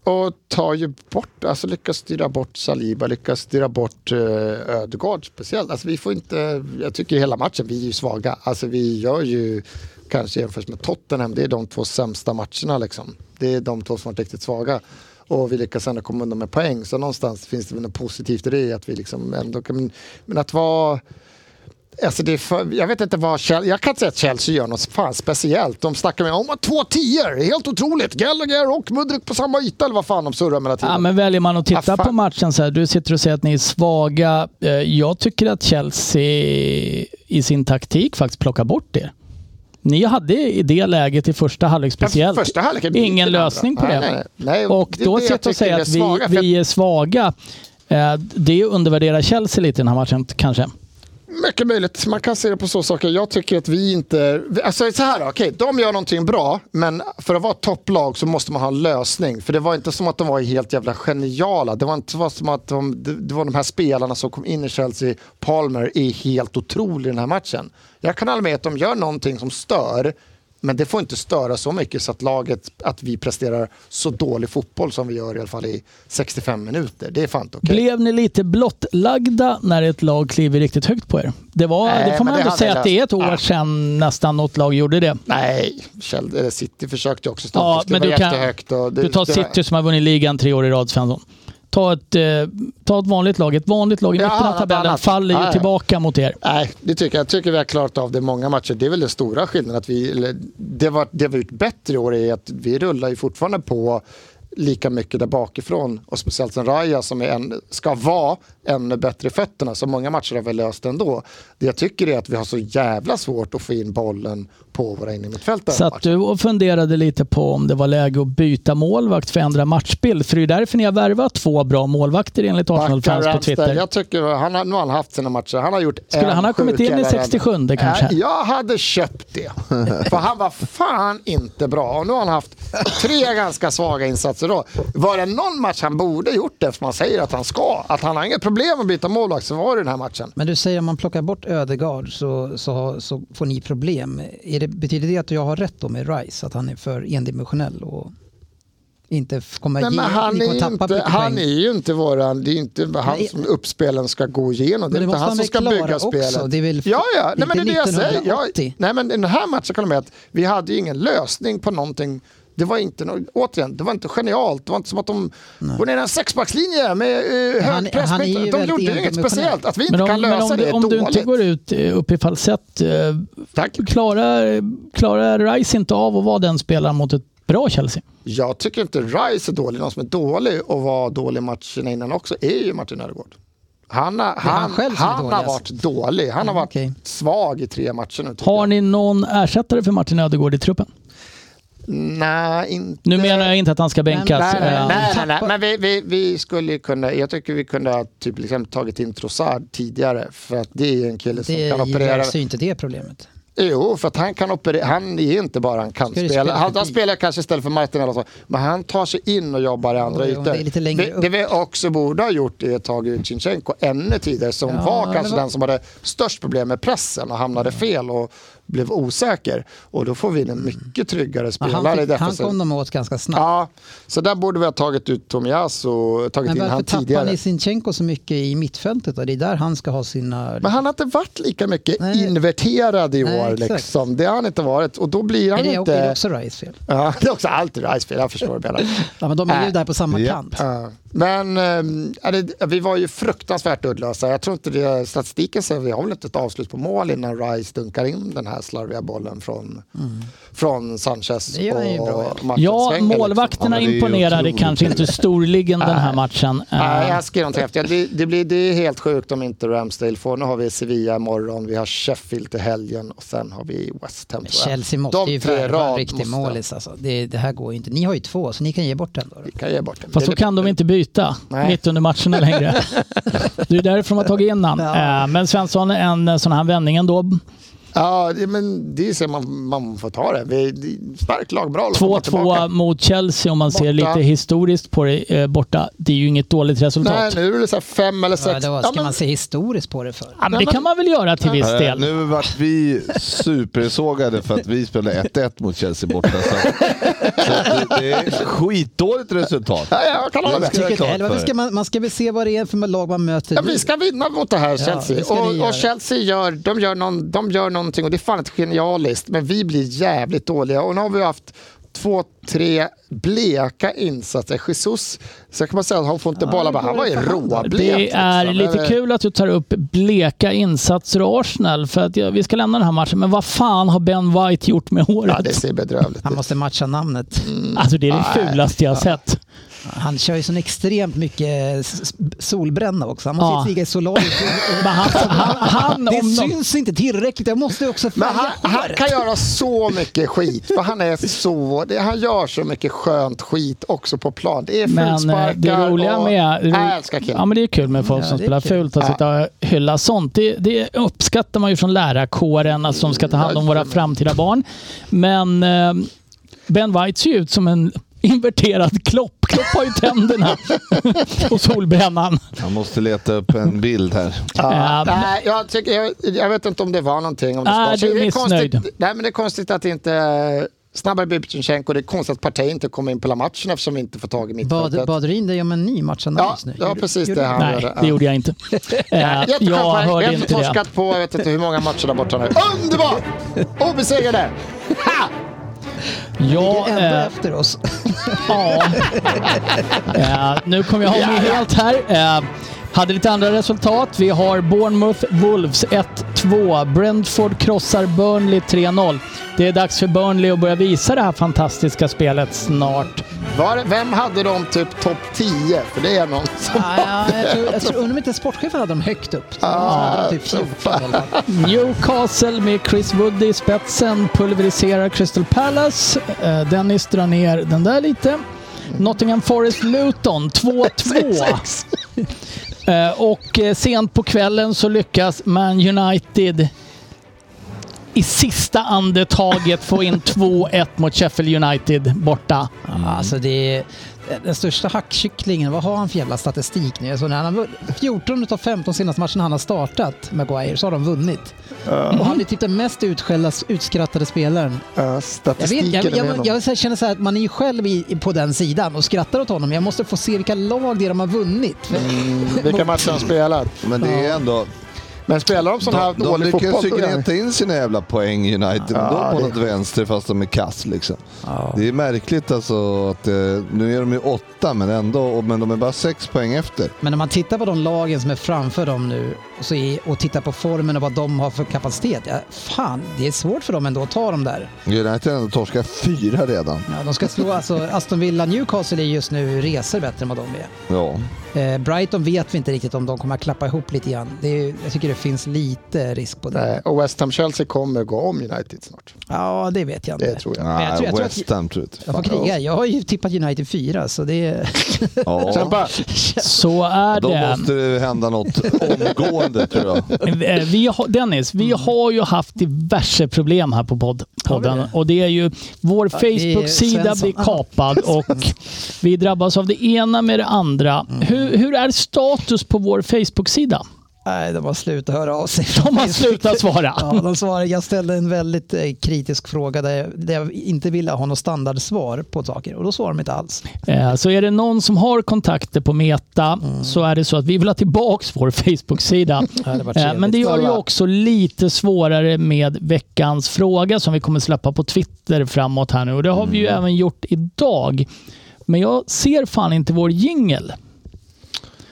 [SPEAKER 4] Och tar ju bort, alltså lyckas styra bort Saliba, lyckas styra bort uh, Ödegaard speciellt. Alltså vi får inte, jag tycker hela matchen, vi är ju svaga. Alltså vi gör ju, kanske jämfört med Tottenham, det är de två sämsta matcherna liksom. Det är de två som varit riktigt svaga. Och vi lyckas ändå komma undan med poäng. Så någonstans finns det väl något positivt i det, att vi liksom ändå kan, men att vara Alltså det är för, jag vet inte vad Chelsea, jag kan inte säga att Chelsea gör något fan speciellt. De snackar med om att två tior, helt otroligt. Gallagher och Mudryk på samma yta eller vad fan de surrar med hela tiden.
[SPEAKER 3] Ja, men väljer man att titta
[SPEAKER 4] Ah, fan.
[SPEAKER 3] på matchen så här, du sitter och säger att ni är svaga. Eh, Jag tycker att Chelsea i sin taktik faktiskt plockar bort det. Ni hade i det läget i första halvlek speciellt
[SPEAKER 4] första halvleken, inte
[SPEAKER 3] ingen
[SPEAKER 4] den
[SPEAKER 3] lösning på
[SPEAKER 4] andra.
[SPEAKER 3] det.
[SPEAKER 4] Nej, nej, nej.
[SPEAKER 3] och
[SPEAKER 4] Det är
[SPEAKER 3] då
[SPEAKER 4] det jag
[SPEAKER 3] sitta och
[SPEAKER 4] tycker
[SPEAKER 3] säga
[SPEAKER 4] vi är
[SPEAKER 3] att vi,
[SPEAKER 4] svaga, för
[SPEAKER 3] vi är svaga, eh, det undervärderar Chelsea lite i den här matchen kanske.
[SPEAKER 4] Mycket möjligt. Man kan se det på så saker. Jag tycker att vi inte... Alltså så här då, okej, de gör någonting bra, men för att vara ett topplag så måste man ha en lösning. För det var inte som att de var helt jävla geniala. Det var inte var som att de, det det var de här spelarna som kom in i Chelsea, Palmer, är helt otrolig i den här matchen. Jag kan hålla med att de gör någonting som stör, men det får inte störa så mycket så att laget, att vi presterar så dålig fotboll som vi gör i alla fall i 65 minuter. Det är fan inte okej.
[SPEAKER 3] Blev ni lite blottlagda när ett lag kliver riktigt högt på er? Det, var,
[SPEAKER 4] Nej,
[SPEAKER 3] det får
[SPEAKER 4] men
[SPEAKER 3] man
[SPEAKER 4] det
[SPEAKER 3] ändå
[SPEAKER 4] hade
[SPEAKER 3] säga att det är ett år
[SPEAKER 4] löst. Ah.
[SPEAKER 3] sedan nästan något lag gjorde det.
[SPEAKER 4] Nej, Chel- eller City försökte ju också stå
[SPEAKER 3] Ja,
[SPEAKER 4] upp. Det
[SPEAKER 3] men
[SPEAKER 4] var
[SPEAKER 3] du, kan,
[SPEAKER 4] jättehögt och det-
[SPEAKER 3] du tar
[SPEAKER 4] det-
[SPEAKER 3] City som har vunnit ligan tre år i rad, Svensson. Ta ett, eh, ta ett vanligt lag. Ett vanligt lag i
[SPEAKER 4] Ja,
[SPEAKER 3] mitten av
[SPEAKER 4] något
[SPEAKER 3] tabellen
[SPEAKER 4] annat.
[SPEAKER 3] faller ju
[SPEAKER 4] Ja, ja.
[SPEAKER 3] tillbaka mot er.
[SPEAKER 4] Nej, det tycker jag. jag tycker vi har klarat av det i många matcher. Det är väl den stora skillnaden. Att vi, eller, det, var, det var ju ett bättre i år är att vi rullar ju fortfarande på lika mycket där bakifrån. Och speciellt sen Raja som är en, ska vara ännu bättre i fötterna. Så många matcher har vi löst ändå. Det jag tycker är att vi har så jävla svårt att få in bollen på våra innermittfältare.
[SPEAKER 3] Så att du och funderade lite på om det var läge att byta målvakt för att ändra matchbild. För det är ju därför ni har värvat två bra målvakter enligt
[SPEAKER 4] Backa
[SPEAKER 3] Arsenal-fans på
[SPEAKER 4] Ramsdale,
[SPEAKER 3] Twitter.
[SPEAKER 4] jag tycker han har, nu har han haft sina matcher. Han har gjort
[SPEAKER 3] Skulle
[SPEAKER 4] en
[SPEAKER 3] han ha kommit
[SPEAKER 4] sjuk
[SPEAKER 3] in i
[SPEAKER 4] jävla räddning.
[SPEAKER 3] 67 kanske?
[SPEAKER 4] Nej, jag hade köpt det. För han var fan inte bra. Och nu har han haft tre ganska svaga insatser. Då. Var det någon match han borde gjort det, för man säger att han ska, att han har inga problem att byta målvakt, så var det den här matchen.
[SPEAKER 6] Men du säger om man plockar bort Ödegard så, så, så får ni problem. Är det, betyder det att jag har rätt då med Rice, att han är för endimensionell och inte f- kommer
[SPEAKER 4] Nej,
[SPEAKER 6] ge,
[SPEAKER 4] men han,
[SPEAKER 6] ni
[SPEAKER 4] är
[SPEAKER 6] kommer
[SPEAKER 4] ju
[SPEAKER 6] tappa
[SPEAKER 4] inte,
[SPEAKER 6] mycket
[SPEAKER 4] han är
[SPEAKER 6] poäng?
[SPEAKER 4] ju inte våran, det är ju inte han
[SPEAKER 6] Nej.
[SPEAKER 4] som uppspelen ska gå igenom. Det
[SPEAKER 6] Men
[SPEAKER 4] är
[SPEAKER 6] det
[SPEAKER 4] inte
[SPEAKER 6] måste
[SPEAKER 4] han
[SPEAKER 6] han
[SPEAKER 4] som
[SPEAKER 6] väl
[SPEAKER 4] ska
[SPEAKER 6] klara
[SPEAKER 4] bygga
[SPEAKER 6] också.
[SPEAKER 4] spelet.
[SPEAKER 6] Det är väl-
[SPEAKER 4] ja, ja. Nej, men det är det jag säger.
[SPEAKER 6] 1980.
[SPEAKER 4] Jag, nej, men den här matchen kan jag med att vi hade ju ingen lösning på någonting. Det var inte, nå- återigen, det var inte genialt. Det var inte som att de går ner i en sexbackslinje med uh,
[SPEAKER 6] han-
[SPEAKER 4] hög press.
[SPEAKER 6] han är
[SPEAKER 4] De
[SPEAKER 6] ju väldigt
[SPEAKER 4] gjorde ju inget
[SPEAKER 6] endimensionell.
[SPEAKER 4] speciellt. Att vi inte
[SPEAKER 3] Men om,
[SPEAKER 4] kan
[SPEAKER 3] men
[SPEAKER 4] lösa
[SPEAKER 3] om,
[SPEAKER 4] det
[SPEAKER 3] du-
[SPEAKER 4] är
[SPEAKER 3] om du inte
[SPEAKER 4] dåligt.
[SPEAKER 3] går ut eh, upp i falsett, eh,
[SPEAKER 4] Tack.
[SPEAKER 3] klarar, klarar Rice inte av att vara den spelaren mot ett bra Chelsea?
[SPEAKER 4] Jag tycker inte Rice är dålig. Någon som är dålig och var dålig i matcherna innan också är ju Martin Ödegård. Han, har-
[SPEAKER 6] han
[SPEAKER 4] han,
[SPEAKER 6] själv
[SPEAKER 4] han,
[SPEAKER 6] som är dålig,
[SPEAKER 4] har
[SPEAKER 6] alltså.
[SPEAKER 4] varit dålig. Han har
[SPEAKER 6] Mm,
[SPEAKER 4] varit
[SPEAKER 6] okej.
[SPEAKER 4] svag i tre matcher nu. tycker
[SPEAKER 3] Har
[SPEAKER 4] jag.
[SPEAKER 3] ni någon ersättare för Martin Ödegård i truppen?
[SPEAKER 4] Nej, inte...
[SPEAKER 3] Nu menar jag inte att han ska bänkas.
[SPEAKER 4] Nej, nej,
[SPEAKER 3] eh,
[SPEAKER 4] nej, nej, nej. men vi, vi, vi skulle ju kunna, jag tycker vi kunde ha typ liksom tagit in Trossard tidigare för att det är ju en kille som
[SPEAKER 6] Det
[SPEAKER 4] kan operera.
[SPEAKER 6] löser ju inte det problemet.
[SPEAKER 4] Jo, för att han kan operera, han är inte bara en
[SPEAKER 6] Ska du
[SPEAKER 4] kantspelare.
[SPEAKER 6] spela
[SPEAKER 4] Han, han
[SPEAKER 6] förbi?
[SPEAKER 4] spelar kanske istället för Martin eller så, men han tar sig in och jobbar i andra
[SPEAKER 6] Oj,
[SPEAKER 4] ytor.
[SPEAKER 6] om det är lite längre
[SPEAKER 4] Vi-
[SPEAKER 6] upp.
[SPEAKER 4] det vi också borde ha gjort är att ta ut Zinchenko ännu tidigare som
[SPEAKER 6] Ja,
[SPEAKER 4] var
[SPEAKER 6] eller
[SPEAKER 4] kanske
[SPEAKER 6] vad-
[SPEAKER 4] den som hade störst problem med pressen och hamnade fel och blev osäker. Och då får vi in en mycket tryggare
[SPEAKER 6] Mm. Ja,
[SPEAKER 4] spelare
[SPEAKER 6] Han,
[SPEAKER 4] i
[SPEAKER 6] fick, han
[SPEAKER 4] defensiven.
[SPEAKER 6] kom de åt ganska snabbt.
[SPEAKER 4] Ja, så där borde vi ha tagit ut Tomias och tagit
[SPEAKER 6] Men
[SPEAKER 4] in
[SPEAKER 6] varför
[SPEAKER 4] han
[SPEAKER 6] tappar
[SPEAKER 4] tidigare.
[SPEAKER 6] ni Sinchenko så mycket i mittfältet? Då? Det är där han ska ha sina...
[SPEAKER 4] Men han har inte varit lika mycket
[SPEAKER 6] Nej.
[SPEAKER 4] inverterad i
[SPEAKER 6] Nej,
[SPEAKER 4] år.
[SPEAKER 6] exakt.
[SPEAKER 4] liksom. Det har han inte varit. Och då blir
[SPEAKER 6] är
[SPEAKER 4] han
[SPEAKER 6] det,
[SPEAKER 4] inte...
[SPEAKER 6] är det också Rice fel?
[SPEAKER 4] Ja, <laughs> det är också alltid Rice fel, jag förstår det.
[SPEAKER 6] Ja, men de är ju
[SPEAKER 4] Äh.
[SPEAKER 6] där på samma
[SPEAKER 5] Japp.
[SPEAKER 6] kant.
[SPEAKER 4] Ja. Men ehm, ja, det- vi var ju fruktansvärt uddlösa. Jag tror inte det, statistiken säger vi har väl inte ett avslut på mål innan Rice dunkar in den här slarviga bollen från, från Sanchez.
[SPEAKER 6] Mm. Det gör han ju bra, ja.
[SPEAKER 4] och Martin
[SPEAKER 3] Ja,
[SPEAKER 4] Svänger, liksom.
[SPEAKER 3] målvakterna
[SPEAKER 5] Ja, men det är ju
[SPEAKER 3] imponerade
[SPEAKER 5] otroligt.
[SPEAKER 3] kanske inte storligen den här matchen. Eh,
[SPEAKER 4] Nej, jag skrev något häftigt. Det, det, blir, det är helt sjukt om inte Ramsdale får. Nu har vi Sevilla imorgon, vi har Sheffield till helgen och sen har vi West Ham. tror jag.
[SPEAKER 6] Chelsea måste
[SPEAKER 4] De
[SPEAKER 6] ju
[SPEAKER 4] tre
[SPEAKER 6] värva en
[SPEAKER 4] rad
[SPEAKER 6] riktig
[SPEAKER 4] måste-
[SPEAKER 6] målis. Alltså. Det, det här går ju inte. Ni har ju två, så ni kan ge bort den. Då. då.
[SPEAKER 4] Vi kan ge bort den.
[SPEAKER 3] Fast så
[SPEAKER 4] Det-
[SPEAKER 3] kan de inte byta
[SPEAKER 4] Nej.
[SPEAKER 3] mitt under matcherna
[SPEAKER 4] <laughs>
[SPEAKER 3] längre. Det är därför de har tagit in han.
[SPEAKER 6] Ja.
[SPEAKER 3] Eh, Men Svensson, en sån här vändning ändå.
[SPEAKER 4] Ja, det, men det är så man, man får ta det. Vi, det starkt lag, bra lag. kommer
[SPEAKER 3] 2-2
[SPEAKER 6] mm,
[SPEAKER 4] tillbaka.
[SPEAKER 3] mot Chelsea om man ser
[SPEAKER 4] Borta.
[SPEAKER 3] lite historiskt på det eh, borta. Det är ju inget dåligt
[SPEAKER 4] Nej,
[SPEAKER 3] resultat.
[SPEAKER 4] nu är det så här fem eller
[SPEAKER 6] Ja,
[SPEAKER 4] sex.
[SPEAKER 6] då ska
[SPEAKER 4] men-
[SPEAKER 6] man se historiskt på det för?
[SPEAKER 3] Ja, men
[SPEAKER 4] Nej,
[SPEAKER 3] det kan
[SPEAKER 4] men-
[SPEAKER 3] man väl göra till viss
[SPEAKER 5] Eh,
[SPEAKER 3] del.
[SPEAKER 5] Nu vart vi supersågade för att vi spelade 1-1 mot Chelsea borta. Så, så det, det är ett skitdåligt resultat.
[SPEAKER 4] Ja, ja, jag kan hålla
[SPEAKER 5] Jag
[SPEAKER 4] med.
[SPEAKER 5] tycker- klart
[SPEAKER 6] Eller varför
[SPEAKER 5] för.
[SPEAKER 6] ska man, man ska väl se vad det är för lag man möter.
[SPEAKER 4] Ja,
[SPEAKER 6] nu.
[SPEAKER 4] vi ska vinna mot det här Chelsea.
[SPEAKER 6] det ska ni
[SPEAKER 4] och,
[SPEAKER 6] göra.
[SPEAKER 4] och Chelsea gör, de gör, någon, de gör någonting och det är fan ett genialiskt. Men vi blir jävligt dåliga. Och nu har vi haft två, tre bleka insatser. Jesus, så kan man säga att han får inte bara, bara han var ju råblek.
[SPEAKER 3] Det är
[SPEAKER 4] liksom.
[SPEAKER 3] lite
[SPEAKER 4] Men,
[SPEAKER 3] kul att du tar upp bleka insatser och Arsenal. För att, ja, vi ska lämna den här matchen, men vad fan har Ben White gjort med
[SPEAKER 4] Ja,
[SPEAKER 3] håret?
[SPEAKER 4] det ser bedrövligt
[SPEAKER 6] Han
[SPEAKER 4] ut.
[SPEAKER 6] måste matcha namnet.
[SPEAKER 3] Alltså det är det fulaste jag har sett.
[SPEAKER 6] Han kör ju sån extremt mycket s- s- solbränna också. Han måste
[SPEAKER 3] Ja.
[SPEAKER 6] ju ligga i solarium.
[SPEAKER 3] Men han, han,
[SPEAKER 4] <laughs>
[SPEAKER 3] han
[SPEAKER 6] Det
[SPEAKER 3] om någon,
[SPEAKER 6] syns inte tillräckligt. Jag måste också
[SPEAKER 4] Men
[SPEAKER 6] färga
[SPEAKER 4] han, han
[SPEAKER 6] håret.
[SPEAKER 4] kan göra så mycket skit, för han är så... Det, han gör så mycket skönt skit också på plan. Det är
[SPEAKER 3] Men eh,
[SPEAKER 4] frisparkar
[SPEAKER 3] det roliga
[SPEAKER 4] och...
[SPEAKER 3] med...
[SPEAKER 4] Jag älskar killen.
[SPEAKER 3] ja, men det är kul med folk
[SPEAKER 6] Ja,
[SPEAKER 3] som
[SPEAKER 6] det
[SPEAKER 3] spelar
[SPEAKER 6] är kul.
[SPEAKER 3] fult och
[SPEAKER 4] Ja.
[SPEAKER 3] sitta och hylla sånt. Det, det uppskattar man ju från lärarkåren alltså, som ska ta hand om våra framtida barn. Men eh, Ben White ser ju ut som en <laughs> inverterad klopp. Klopp har ju
[SPEAKER 4] <laughs>
[SPEAKER 3] tänderna och solbrännan.
[SPEAKER 5] Jag måste leta upp en bild här.
[SPEAKER 4] Ja,
[SPEAKER 3] Eh,
[SPEAKER 4] nej, jag, tycker, jag, jag vet inte om det var någonting. Om det
[SPEAKER 3] Nej,
[SPEAKER 4] ska-
[SPEAKER 3] du är missnöjd.
[SPEAKER 4] Konstigt, nej, men det är konstigt att inte... eh, Snabbare Bibtjentjenko, det är konstigt att partiet inte kommer in på hela matchen eftersom vi inte får tag i
[SPEAKER 6] Bad,
[SPEAKER 4] mittfältet.
[SPEAKER 6] Badrin, det gör man en ny
[SPEAKER 4] Ja,
[SPEAKER 6] matchanalys nu.
[SPEAKER 4] det var precis det han
[SPEAKER 3] Nej,
[SPEAKER 4] gjorde.
[SPEAKER 3] det
[SPEAKER 4] Ja.
[SPEAKER 3] gjorde jag inte. Eh,
[SPEAKER 4] Jätteskönt
[SPEAKER 3] jag
[SPEAKER 4] för-
[SPEAKER 3] hörde
[SPEAKER 4] Vi har
[SPEAKER 3] inte det.
[SPEAKER 4] torskat på jag vet inte hur många matcher där borta nu.
[SPEAKER 3] <laughs>
[SPEAKER 4] Underbart! Obesegrade! Ha!
[SPEAKER 3] Ja,
[SPEAKER 6] Ändå
[SPEAKER 3] eh,
[SPEAKER 6] efter oss.
[SPEAKER 3] Ja. Eh, nu kommer jag ha mig helt här. Eh, hade lite andra resultat. Vi har Bournemouth Wolves 1-2. Brentford krossar Burnley 3-0. Det är dags för Burnley att börja visa det här fantastiska spelet snart.
[SPEAKER 4] Var, vem hade de typ topp 10? För det är någon som...
[SPEAKER 6] Ja, jag tror, jag tror, undrar om inte sportchefen hade dem högt upp. Så de hade typ 14 i alla fall.
[SPEAKER 3] Newcastle med Chris Wood i spetsen pulveriserar Crystal Palace. Eh, Dennis drar ner den där lite. Nottingham Forest
[SPEAKER 5] <laughs>
[SPEAKER 3] Luton 2-2. Eh, Och eh, sent på kvällen så lyckas Man United i sista andetaget få in 2-1 mot Sheffield United borta.
[SPEAKER 4] Mm.
[SPEAKER 6] Alltså det är den största hackkycklingen. Vad har han för jävla statistik nu? Alltså när han har vunnit- 14 av 15 senaste matcherna han har startat, Maguire, så har de vunnit. Och han är typ den mest utskällda, utskrattade spelaren.
[SPEAKER 4] Ja,
[SPEAKER 6] Jag, vet,
[SPEAKER 4] Statistiken
[SPEAKER 6] jag, jag,
[SPEAKER 4] är med
[SPEAKER 6] jag,
[SPEAKER 4] honom.
[SPEAKER 6] så här känner så här att man är ju själv i, på den sidan och skrattar åt honom. Jag måste få se vilka lag det är de har vunnit.
[SPEAKER 4] Mm. Vilka matcher han spelat.
[SPEAKER 5] Men det är ändå...
[SPEAKER 4] Men spelar de sån här
[SPEAKER 5] De, de
[SPEAKER 4] dålig
[SPEAKER 5] lyckas ju
[SPEAKER 4] fotboll? då?
[SPEAKER 5] gneta in sina jävla poäng United, men
[SPEAKER 4] Ja,
[SPEAKER 5] då på
[SPEAKER 4] det-
[SPEAKER 5] något vänster fast de är kass liksom. Det är märkligt alltså att eh, nu är de ju åtta men ändå, och- men de är bara sex poäng efter.
[SPEAKER 6] Men om man tittar på de lagen som är framför dem nu och, så är, och tittar på formen och vad de har för kapacitet. Ja, fan, det är svårt för dem ändå att ta dem där.
[SPEAKER 5] United har ändå torskat fyra redan.
[SPEAKER 6] Ja, de ska slå alltså Aston Villa, Newcastle är just nu resor bättre än vad de är.
[SPEAKER 5] Ja.
[SPEAKER 6] Eh, Brighton vet vi inte riktigt om de kommer att klappa ihop lite grann. Det är, jag tycker det finns lite risk på det.
[SPEAKER 4] Nej, och West Ham Chelsea kommer gå om United snart.
[SPEAKER 6] Ja, det vet jag inte.
[SPEAKER 4] Det tror jag.
[SPEAKER 5] Nej,
[SPEAKER 6] jag tror- jag tror att-
[SPEAKER 5] West Ham tror jag inte.
[SPEAKER 6] jag får kriga. Jag har ju tippat United 4 så det är...
[SPEAKER 5] Ja.
[SPEAKER 4] Kämpa!
[SPEAKER 3] Så är
[SPEAKER 5] Då
[SPEAKER 3] det.
[SPEAKER 5] måste det hända något omgående tror jag.
[SPEAKER 3] Eh, Vi har, Dennis, vi
[SPEAKER 6] Mm.
[SPEAKER 3] har ju haft diverse problem här på podd, podden. Och det är ju, vår
[SPEAKER 6] är
[SPEAKER 3] Facebook-sida
[SPEAKER 6] <laughs> Svensson.
[SPEAKER 3] blir kapad och vi drabbas av det ena med det andra.
[SPEAKER 6] Mm.
[SPEAKER 3] Hur, hur är status på vår Facebook-sida?
[SPEAKER 6] Nej, de har slutat höra av sig.
[SPEAKER 3] De <laughs> har slutat svara.
[SPEAKER 6] Ja, de svarar, jag ställde en väldigt eh, kritisk fråga där jag, där jag inte ville ha något standardsvar på saker och då svarar de inte alls.
[SPEAKER 3] Eh, Så är det någon som har kontakter på Meta så är det så att vi vill ha tillbaks vår <laughs> Facebook-sida.
[SPEAKER 6] Mm. hade varit
[SPEAKER 3] Eh,
[SPEAKER 6] trevligt.
[SPEAKER 3] Men det gör ju
[SPEAKER 6] Kolla.
[SPEAKER 3] också lite svårare med veckans fråga som vi kommer släppa på Twitter framåt här nu. Och det har vi ju
[SPEAKER 6] Mm.
[SPEAKER 3] även gjort idag. Men jag ser fan inte vår jingel.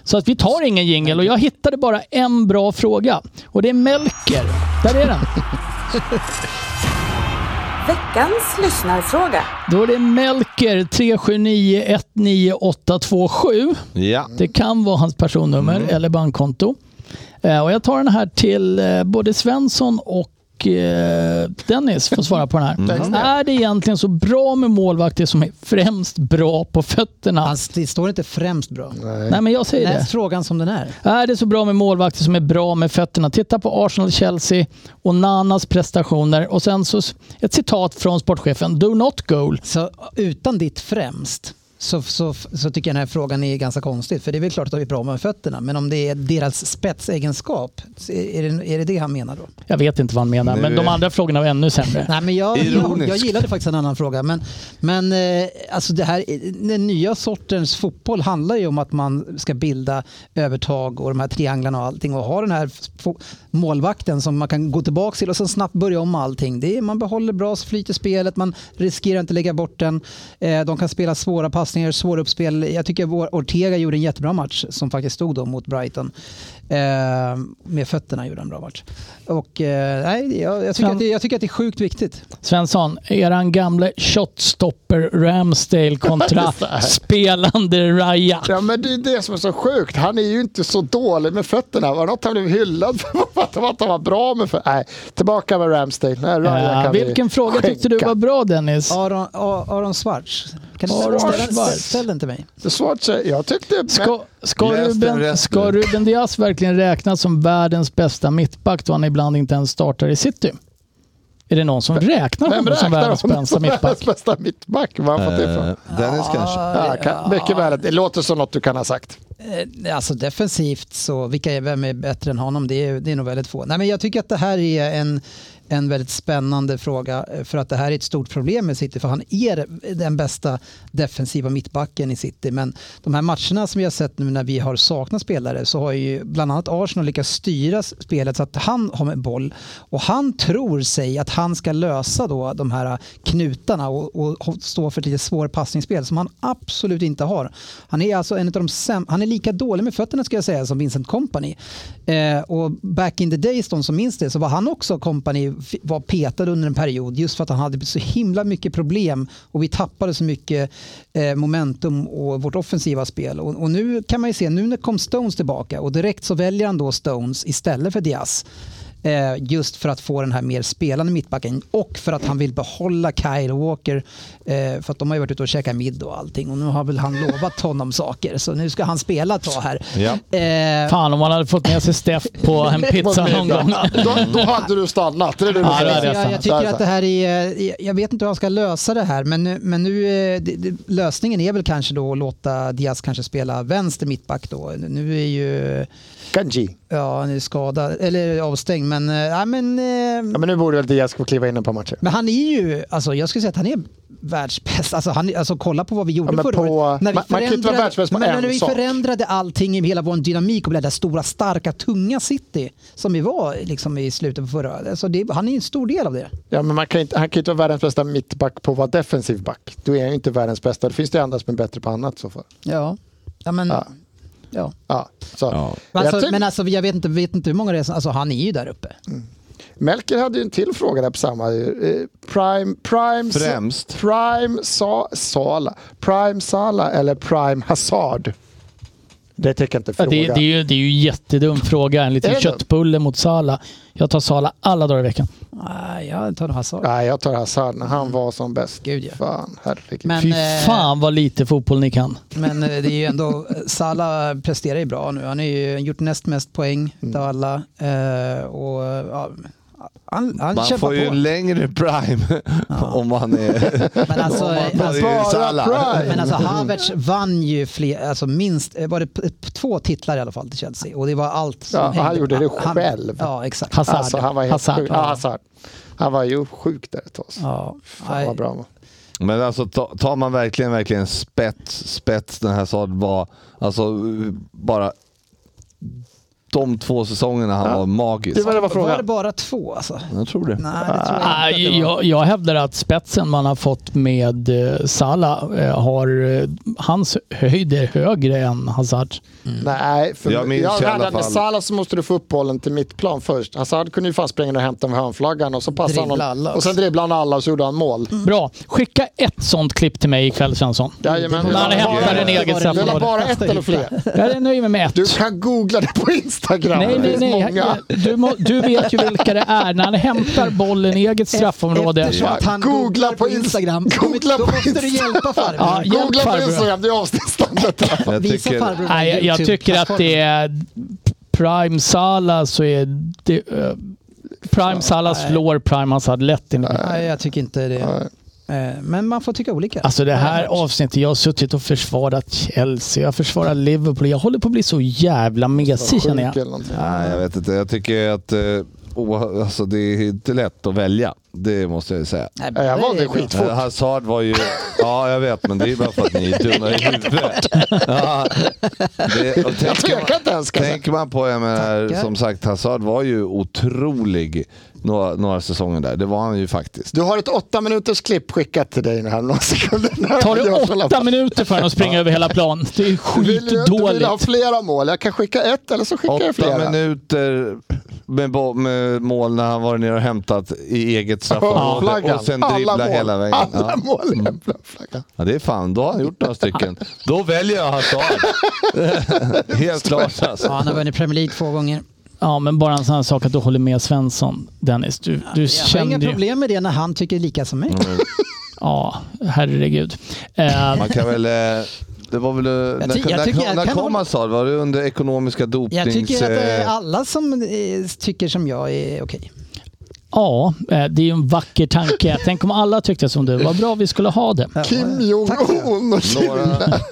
[SPEAKER 3] Så att vi tar ingen jingel och jag hittade bara en bra fråga. Och det är Melker. Där är den.
[SPEAKER 7] Veckans lyssnarfråga.
[SPEAKER 3] Då är det Melker 37919827.
[SPEAKER 5] Ja.
[SPEAKER 3] Det kan vara hans personnummer eller bankkonto. Eh, och jag tar den här till eh, både Svensson och eh, Dennis får svara på den här. Är det egentligen så bra med målvakter som är främst bra på fötterna?
[SPEAKER 6] Alltså, det står inte främst bra.
[SPEAKER 3] Nej, men jag säger det.
[SPEAKER 6] Läs frågan som den är.
[SPEAKER 3] Är det så bra med målvakter som är bra med fötterna? Titta på Arsenal-Chelsea och Nanas prestationer. Och sen så s- ett citat från sportchefen. Do not goal.
[SPEAKER 6] Så utan ditt främst så, så, så tycker jag den här frågan är ganska konstig. För det är väl klart att de är bra med fötterna. Men om det är deras spetsegenskap, så är det är det, det han menar då?
[SPEAKER 3] Jag vet inte vad han menar,
[SPEAKER 5] Nu
[SPEAKER 3] men de
[SPEAKER 5] är-
[SPEAKER 3] andra frågorna var ännu sämre.
[SPEAKER 6] Nej, men jag, jag,
[SPEAKER 5] Ironisk.
[SPEAKER 6] jag gillade faktiskt en annan fråga. Men, men eh, alltså det här, den nya sortens fotboll handlar ju om att man ska bilda övertag och de här trianglarna och allting. Och ha den här fo- målvakten som man kan gå tillbaka till och sen snabbt börja om med allting. Det är, man behåller bra flyt i spelet, man riskerar inte att lägga bort den. Eh, de kan spela svåra passningar, svåra uppspel. Jag tycker vår Ortega gjorde en jättebra match som faktiskt stod då mot Brighton. Eh, med fötterna gjorde han en bra match. Och, eh, nej, jag, jag, tycker
[SPEAKER 3] Sen-
[SPEAKER 6] att det, jag tycker att det är sjukt viktigt.
[SPEAKER 3] Svensson, eran gamle shotstopper Ramsdale kontra spelande Raya.
[SPEAKER 4] Ja men det är det som är så sjukt. Han är ju inte så dålig med fötterna. Var det något han blev hyllad för? <laughs> Fattar man att han var bra med fötterna? Nej, tillbaka med Ramsdale. Nej, Raya
[SPEAKER 3] Eh,
[SPEAKER 4] kan vi
[SPEAKER 3] vilken fråga tyckte du
[SPEAKER 4] skänka.
[SPEAKER 3] var bra Dennis?
[SPEAKER 6] Aron, A- Aron Schwarz. Kan du
[SPEAKER 3] Aron
[SPEAKER 6] ställa, ställa,
[SPEAKER 3] Schwarz.
[SPEAKER 6] ställ den till mig?
[SPEAKER 4] Det är svårt, så jag tyckte...
[SPEAKER 3] Ska, ska,
[SPEAKER 5] Läs den
[SPEAKER 3] Ruben,
[SPEAKER 5] rätt
[SPEAKER 3] ska
[SPEAKER 5] nu.
[SPEAKER 3] Ruben Diaz verkligen räknas som världens bästa mittback då han ibland inte ens startar i city? Är det någon som räknar
[SPEAKER 4] Vem
[SPEAKER 3] honom som
[SPEAKER 4] räknar
[SPEAKER 3] världens
[SPEAKER 4] honom
[SPEAKER 3] bästa
[SPEAKER 4] som världens <laughs>
[SPEAKER 3] mittback?
[SPEAKER 4] bästa mittback? Var har han fått det ifrån?
[SPEAKER 5] Eh, Dennis kanske?
[SPEAKER 4] Ja, kan, mycket väl. Det låter som något du kan ha sagt.
[SPEAKER 6] Eh, Alltså defensivt så, vilka är, vem är bättre än honom? Det är, det är nog väldigt få. Nej, men jag tycker att det här är en, en väldigt spännande fråga eh, för att det här är ett stort problem med City för han är den bästa defensiva mittbacken i City. Men de här matcherna som vi har sett nu när vi har saknat spelare så har ju bland annat Arsenal lyckats styra spelet så att han har med boll och han tror sig att han ska lösa då de här knutarna och, och stå för ett lite svårt passningsspel som han absolut inte har. Han är alltså en av de säm- han är lika dålig med fötterna ska jag säga som Vincent Company. Eh, och back in the days, de som minns det, så var han också Company f- var petad under en period just för att han hade så himla mycket problem och vi tappade så mycket eh, momentum och vårt offensiva spel. Och, och nu kan man ju se, nu när kom Stones tillbaka och direkt så väljer han då Stones istället för Diaz. Eh, just för att få den här mer spelande mittbacken och för att han vill behålla Kyle Walker. Eh, för att de har ju varit ute och käkat middag och allting och nu har väl han lovat honom saker så nu ska han spela ett tag här.
[SPEAKER 5] Ja.
[SPEAKER 6] Eh,
[SPEAKER 3] Fan om man hade fått med sig Steff på en pizza någon gång.
[SPEAKER 4] Då, <laughs> då hade du stannat. Det är det du
[SPEAKER 3] Ja, det hade
[SPEAKER 4] säger.
[SPEAKER 3] jag
[SPEAKER 6] jag, jag
[SPEAKER 3] stannat.
[SPEAKER 6] tycker att det här är, eh, jag vet inte hur han ska lösa det här men, nu- men nu, eh, det, det, lösningen är väl kanske då att låta Diaz kanske spela vänster mittback då. Nu är ju,
[SPEAKER 4] Kanji.
[SPEAKER 6] ja han är skadad, eller avstängd men, eh, ja, men eh,
[SPEAKER 4] Ja, men nu borde väl Diaz få kliva in på matcher.
[SPEAKER 6] Men han är ju, alltså jag skulle säga att han är världsbäst. Alltså, han, alltså kolla på vad vi gjorde
[SPEAKER 4] Ja, men
[SPEAKER 6] förra
[SPEAKER 4] på-
[SPEAKER 6] året. vi
[SPEAKER 4] man- man kan inte vara
[SPEAKER 6] förändrade-
[SPEAKER 4] världsbäst på
[SPEAKER 6] men
[SPEAKER 4] en
[SPEAKER 6] När vi
[SPEAKER 4] sak.
[SPEAKER 6] förändrade allting i hela vår dynamik och blev det där stora, starka, tunga city som vi var liksom, i slutet på förra året. Alltså, det, han är ju en stor del av det.
[SPEAKER 4] Ja, men man kan inte, han kan ju inte vara världens bästa mittback på att vara defensiv back. Då är han ju inte världens bästa. Det finns det ju andra som är bättre på annat i så fall.
[SPEAKER 6] Ja. Ja, men,
[SPEAKER 4] Ja.
[SPEAKER 6] ja.
[SPEAKER 4] Ja, så.
[SPEAKER 5] Ja.
[SPEAKER 6] Men
[SPEAKER 4] Jag
[SPEAKER 6] Alltså,
[SPEAKER 4] tyck-
[SPEAKER 6] men alltså, jag vet inte, vet inte hur många det är. som- Alltså, han är ju där uppe.
[SPEAKER 4] Melker hade ju en till fråga där på samma. eh, Prime, prime,
[SPEAKER 5] Främst.
[SPEAKER 4] Prime Sa, Sala. Prime Sala eller Prime Hazard? Det tänker jag inte
[SPEAKER 3] Ja,
[SPEAKER 4] fråga.
[SPEAKER 3] det, det, är ju, det är ju en jättedum fråga. En
[SPEAKER 4] Är
[SPEAKER 3] liten
[SPEAKER 4] det?
[SPEAKER 3] köttbulle mot Sala. Jag tar Sala alla dagar i veckan.
[SPEAKER 6] Nej, jag tar nog Hazard.
[SPEAKER 4] Nej, jag tar Hazard när han var som bäst.
[SPEAKER 6] Gud, ja.
[SPEAKER 4] Fan, herregud.
[SPEAKER 6] Men,
[SPEAKER 3] Fy
[SPEAKER 6] eh,
[SPEAKER 3] fan vad lite fotboll ni kan.
[SPEAKER 6] Men eh, det är ju ändå, Salah presterar ju bra nu. Han har ju gjort näst mest poäng
[SPEAKER 4] Mm.
[SPEAKER 6] utav alla. Eh, och, ja, han han
[SPEAKER 5] Man
[SPEAKER 6] kämpar
[SPEAKER 5] får ju
[SPEAKER 6] på.
[SPEAKER 5] längre prime <laughs> om man är...
[SPEAKER 6] Men alltså,
[SPEAKER 5] om man
[SPEAKER 6] alltså,
[SPEAKER 5] är Salah.
[SPEAKER 6] men alltså Havertz vann ju fler, alltså minst, eh, var det p- p- två titlar i alla fall till Chelsea. Och det var allt som
[SPEAKER 4] Ja, han
[SPEAKER 6] hängde-
[SPEAKER 4] gjorde det
[SPEAKER 6] han-
[SPEAKER 4] själv.
[SPEAKER 6] Ja, exakt.
[SPEAKER 3] Hazard.
[SPEAKER 4] Alltså, han var helt
[SPEAKER 3] Hazard,
[SPEAKER 4] sjuk. Ja,
[SPEAKER 3] ja.
[SPEAKER 4] Hazard. Han var ju sjuk där ett tag. så.
[SPEAKER 6] Ja,
[SPEAKER 4] Fan vad bra han var.
[SPEAKER 5] Men alltså ta- tar man verkligen, verkligen spets, spets den här Saad var, alltså eh, bara de två säsongerna han var magisk.
[SPEAKER 4] Det var det var
[SPEAKER 6] var det
[SPEAKER 4] frågan.
[SPEAKER 6] bara två alltså?
[SPEAKER 5] Jag tror det.
[SPEAKER 6] Nej, det tror jag inte. att
[SPEAKER 3] Nej,
[SPEAKER 6] det var.
[SPEAKER 3] jag, jag hävdar att spetsen man har fått med eh, Sala eh, har eh, hans höjd är högre än Hazard.
[SPEAKER 4] Nej, för
[SPEAKER 5] Jag minns
[SPEAKER 4] jag
[SPEAKER 5] i alla
[SPEAKER 4] hade med
[SPEAKER 5] fall.
[SPEAKER 4] Salah så måste du få upp bollen till mittplan först. Hazard kunde ju fan springa ner och hämta med hörnflaggan och så passade han
[SPEAKER 6] Dribbla
[SPEAKER 4] någon,
[SPEAKER 6] alla
[SPEAKER 4] och sen dribblade han alla och så gjorde han mål.
[SPEAKER 6] Mm.
[SPEAKER 3] Bra. Skicka ett sånt klipp till mig ikväll Svensson.
[SPEAKER 4] Jajamän.
[SPEAKER 3] Man
[SPEAKER 5] det var-
[SPEAKER 3] hämtar en
[SPEAKER 5] det
[SPEAKER 3] egen
[SPEAKER 4] Du
[SPEAKER 6] var-
[SPEAKER 4] vill ha
[SPEAKER 3] straffområde.
[SPEAKER 4] bara ett eller fler?
[SPEAKER 3] Jag är nöjd med mig ett.
[SPEAKER 4] Du kan googla det på Instagram.
[SPEAKER 3] Nej, nej,
[SPEAKER 4] det finns
[SPEAKER 3] nej.
[SPEAKER 4] många.
[SPEAKER 3] Jag- Du, må, du vet ju vilka det är. När han hämtar bollen i eget straffområde.
[SPEAKER 6] Eftersom att han
[SPEAKER 4] Googla
[SPEAKER 6] googlar
[SPEAKER 4] på
[SPEAKER 6] på
[SPEAKER 4] Inst-
[SPEAKER 5] <laughs>
[SPEAKER 6] Instagram.
[SPEAKER 4] Googla
[SPEAKER 6] då
[SPEAKER 4] på
[SPEAKER 6] måste du
[SPEAKER 4] Instagram.
[SPEAKER 6] hjälpa farbror.
[SPEAKER 3] Ja, hjälp
[SPEAKER 4] Googla på
[SPEAKER 3] farbror.
[SPEAKER 4] Instagram, det
[SPEAKER 3] <laughs>
[SPEAKER 4] är avsnittsstandarden.
[SPEAKER 5] Jag
[SPEAKER 6] Visa
[SPEAKER 5] tycker,
[SPEAKER 6] farbror
[SPEAKER 3] Nej, jag, jag tycker att det är Prime Sala så är det... eh, Prime Sala slår Prime Hazard lätt enligt mig.
[SPEAKER 6] Nej, jag tycker inte det. Eh, Men man får tycka olika.
[SPEAKER 3] Alltså det här avsnittet, jag har suttit och försvarat Chelsea, jag försvarar Liverpool. Jag håller på att bli så jävla mesig känner
[SPEAKER 4] Sjuk
[SPEAKER 3] jag.
[SPEAKER 4] eller någonting.
[SPEAKER 5] Nej, jag vet inte. Jag tycker att eh, oa- alltså, det är inte lätt att välja. Det måste jag ju säga.
[SPEAKER 6] Nej,
[SPEAKER 4] Nej, jag
[SPEAKER 6] det
[SPEAKER 4] valde
[SPEAKER 6] är bra.
[SPEAKER 4] skit.
[SPEAKER 5] Eh, Hazard var ju... Ja, jag vet, men det är bara för att ni är dumma i huvudet. Ja, det, och
[SPEAKER 4] Jag
[SPEAKER 5] tänker,
[SPEAKER 4] tvekar inte ens. kan jag säga.
[SPEAKER 5] tänker man på, jag menar,
[SPEAKER 6] Tackar.
[SPEAKER 5] som sagt, Hazard var ju otrolig några, några säsonger där. Det var han ju faktiskt.
[SPEAKER 4] Du har ett åtta minuters klipp skickat till dig nu här om några sekunder.
[SPEAKER 3] Tar det
[SPEAKER 4] Jag får alla-
[SPEAKER 3] åtta minuter för honom att springa över hela plan? Det är
[SPEAKER 4] Vill du, du vill ha
[SPEAKER 3] skitdåligt.
[SPEAKER 4] flera mål. Jag kan skicka ett eller så skickar jag
[SPEAKER 5] Åtta
[SPEAKER 4] flera.
[SPEAKER 5] minuter med, bo- med mål när han var nere och hämtat i eget straffområde
[SPEAKER 4] Flaggan.
[SPEAKER 5] och sen
[SPEAKER 4] Alla
[SPEAKER 5] dribbla
[SPEAKER 4] mål.
[SPEAKER 5] hela vägen.
[SPEAKER 4] Alla
[SPEAKER 5] Ja. Mm.
[SPEAKER 4] mål är en flagga.
[SPEAKER 5] Ja, det är fan, då har han gjort några stycken. Då väljer jag Hazard.
[SPEAKER 6] <laughs>
[SPEAKER 5] Helt klart
[SPEAKER 6] Ja,
[SPEAKER 5] alltså.
[SPEAKER 6] han har vunnit Premier League två gånger.
[SPEAKER 3] Ja, men bara en sån här sak att du håller med Svensson, Dennis. Du, du
[SPEAKER 6] Jag har inga
[SPEAKER 3] kände ju...
[SPEAKER 6] problem med det när han tycker lika som mig.
[SPEAKER 5] Mm,
[SPEAKER 3] Ja, herregud. Eh,
[SPEAKER 5] Man kan väl... eh, Det var väl... eh, när
[SPEAKER 6] tycker- jag
[SPEAKER 5] när,
[SPEAKER 6] tycker jag
[SPEAKER 5] när
[SPEAKER 6] kan
[SPEAKER 5] kom
[SPEAKER 6] hålla-
[SPEAKER 5] Hazard? Var det under ekonomiska dopnings...
[SPEAKER 6] Jag tycker att eh,
[SPEAKER 5] eh,
[SPEAKER 6] alla som eh, tycker som jag är okej.
[SPEAKER 3] Ja, eh, det är ju en vacker tanke. Tänk om alla tyckte som du. Vad bra vi skulle ha det.
[SPEAKER 4] Kim Jong-Un och
[SPEAKER 5] några,
[SPEAKER 4] Kinberg.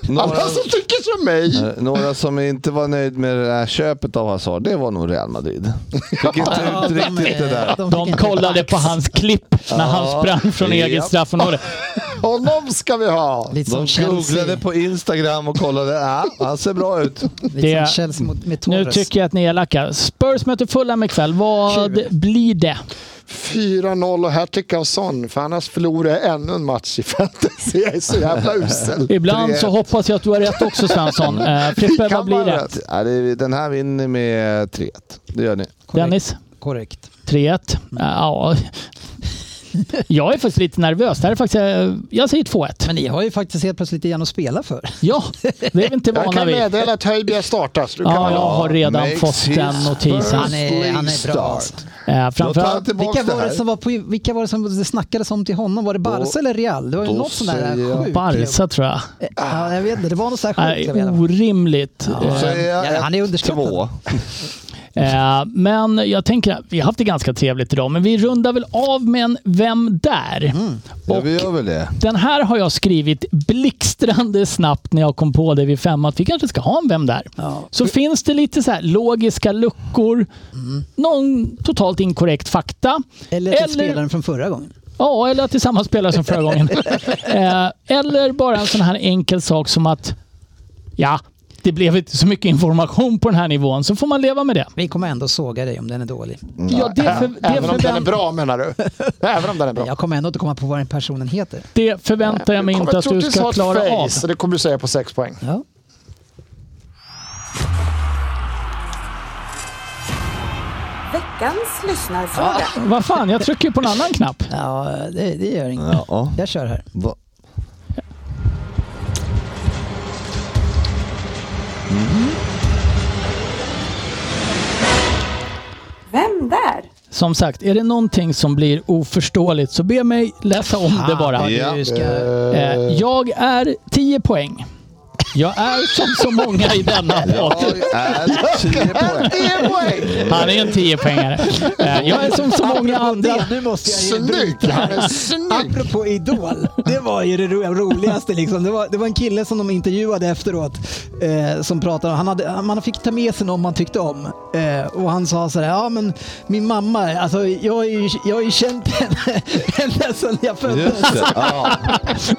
[SPEAKER 4] Alla
[SPEAKER 5] några,
[SPEAKER 4] som tycker som mig.
[SPEAKER 5] eh, några som inte var nöjd med det här köpet av Hazard, det var nog Real Madrid. Fick inte ut riktigt det där.
[SPEAKER 3] De kollade på hans klipp när han sprang från
[SPEAKER 5] Ja.
[SPEAKER 3] eget straffområde.
[SPEAKER 4] Honom ska vi ha.
[SPEAKER 6] Lite som
[SPEAKER 5] De googlade
[SPEAKER 6] Chelsea,
[SPEAKER 5] på Instagram och kollade. Ja, han ser bra
[SPEAKER 6] <laughs>
[SPEAKER 5] ut.
[SPEAKER 6] lite
[SPEAKER 3] Det-
[SPEAKER 6] som Chelsea mot, med
[SPEAKER 3] Nu
[SPEAKER 6] Torres.
[SPEAKER 3] tycker jag att ni är elaka. Spurs möter Fulham ikväll. Vad
[SPEAKER 6] Tjugo.
[SPEAKER 3] blir det?
[SPEAKER 4] 4-0 och här tycker jag sån. För annars förlorar jag ännu en match i fantasy. Jag är så jävla usel.
[SPEAKER 3] Ibland så
[SPEAKER 5] 3-1.
[SPEAKER 3] hoppas jag att du har rätt också Svensson. Eh,
[SPEAKER 4] Vi
[SPEAKER 3] Frippe,
[SPEAKER 4] kan
[SPEAKER 3] vad blir
[SPEAKER 4] bara
[SPEAKER 3] det?
[SPEAKER 4] rätt.
[SPEAKER 5] Ja, det- Den här vinner med 3-1. Det gör ni.
[SPEAKER 6] Korrekt.
[SPEAKER 3] Dennis?
[SPEAKER 6] Korrekt.
[SPEAKER 3] 3-1. Eh, Ja. <laughs> Jag är faktiskt lite nervös. Det här är faktiskt, eh, jag säger 2-1.
[SPEAKER 6] Men ni har ju faktiskt helt plötsligt igen att spela för.
[SPEAKER 3] Ja, det är vi inte
[SPEAKER 4] Jag
[SPEAKER 3] vana
[SPEAKER 4] kan
[SPEAKER 3] vid.
[SPEAKER 4] meddela att Höjbjerg startas. Du kan
[SPEAKER 3] Ja, jag har redan
[SPEAKER 5] Makes
[SPEAKER 3] fått
[SPEAKER 5] his
[SPEAKER 3] den notisen.
[SPEAKER 5] first
[SPEAKER 6] Han är- han är bra,
[SPEAKER 5] start.
[SPEAKER 6] alltså.
[SPEAKER 3] Eh,
[SPEAKER 5] Då tar jag
[SPEAKER 3] Framförallt
[SPEAKER 5] tillbaka
[SPEAKER 6] Vilka
[SPEAKER 5] det
[SPEAKER 6] var,
[SPEAKER 5] här.
[SPEAKER 6] det som var på, vilka var det som det snackades om till honom? Var det Barca
[SPEAKER 5] Då-
[SPEAKER 6] eller Real? Det var ju
[SPEAKER 5] då
[SPEAKER 6] något sånt där
[SPEAKER 5] säger jag-
[SPEAKER 6] sjukt.
[SPEAKER 3] Barca tror jag.
[SPEAKER 6] Ja, jag vet inte, det var något sånt där sjukt.
[SPEAKER 3] Nej,
[SPEAKER 6] i alla fall.
[SPEAKER 3] orimligt.
[SPEAKER 5] Då säger jag
[SPEAKER 6] Ja, han är
[SPEAKER 5] ett,
[SPEAKER 6] underskattad.
[SPEAKER 5] Två.
[SPEAKER 3] Eh, Men jag tänker att vi har haft det ganska trevligt idag, men vi rundar väl av med en Vem där?
[SPEAKER 5] Ja, vi gör väl det.
[SPEAKER 3] Den här har jag skrivit blixtrande snabbt när jag kom på det vid fem att vi kanske ska ha en Vem där? Så finns det lite så här logiska luckor, någon totalt inkorrekt fakta.
[SPEAKER 6] Eller, till spelaren från förra gången.
[SPEAKER 3] Ja, eller att det är samma spelare som förra gången. eh, eller bara en sån här enkel sak som att ja, det blev inte så mycket information på den här nivån, så får man leva med det.
[SPEAKER 6] Vi kommer ändå såga dig om den är dålig.
[SPEAKER 3] Ja, det, för, det,
[SPEAKER 4] Även om den är
[SPEAKER 3] förvänt,
[SPEAKER 4] bra menar du? Även om den är bra.
[SPEAKER 6] Jag kommer ändå inte komma på vad den personen heter.
[SPEAKER 3] det förväntar jag mig inte att du ska klara av.
[SPEAKER 4] Så det kommer du säga på sex poäng.
[SPEAKER 6] Ja.
[SPEAKER 7] Veckans lyssnarfråga.
[SPEAKER 3] Vad fan, jag trycker ju på en annan knapp.
[SPEAKER 6] Ja, det, det gör inget.
[SPEAKER 5] Ja.
[SPEAKER 6] Jag kör här.
[SPEAKER 5] Va-
[SPEAKER 7] Vem där?
[SPEAKER 3] Som sagt, är det någonting som blir oförståeligt så be mig läsa om det bara.
[SPEAKER 6] Ja, du ska...
[SPEAKER 3] Eh, jag är 10 poäng. Jag är som så många i denna
[SPEAKER 6] <laughs>
[SPEAKER 3] podd.
[SPEAKER 5] Jag är tio poäng.
[SPEAKER 4] Tio poäng!
[SPEAKER 3] Han är en 10-poängare. Eh, jag är som så många
[SPEAKER 6] <laughs>
[SPEAKER 3] andra.
[SPEAKER 6] nu måste
[SPEAKER 4] Snygg! Han är snygg!
[SPEAKER 6] Apropå Idol, det var ju det ro- roligaste. Liksom. Det, var, det var en kille som de intervjuade efteråt eh, som pratade om, han hade, man fick ta med sig någon man tyckte om. Eh, och han sa sådär, ja men min mamma, alltså, jag har ju, jag har ju känt henne <laughs> ända sedan jag föddes.
[SPEAKER 5] Just det. Ja.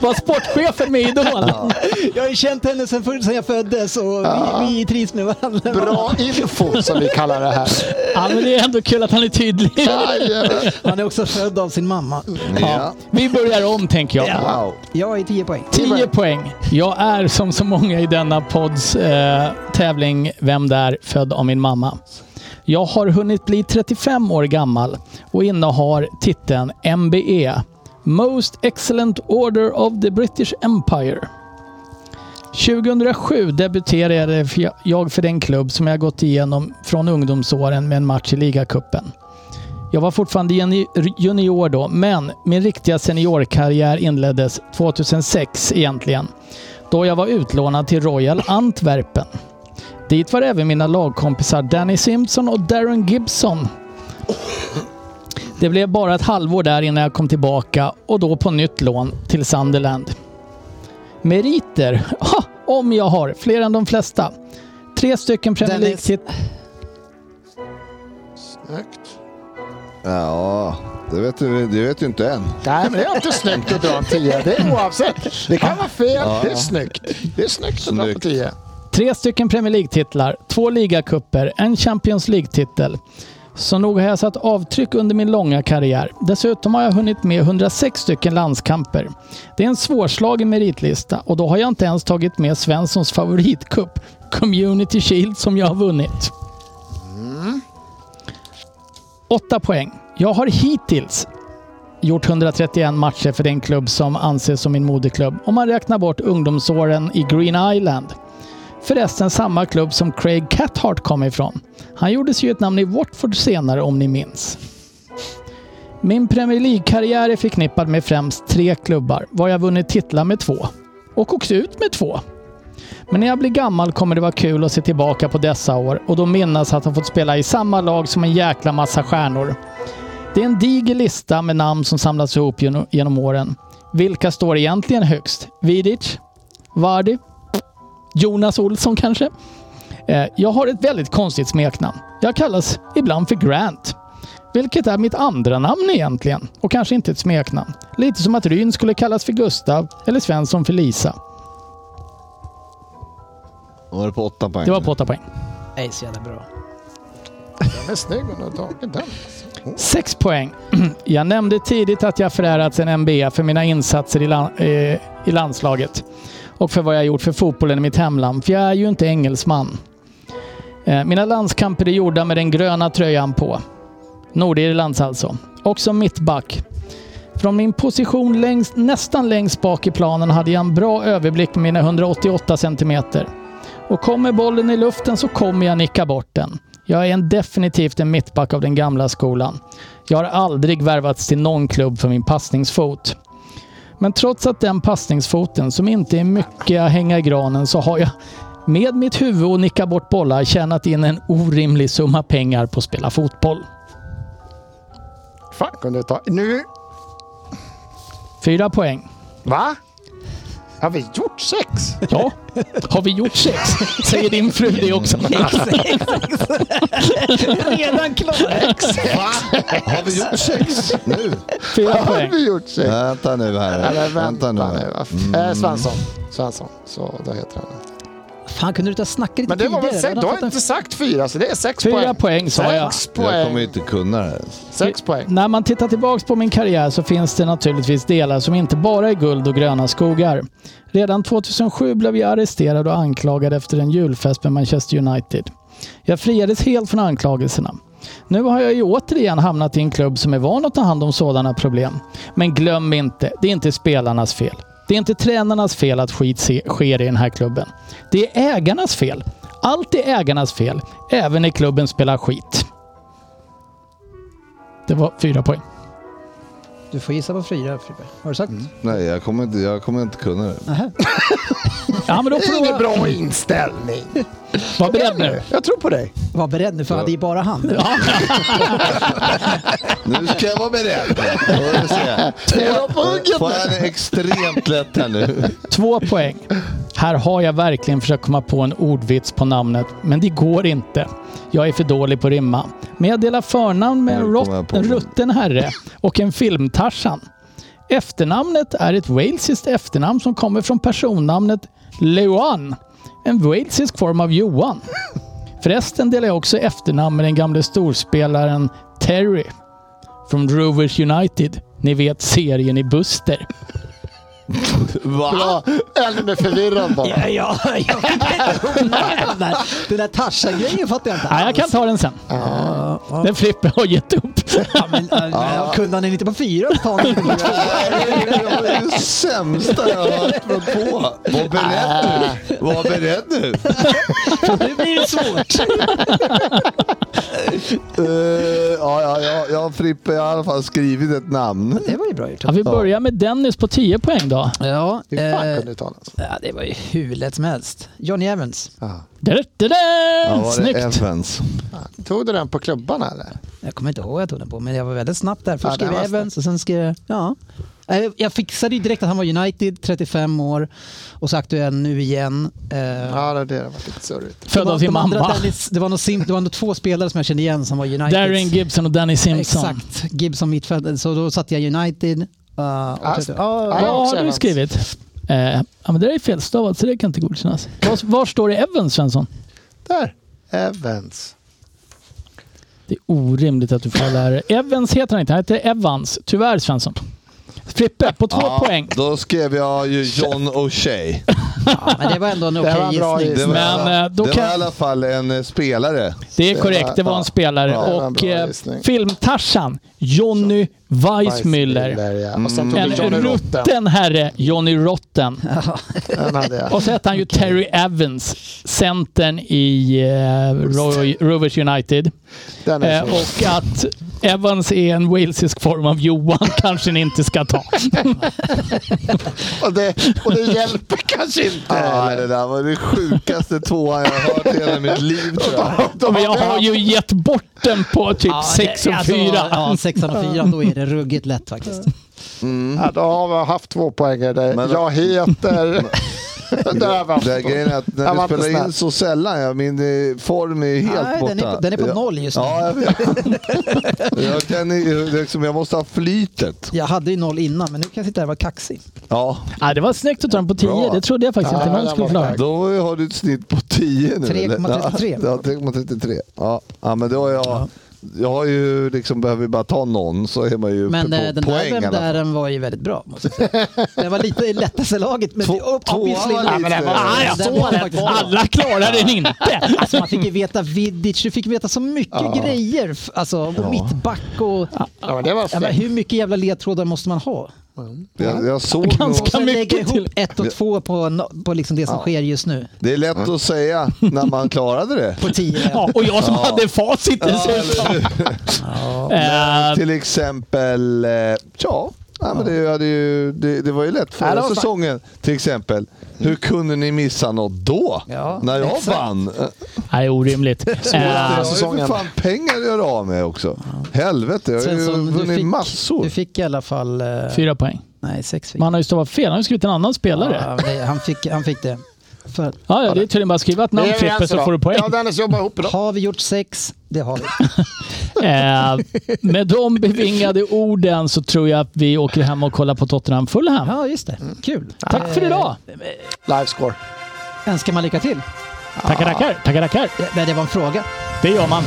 [SPEAKER 3] Var sportchefen med i Idol?
[SPEAKER 6] Jag har ju känt henne sedan, för, sedan jag föddes och vi, vi trivs med varandra.
[SPEAKER 4] Bra info som vi kallar det här.
[SPEAKER 3] Ja, men det är ändå kul att han är tydlig.
[SPEAKER 4] Jajamän.
[SPEAKER 6] Han är också född av sin mamma.
[SPEAKER 3] Ja,
[SPEAKER 5] Ja.
[SPEAKER 3] vi börjar om tänker jag.
[SPEAKER 6] Ja.
[SPEAKER 5] Wow.
[SPEAKER 6] Jag är 10 poäng.
[SPEAKER 3] 10 poäng. Jag är som så många i denna podds eh, tävling Vem där? Född av min mamma. Jag har hunnit bli 35 år gammal och innehar titeln MBE. Most Excellent Order of the British Empire. 2007 debuterade för- jag för den klubb som jag gått igenom från ungdomsåren med en match i ligacupen. Jag var fortfarande juni- junior då, men min riktiga seniorkarriär inleddes 2006 egentligen. Då jag var utlånad till Royal Antwerpen. Dit var även mina lagkompisar Danny Simpson och Darren Gibson. Det blev bara ett halvår där innan jag kom tillbaka och då på nytt lån till Sunderland. Meriter? <laughs> Ha, om jag har, fler än de flesta. Tre stycken Premier
[SPEAKER 8] Dennis.
[SPEAKER 3] League-titlar.
[SPEAKER 4] Snyggt.
[SPEAKER 5] Ja, det vet du, det vet du inte än.
[SPEAKER 4] Nej, men det är alltid snyggt att dra en tia. Det är oavsett. Det kan vara fel. Det är snyggt. Det är snyggt att dra på
[SPEAKER 5] Snyggt.
[SPEAKER 4] tia.
[SPEAKER 3] Tre stycken Premier League-titlar, två ligacuper, en Champions League-titel. Så nog har jag satt avtryck under min långa karriär. Dessutom har jag hunnit med 106 stycken landskamper. Det är en svårslagen meritlista och då har jag inte ens tagit med Svenssons favoritcup, Community Shield, som jag har vunnit. Åtta poäng. Jag har hittills gjort 131 matcher för den klubb som anses som min moderklubb om man räknar bort ungdomsåren i Green Island. Förresten samma klubb som Craig Cathart kom ifrån. Han gjorde sig ju ett namn i Watford senare om ni minns. Min Premier League-karriär är förknippad med främst tre klubbar, var jag vunnit titlar med två. Och åkt ut med två. Men när jag blir gammal kommer det vara kul att se tillbaka på dessa år och då minnas att ha fått spela i samma lag som en jäkla massa stjärnor. Det är en diger lista med namn som samlats ihop geno- genom åren. Vilka står egentligen högst? Vidic? Vardy? Jonas Olsson kanske? Eh, Jag har ett väldigt konstigt smeknamn. Jag kallas ibland för Grant. Vilket är mitt andra namn egentligen och kanske inte ett smeknamn. Lite som att Ryn skulle kallas för Gustav eller Svensson för Lisa.
[SPEAKER 5] Var det på åtta poäng?
[SPEAKER 3] Det var på åtta poäng.
[SPEAKER 6] Nej, så jävla bra.
[SPEAKER 4] Den är snygg om du har tagit den.
[SPEAKER 3] Sex poäng. <clears throat> Jag nämnde tidigt att jag förärats en NBA för mina insatser i, lan- eh, i landslaget och för vad jag gjort för fotbollen i mitt hemland, för jag är ju inte engelsman. Eh, Mina landskamper är gjorda med den gröna tröjan på. Nordirlands alltså. Och som mittback. Från min position längst, nästan längst bak i planen hade jag en bra överblick med mina 188 centimeter. Och kommer bollen i luften så kommer jag nicka bort den. Jag är en definitivt en mittback av den gamla skolan. Jag har aldrig värvats till någon klubb för min passningsfot. Men trots att den passningsfoten, som inte är mycket att hänga i granen, så har jag med mitt huvud och nicka bort bollar tjänat in en orimlig summa pengar på att spela fotboll.
[SPEAKER 4] Fan, kunde du ta... Nu...
[SPEAKER 3] Fyra poäng.
[SPEAKER 4] Va? Har vi
[SPEAKER 5] <laughs>
[SPEAKER 4] gjort sex?
[SPEAKER 3] Ja, har vi gjort sex? Säger din fru det också.
[SPEAKER 6] Redan klar!
[SPEAKER 5] Har vi gjort sex nu?
[SPEAKER 3] Fyra
[SPEAKER 4] Har
[SPEAKER 3] poäng.
[SPEAKER 4] vi gjort sex?
[SPEAKER 5] Vänta nu här.
[SPEAKER 4] Eller
[SPEAKER 5] vänta nu. här. Mm.
[SPEAKER 4] Eh, Svensson. Svensson. Så då heter han.
[SPEAKER 6] Fan, kunde du inte ha snackat lite
[SPEAKER 4] Men det var väl
[SPEAKER 6] tidigare?
[SPEAKER 4] sex?
[SPEAKER 6] Då
[SPEAKER 4] Du
[SPEAKER 6] hade
[SPEAKER 4] har
[SPEAKER 6] jag fått en-
[SPEAKER 4] inte sagt fyra, så det är sex poäng.
[SPEAKER 3] Fyra poäng sa jag.
[SPEAKER 4] Sex
[SPEAKER 5] Jag kommer ju
[SPEAKER 4] poäng.
[SPEAKER 5] inte kunna det här.
[SPEAKER 4] Sex poäng.
[SPEAKER 3] När man tittar tillbaks på min karriär så finns det naturligtvis delar som inte bara är guld och gröna skogar. Redan 2007 blev jag arresterad och anklagad efter en julfest med Manchester United. Jag friades helt från anklagelserna. Nu har jag ju återigen hamnat i en klubb som är van att ta hand om sådana problem. Men glöm inte, det är inte spelarnas fel. Det är inte tränarnas fel att skit se- sker i den här klubben. Det är ägarnas fel. Allt är ägarnas fel, även när klubben spelar skit. Det var fyra poäng.
[SPEAKER 6] Du får gissa på fyra, Friberg. Har du sagt?
[SPEAKER 4] Mm.
[SPEAKER 5] Nej, jag kommer inte, jag kommer inte kunna det.
[SPEAKER 3] Ja, men då
[SPEAKER 4] Det är
[SPEAKER 3] får
[SPEAKER 4] ingen
[SPEAKER 3] du
[SPEAKER 4] bra inställning.
[SPEAKER 3] vara beredd nu.
[SPEAKER 4] Jag tror på dig.
[SPEAKER 6] Var beredd nu, för det är bara han.
[SPEAKER 5] Nu ska jag vara beredd. Får vi se.
[SPEAKER 4] Två på hugget
[SPEAKER 5] Får jag en extremt lätt här nu?
[SPEAKER 3] Två poäng. Här har jag verkligen försökt komma på en ordvits på namnet, men det går inte. Jag är för dålig på att rimma. Men jag delar förnamn med en,
[SPEAKER 5] Nu kommer jag
[SPEAKER 3] rott,
[SPEAKER 5] på
[SPEAKER 3] en
[SPEAKER 5] den.
[SPEAKER 3] rutten herre och en filmtarsan. Efternamnet är ett walesiskt efternamn som kommer från personnamnet Leoan. En walesisk form av Johan. Förresten delar jag också efternamn med den gamle storspelaren Terry från Rovers United. Ni vet serien i Buster.
[SPEAKER 4] Bra. Ännu mer förvirrad bara.
[SPEAKER 6] Ja, ja, jag fick <laughs> inte ihop namn där. Den där Tarzan-grejen fattar jag inte
[SPEAKER 3] Nej, jag kan ta den sen. Den Frippe har gett upp.
[SPEAKER 6] Ja, men, äh, Kunde han inte på fyra så <laughs> tar han den på två.
[SPEAKER 5] Det var det sämsta jag har hört mig på. Var beredd nu. Var beredd nu.
[SPEAKER 6] Nu blir det svårt.
[SPEAKER 5] Eh, ja, ja, ja, ja, Frippe, jag har i alla fall skrivit ett namn.
[SPEAKER 6] Det var ju bra gjort.
[SPEAKER 3] Ja, vi börjar med Dennis på 10 poäng då.
[SPEAKER 6] Ja,
[SPEAKER 4] Hur fan
[SPEAKER 6] eh,
[SPEAKER 4] kunde du ta den? alltså?
[SPEAKER 6] ja, det var ju hur lätt som helst. Johnny Evans.
[SPEAKER 3] Da, da, da.
[SPEAKER 5] Ja, var det
[SPEAKER 3] Snyggt!
[SPEAKER 5] Evans?
[SPEAKER 4] Tog du den på klubban eller?
[SPEAKER 6] Jag kommer inte ihåg vad jag tog den på, men jag var väldigt snabb där. Först
[SPEAKER 4] Ja,
[SPEAKER 6] skrev
[SPEAKER 4] där
[SPEAKER 6] jag
[SPEAKER 4] var snabb.
[SPEAKER 6] Evans och sen skrev jag... Ja. Eh, Jag fixade ju direkt att han var United, 35 år och så aktuell nu igen. Eh,
[SPEAKER 4] Ja, det, det var lite surrigt.
[SPEAKER 3] Född
[SPEAKER 6] de-
[SPEAKER 3] av sin
[SPEAKER 6] de andra
[SPEAKER 3] mamma.
[SPEAKER 6] Dennis- Det var, nog sim, det var nog två spelare som jag kände igen som var United.
[SPEAKER 3] Darren Gibson och Danny Simpson.
[SPEAKER 6] Exakt, Gibson mittfältare. Så då satte jag United. eh, och
[SPEAKER 4] Ah,
[SPEAKER 6] tänkte, ja,
[SPEAKER 4] ah,
[SPEAKER 3] Vad
[SPEAKER 4] ja, också
[SPEAKER 3] har du
[SPEAKER 4] Evans.
[SPEAKER 3] skrivit? Eh, ja, men det där är felstavat så det kan inte godkännas. Var, var står det Evans Svensson?
[SPEAKER 4] Där! Evans.
[SPEAKER 3] Det är orimligt att du får lära dig. Evans heter han inte, han heter Evans. Tyvärr Svensson. Frippe på två poäng.
[SPEAKER 5] Då skrev jag ju John O'Shea.
[SPEAKER 6] ja, men <laughs> det var ändå en
[SPEAKER 4] Det
[SPEAKER 6] okej
[SPEAKER 4] var en bra
[SPEAKER 6] gissning.
[SPEAKER 5] Det var,
[SPEAKER 3] Men, eh, då
[SPEAKER 5] det
[SPEAKER 3] kan-
[SPEAKER 5] var i alla fall en eh, spelare.
[SPEAKER 3] Det är korrekt, det var en
[SPEAKER 4] ja,
[SPEAKER 3] spelare.
[SPEAKER 4] ja, det var en
[SPEAKER 3] och
[SPEAKER 4] bra
[SPEAKER 3] eh,
[SPEAKER 4] gissning.
[SPEAKER 3] filmtarsan Jonny Weissmuller.
[SPEAKER 4] Weissmuller, ja. Och sen
[SPEAKER 6] Mm.
[SPEAKER 4] tog
[SPEAKER 3] En
[SPEAKER 4] du Johnny Rotten.
[SPEAKER 3] rutten herre, Johnny <laughs> Rotten.
[SPEAKER 4] Den hade jag.
[SPEAKER 3] Och så hette han ju Terry Evans, centern i eh, Roy, Rovers United.
[SPEAKER 4] Den
[SPEAKER 3] Eh,
[SPEAKER 4] är så.
[SPEAKER 3] och att Evans är en walesisk form av Johan <laughs> kanske ni inte ska ta.
[SPEAKER 4] Och det, och det hjälper kanske inte.
[SPEAKER 5] Ja, det där var det sjukaste tvåan jag har hört i hela mitt liv tror jag.
[SPEAKER 3] Men jag har ju gett bort den på typ
[SPEAKER 6] Ja, det-
[SPEAKER 3] 6 och
[SPEAKER 6] alltså,
[SPEAKER 3] 4.
[SPEAKER 6] Ja, 6 och 4, då är det ruggigt lätt faktiskt.
[SPEAKER 4] Ja, då har vi haft två poänger där.
[SPEAKER 5] Men- <laughs>
[SPEAKER 4] jag heter... där har vi haft
[SPEAKER 5] Det är
[SPEAKER 4] två.
[SPEAKER 5] grejen är att
[SPEAKER 4] Jag var
[SPEAKER 5] när
[SPEAKER 4] inte
[SPEAKER 5] du spelar
[SPEAKER 4] snäll.
[SPEAKER 5] in så sällan, ja, min eh, form är ju helt
[SPEAKER 6] Nej,
[SPEAKER 5] borta.
[SPEAKER 6] den är på- den är på
[SPEAKER 5] Ja.
[SPEAKER 6] noll just nu.
[SPEAKER 5] Ja, jag
[SPEAKER 6] <laughs>
[SPEAKER 5] vet. jag, kan, ju- liksom, jag måste ha flytet.
[SPEAKER 6] Jag hade ju noll innan, men nu kan jag sitta här och vara kaxig.
[SPEAKER 5] Ja,
[SPEAKER 3] Ja, det var snyggt att ta den på 10,
[SPEAKER 5] Bra.
[SPEAKER 3] det trodde jag faktiskt
[SPEAKER 4] Ja,
[SPEAKER 3] inte någon
[SPEAKER 4] den
[SPEAKER 3] skulle
[SPEAKER 4] var
[SPEAKER 3] klara.
[SPEAKER 4] stark.
[SPEAKER 5] då har du ett snitt på 10 nu. eller?
[SPEAKER 6] 3,33.
[SPEAKER 5] Ja, 3,33. Ja. ja, men då har jag... Jag har ju liksom, behöver ju bara ta någon så är man ju uppe
[SPEAKER 6] Men
[SPEAKER 5] på
[SPEAKER 6] eh, den
[SPEAKER 5] poäng. i
[SPEAKER 6] där
[SPEAKER 5] alla
[SPEAKER 6] vem
[SPEAKER 5] fall.
[SPEAKER 6] där den var ju väldigt bra. Måste jag säga. Den var lite i lättaste laget, men
[SPEAKER 5] Två-
[SPEAKER 6] det- ob-
[SPEAKER 5] tvåan
[SPEAKER 6] obviously
[SPEAKER 5] var
[SPEAKER 6] not.
[SPEAKER 5] lite- Ja, men den var-
[SPEAKER 3] Ah, jag
[SPEAKER 6] Den
[SPEAKER 3] såg
[SPEAKER 6] var
[SPEAKER 3] den!
[SPEAKER 6] faktiskt bra.
[SPEAKER 3] Alla klarar den inte!
[SPEAKER 6] Alltså man fick ju veta Vidic, du fick veta så mycket grejer. f- Alltså, och mittback och...
[SPEAKER 4] Ja, men det var
[SPEAKER 6] Ja, men
[SPEAKER 4] fint.
[SPEAKER 6] hur mycket jävla ledtrådar måste man ha?
[SPEAKER 5] Jag, jag såg
[SPEAKER 3] Ganska
[SPEAKER 5] nog,
[SPEAKER 6] Och sen
[SPEAKER 3] mycket
[SPEAKER 6] lägga ihop
[SPEAKER 3] till.
[SPEAKER 6] ett och två på, no- på liksom det som sker just nu.
[SPEAKER 5] det är lätt att säga när man klarade det.
[SPEAKER 6] <laughs> På tio.
[SPEAKER 3] <laughs> Ja, och jag som hade facit
[SPEAKER 5] eller
[SPEAKER 3] dessutom.
[SPEAKER 5] hur?
[SPEAKER 3] Eh,
[SPEAKER 5] Till exempel, eh, ja, nej, men det, hade ju, det, det var ju lätt
[SPEAKER 4] Ja, det
[SPEAKER 5] förra
[SPEAKER 4] var fan-
[SPEAKER 5] säsongen. Till exempel, hur kunde ni missa något då?
[SPEAKER 6] Ja,
[SPEAKER 5] när jag
[SPEAKER 6] exakt.
[SPEAKER 5] vann. Eh,
[SPEAKER 3] Nej, orimligt.
[SPEAKER 5] jag
[SPEAKER 3] Eh,
[SPEAKER 5] har ju för
[SPEAKER 4] säsongen.
[SPEAKER 5] fan pengar att göra av med också. Helvete, jag har ju
[SPEAKER 6] Svensson, du
[SPEAKER 5] vunnit
[SPEAKER 6] fick-
[SPEAKER 5] massor.
[SPEAKER 6] Du fick i alla fall... eh,
[SPEAKER 3] Fyra poäng.
[SPEAKER 6] Nej, sex fick
[SPEAKER 3] Man har ju stavat fel, han har ju skrivit en annan
[SPEAKER 6] Ja,
[SPEAKER 3] spelare.
[SPEAKER 6] men det- han, fick, han fick det. För,
[SPEAKER 3] Ja, ja, det är tydligen bara att skriva ett
[SPEAKER 4] Det är
[SPEAKER 3] namn
[SPEAKER 4] vi
[SPEAKER 3] Frippe
[SPEAKER 4] överens
[SPEAKER 3] så
[SPEAKER 4] idag.
[SPEAKER 3] får du poäng.
[SPEAKER 4] Ja, Dennis jobbar ihop idag.
[SPEAKER 6] har vi gjort sex? Det har vi.
[SPEAKER 3] Eh, med de bevingade orden så tror jag att vi åker hem och kollar på Tottenham Fulham.
[SPEAKER 6] Ja, just det. Kul. Eh,
[SPEAKER 3] Tack för idag!
[SPEAKER 4] Livescore.
[SPEAKER 6] Önskar man lycka till?
[SPEAKER 3] Tackar, tackar, tackar, tackar.
[SPEAKER 6] Nej, det var en fråga.
[SPEAKER 3] Det gör man.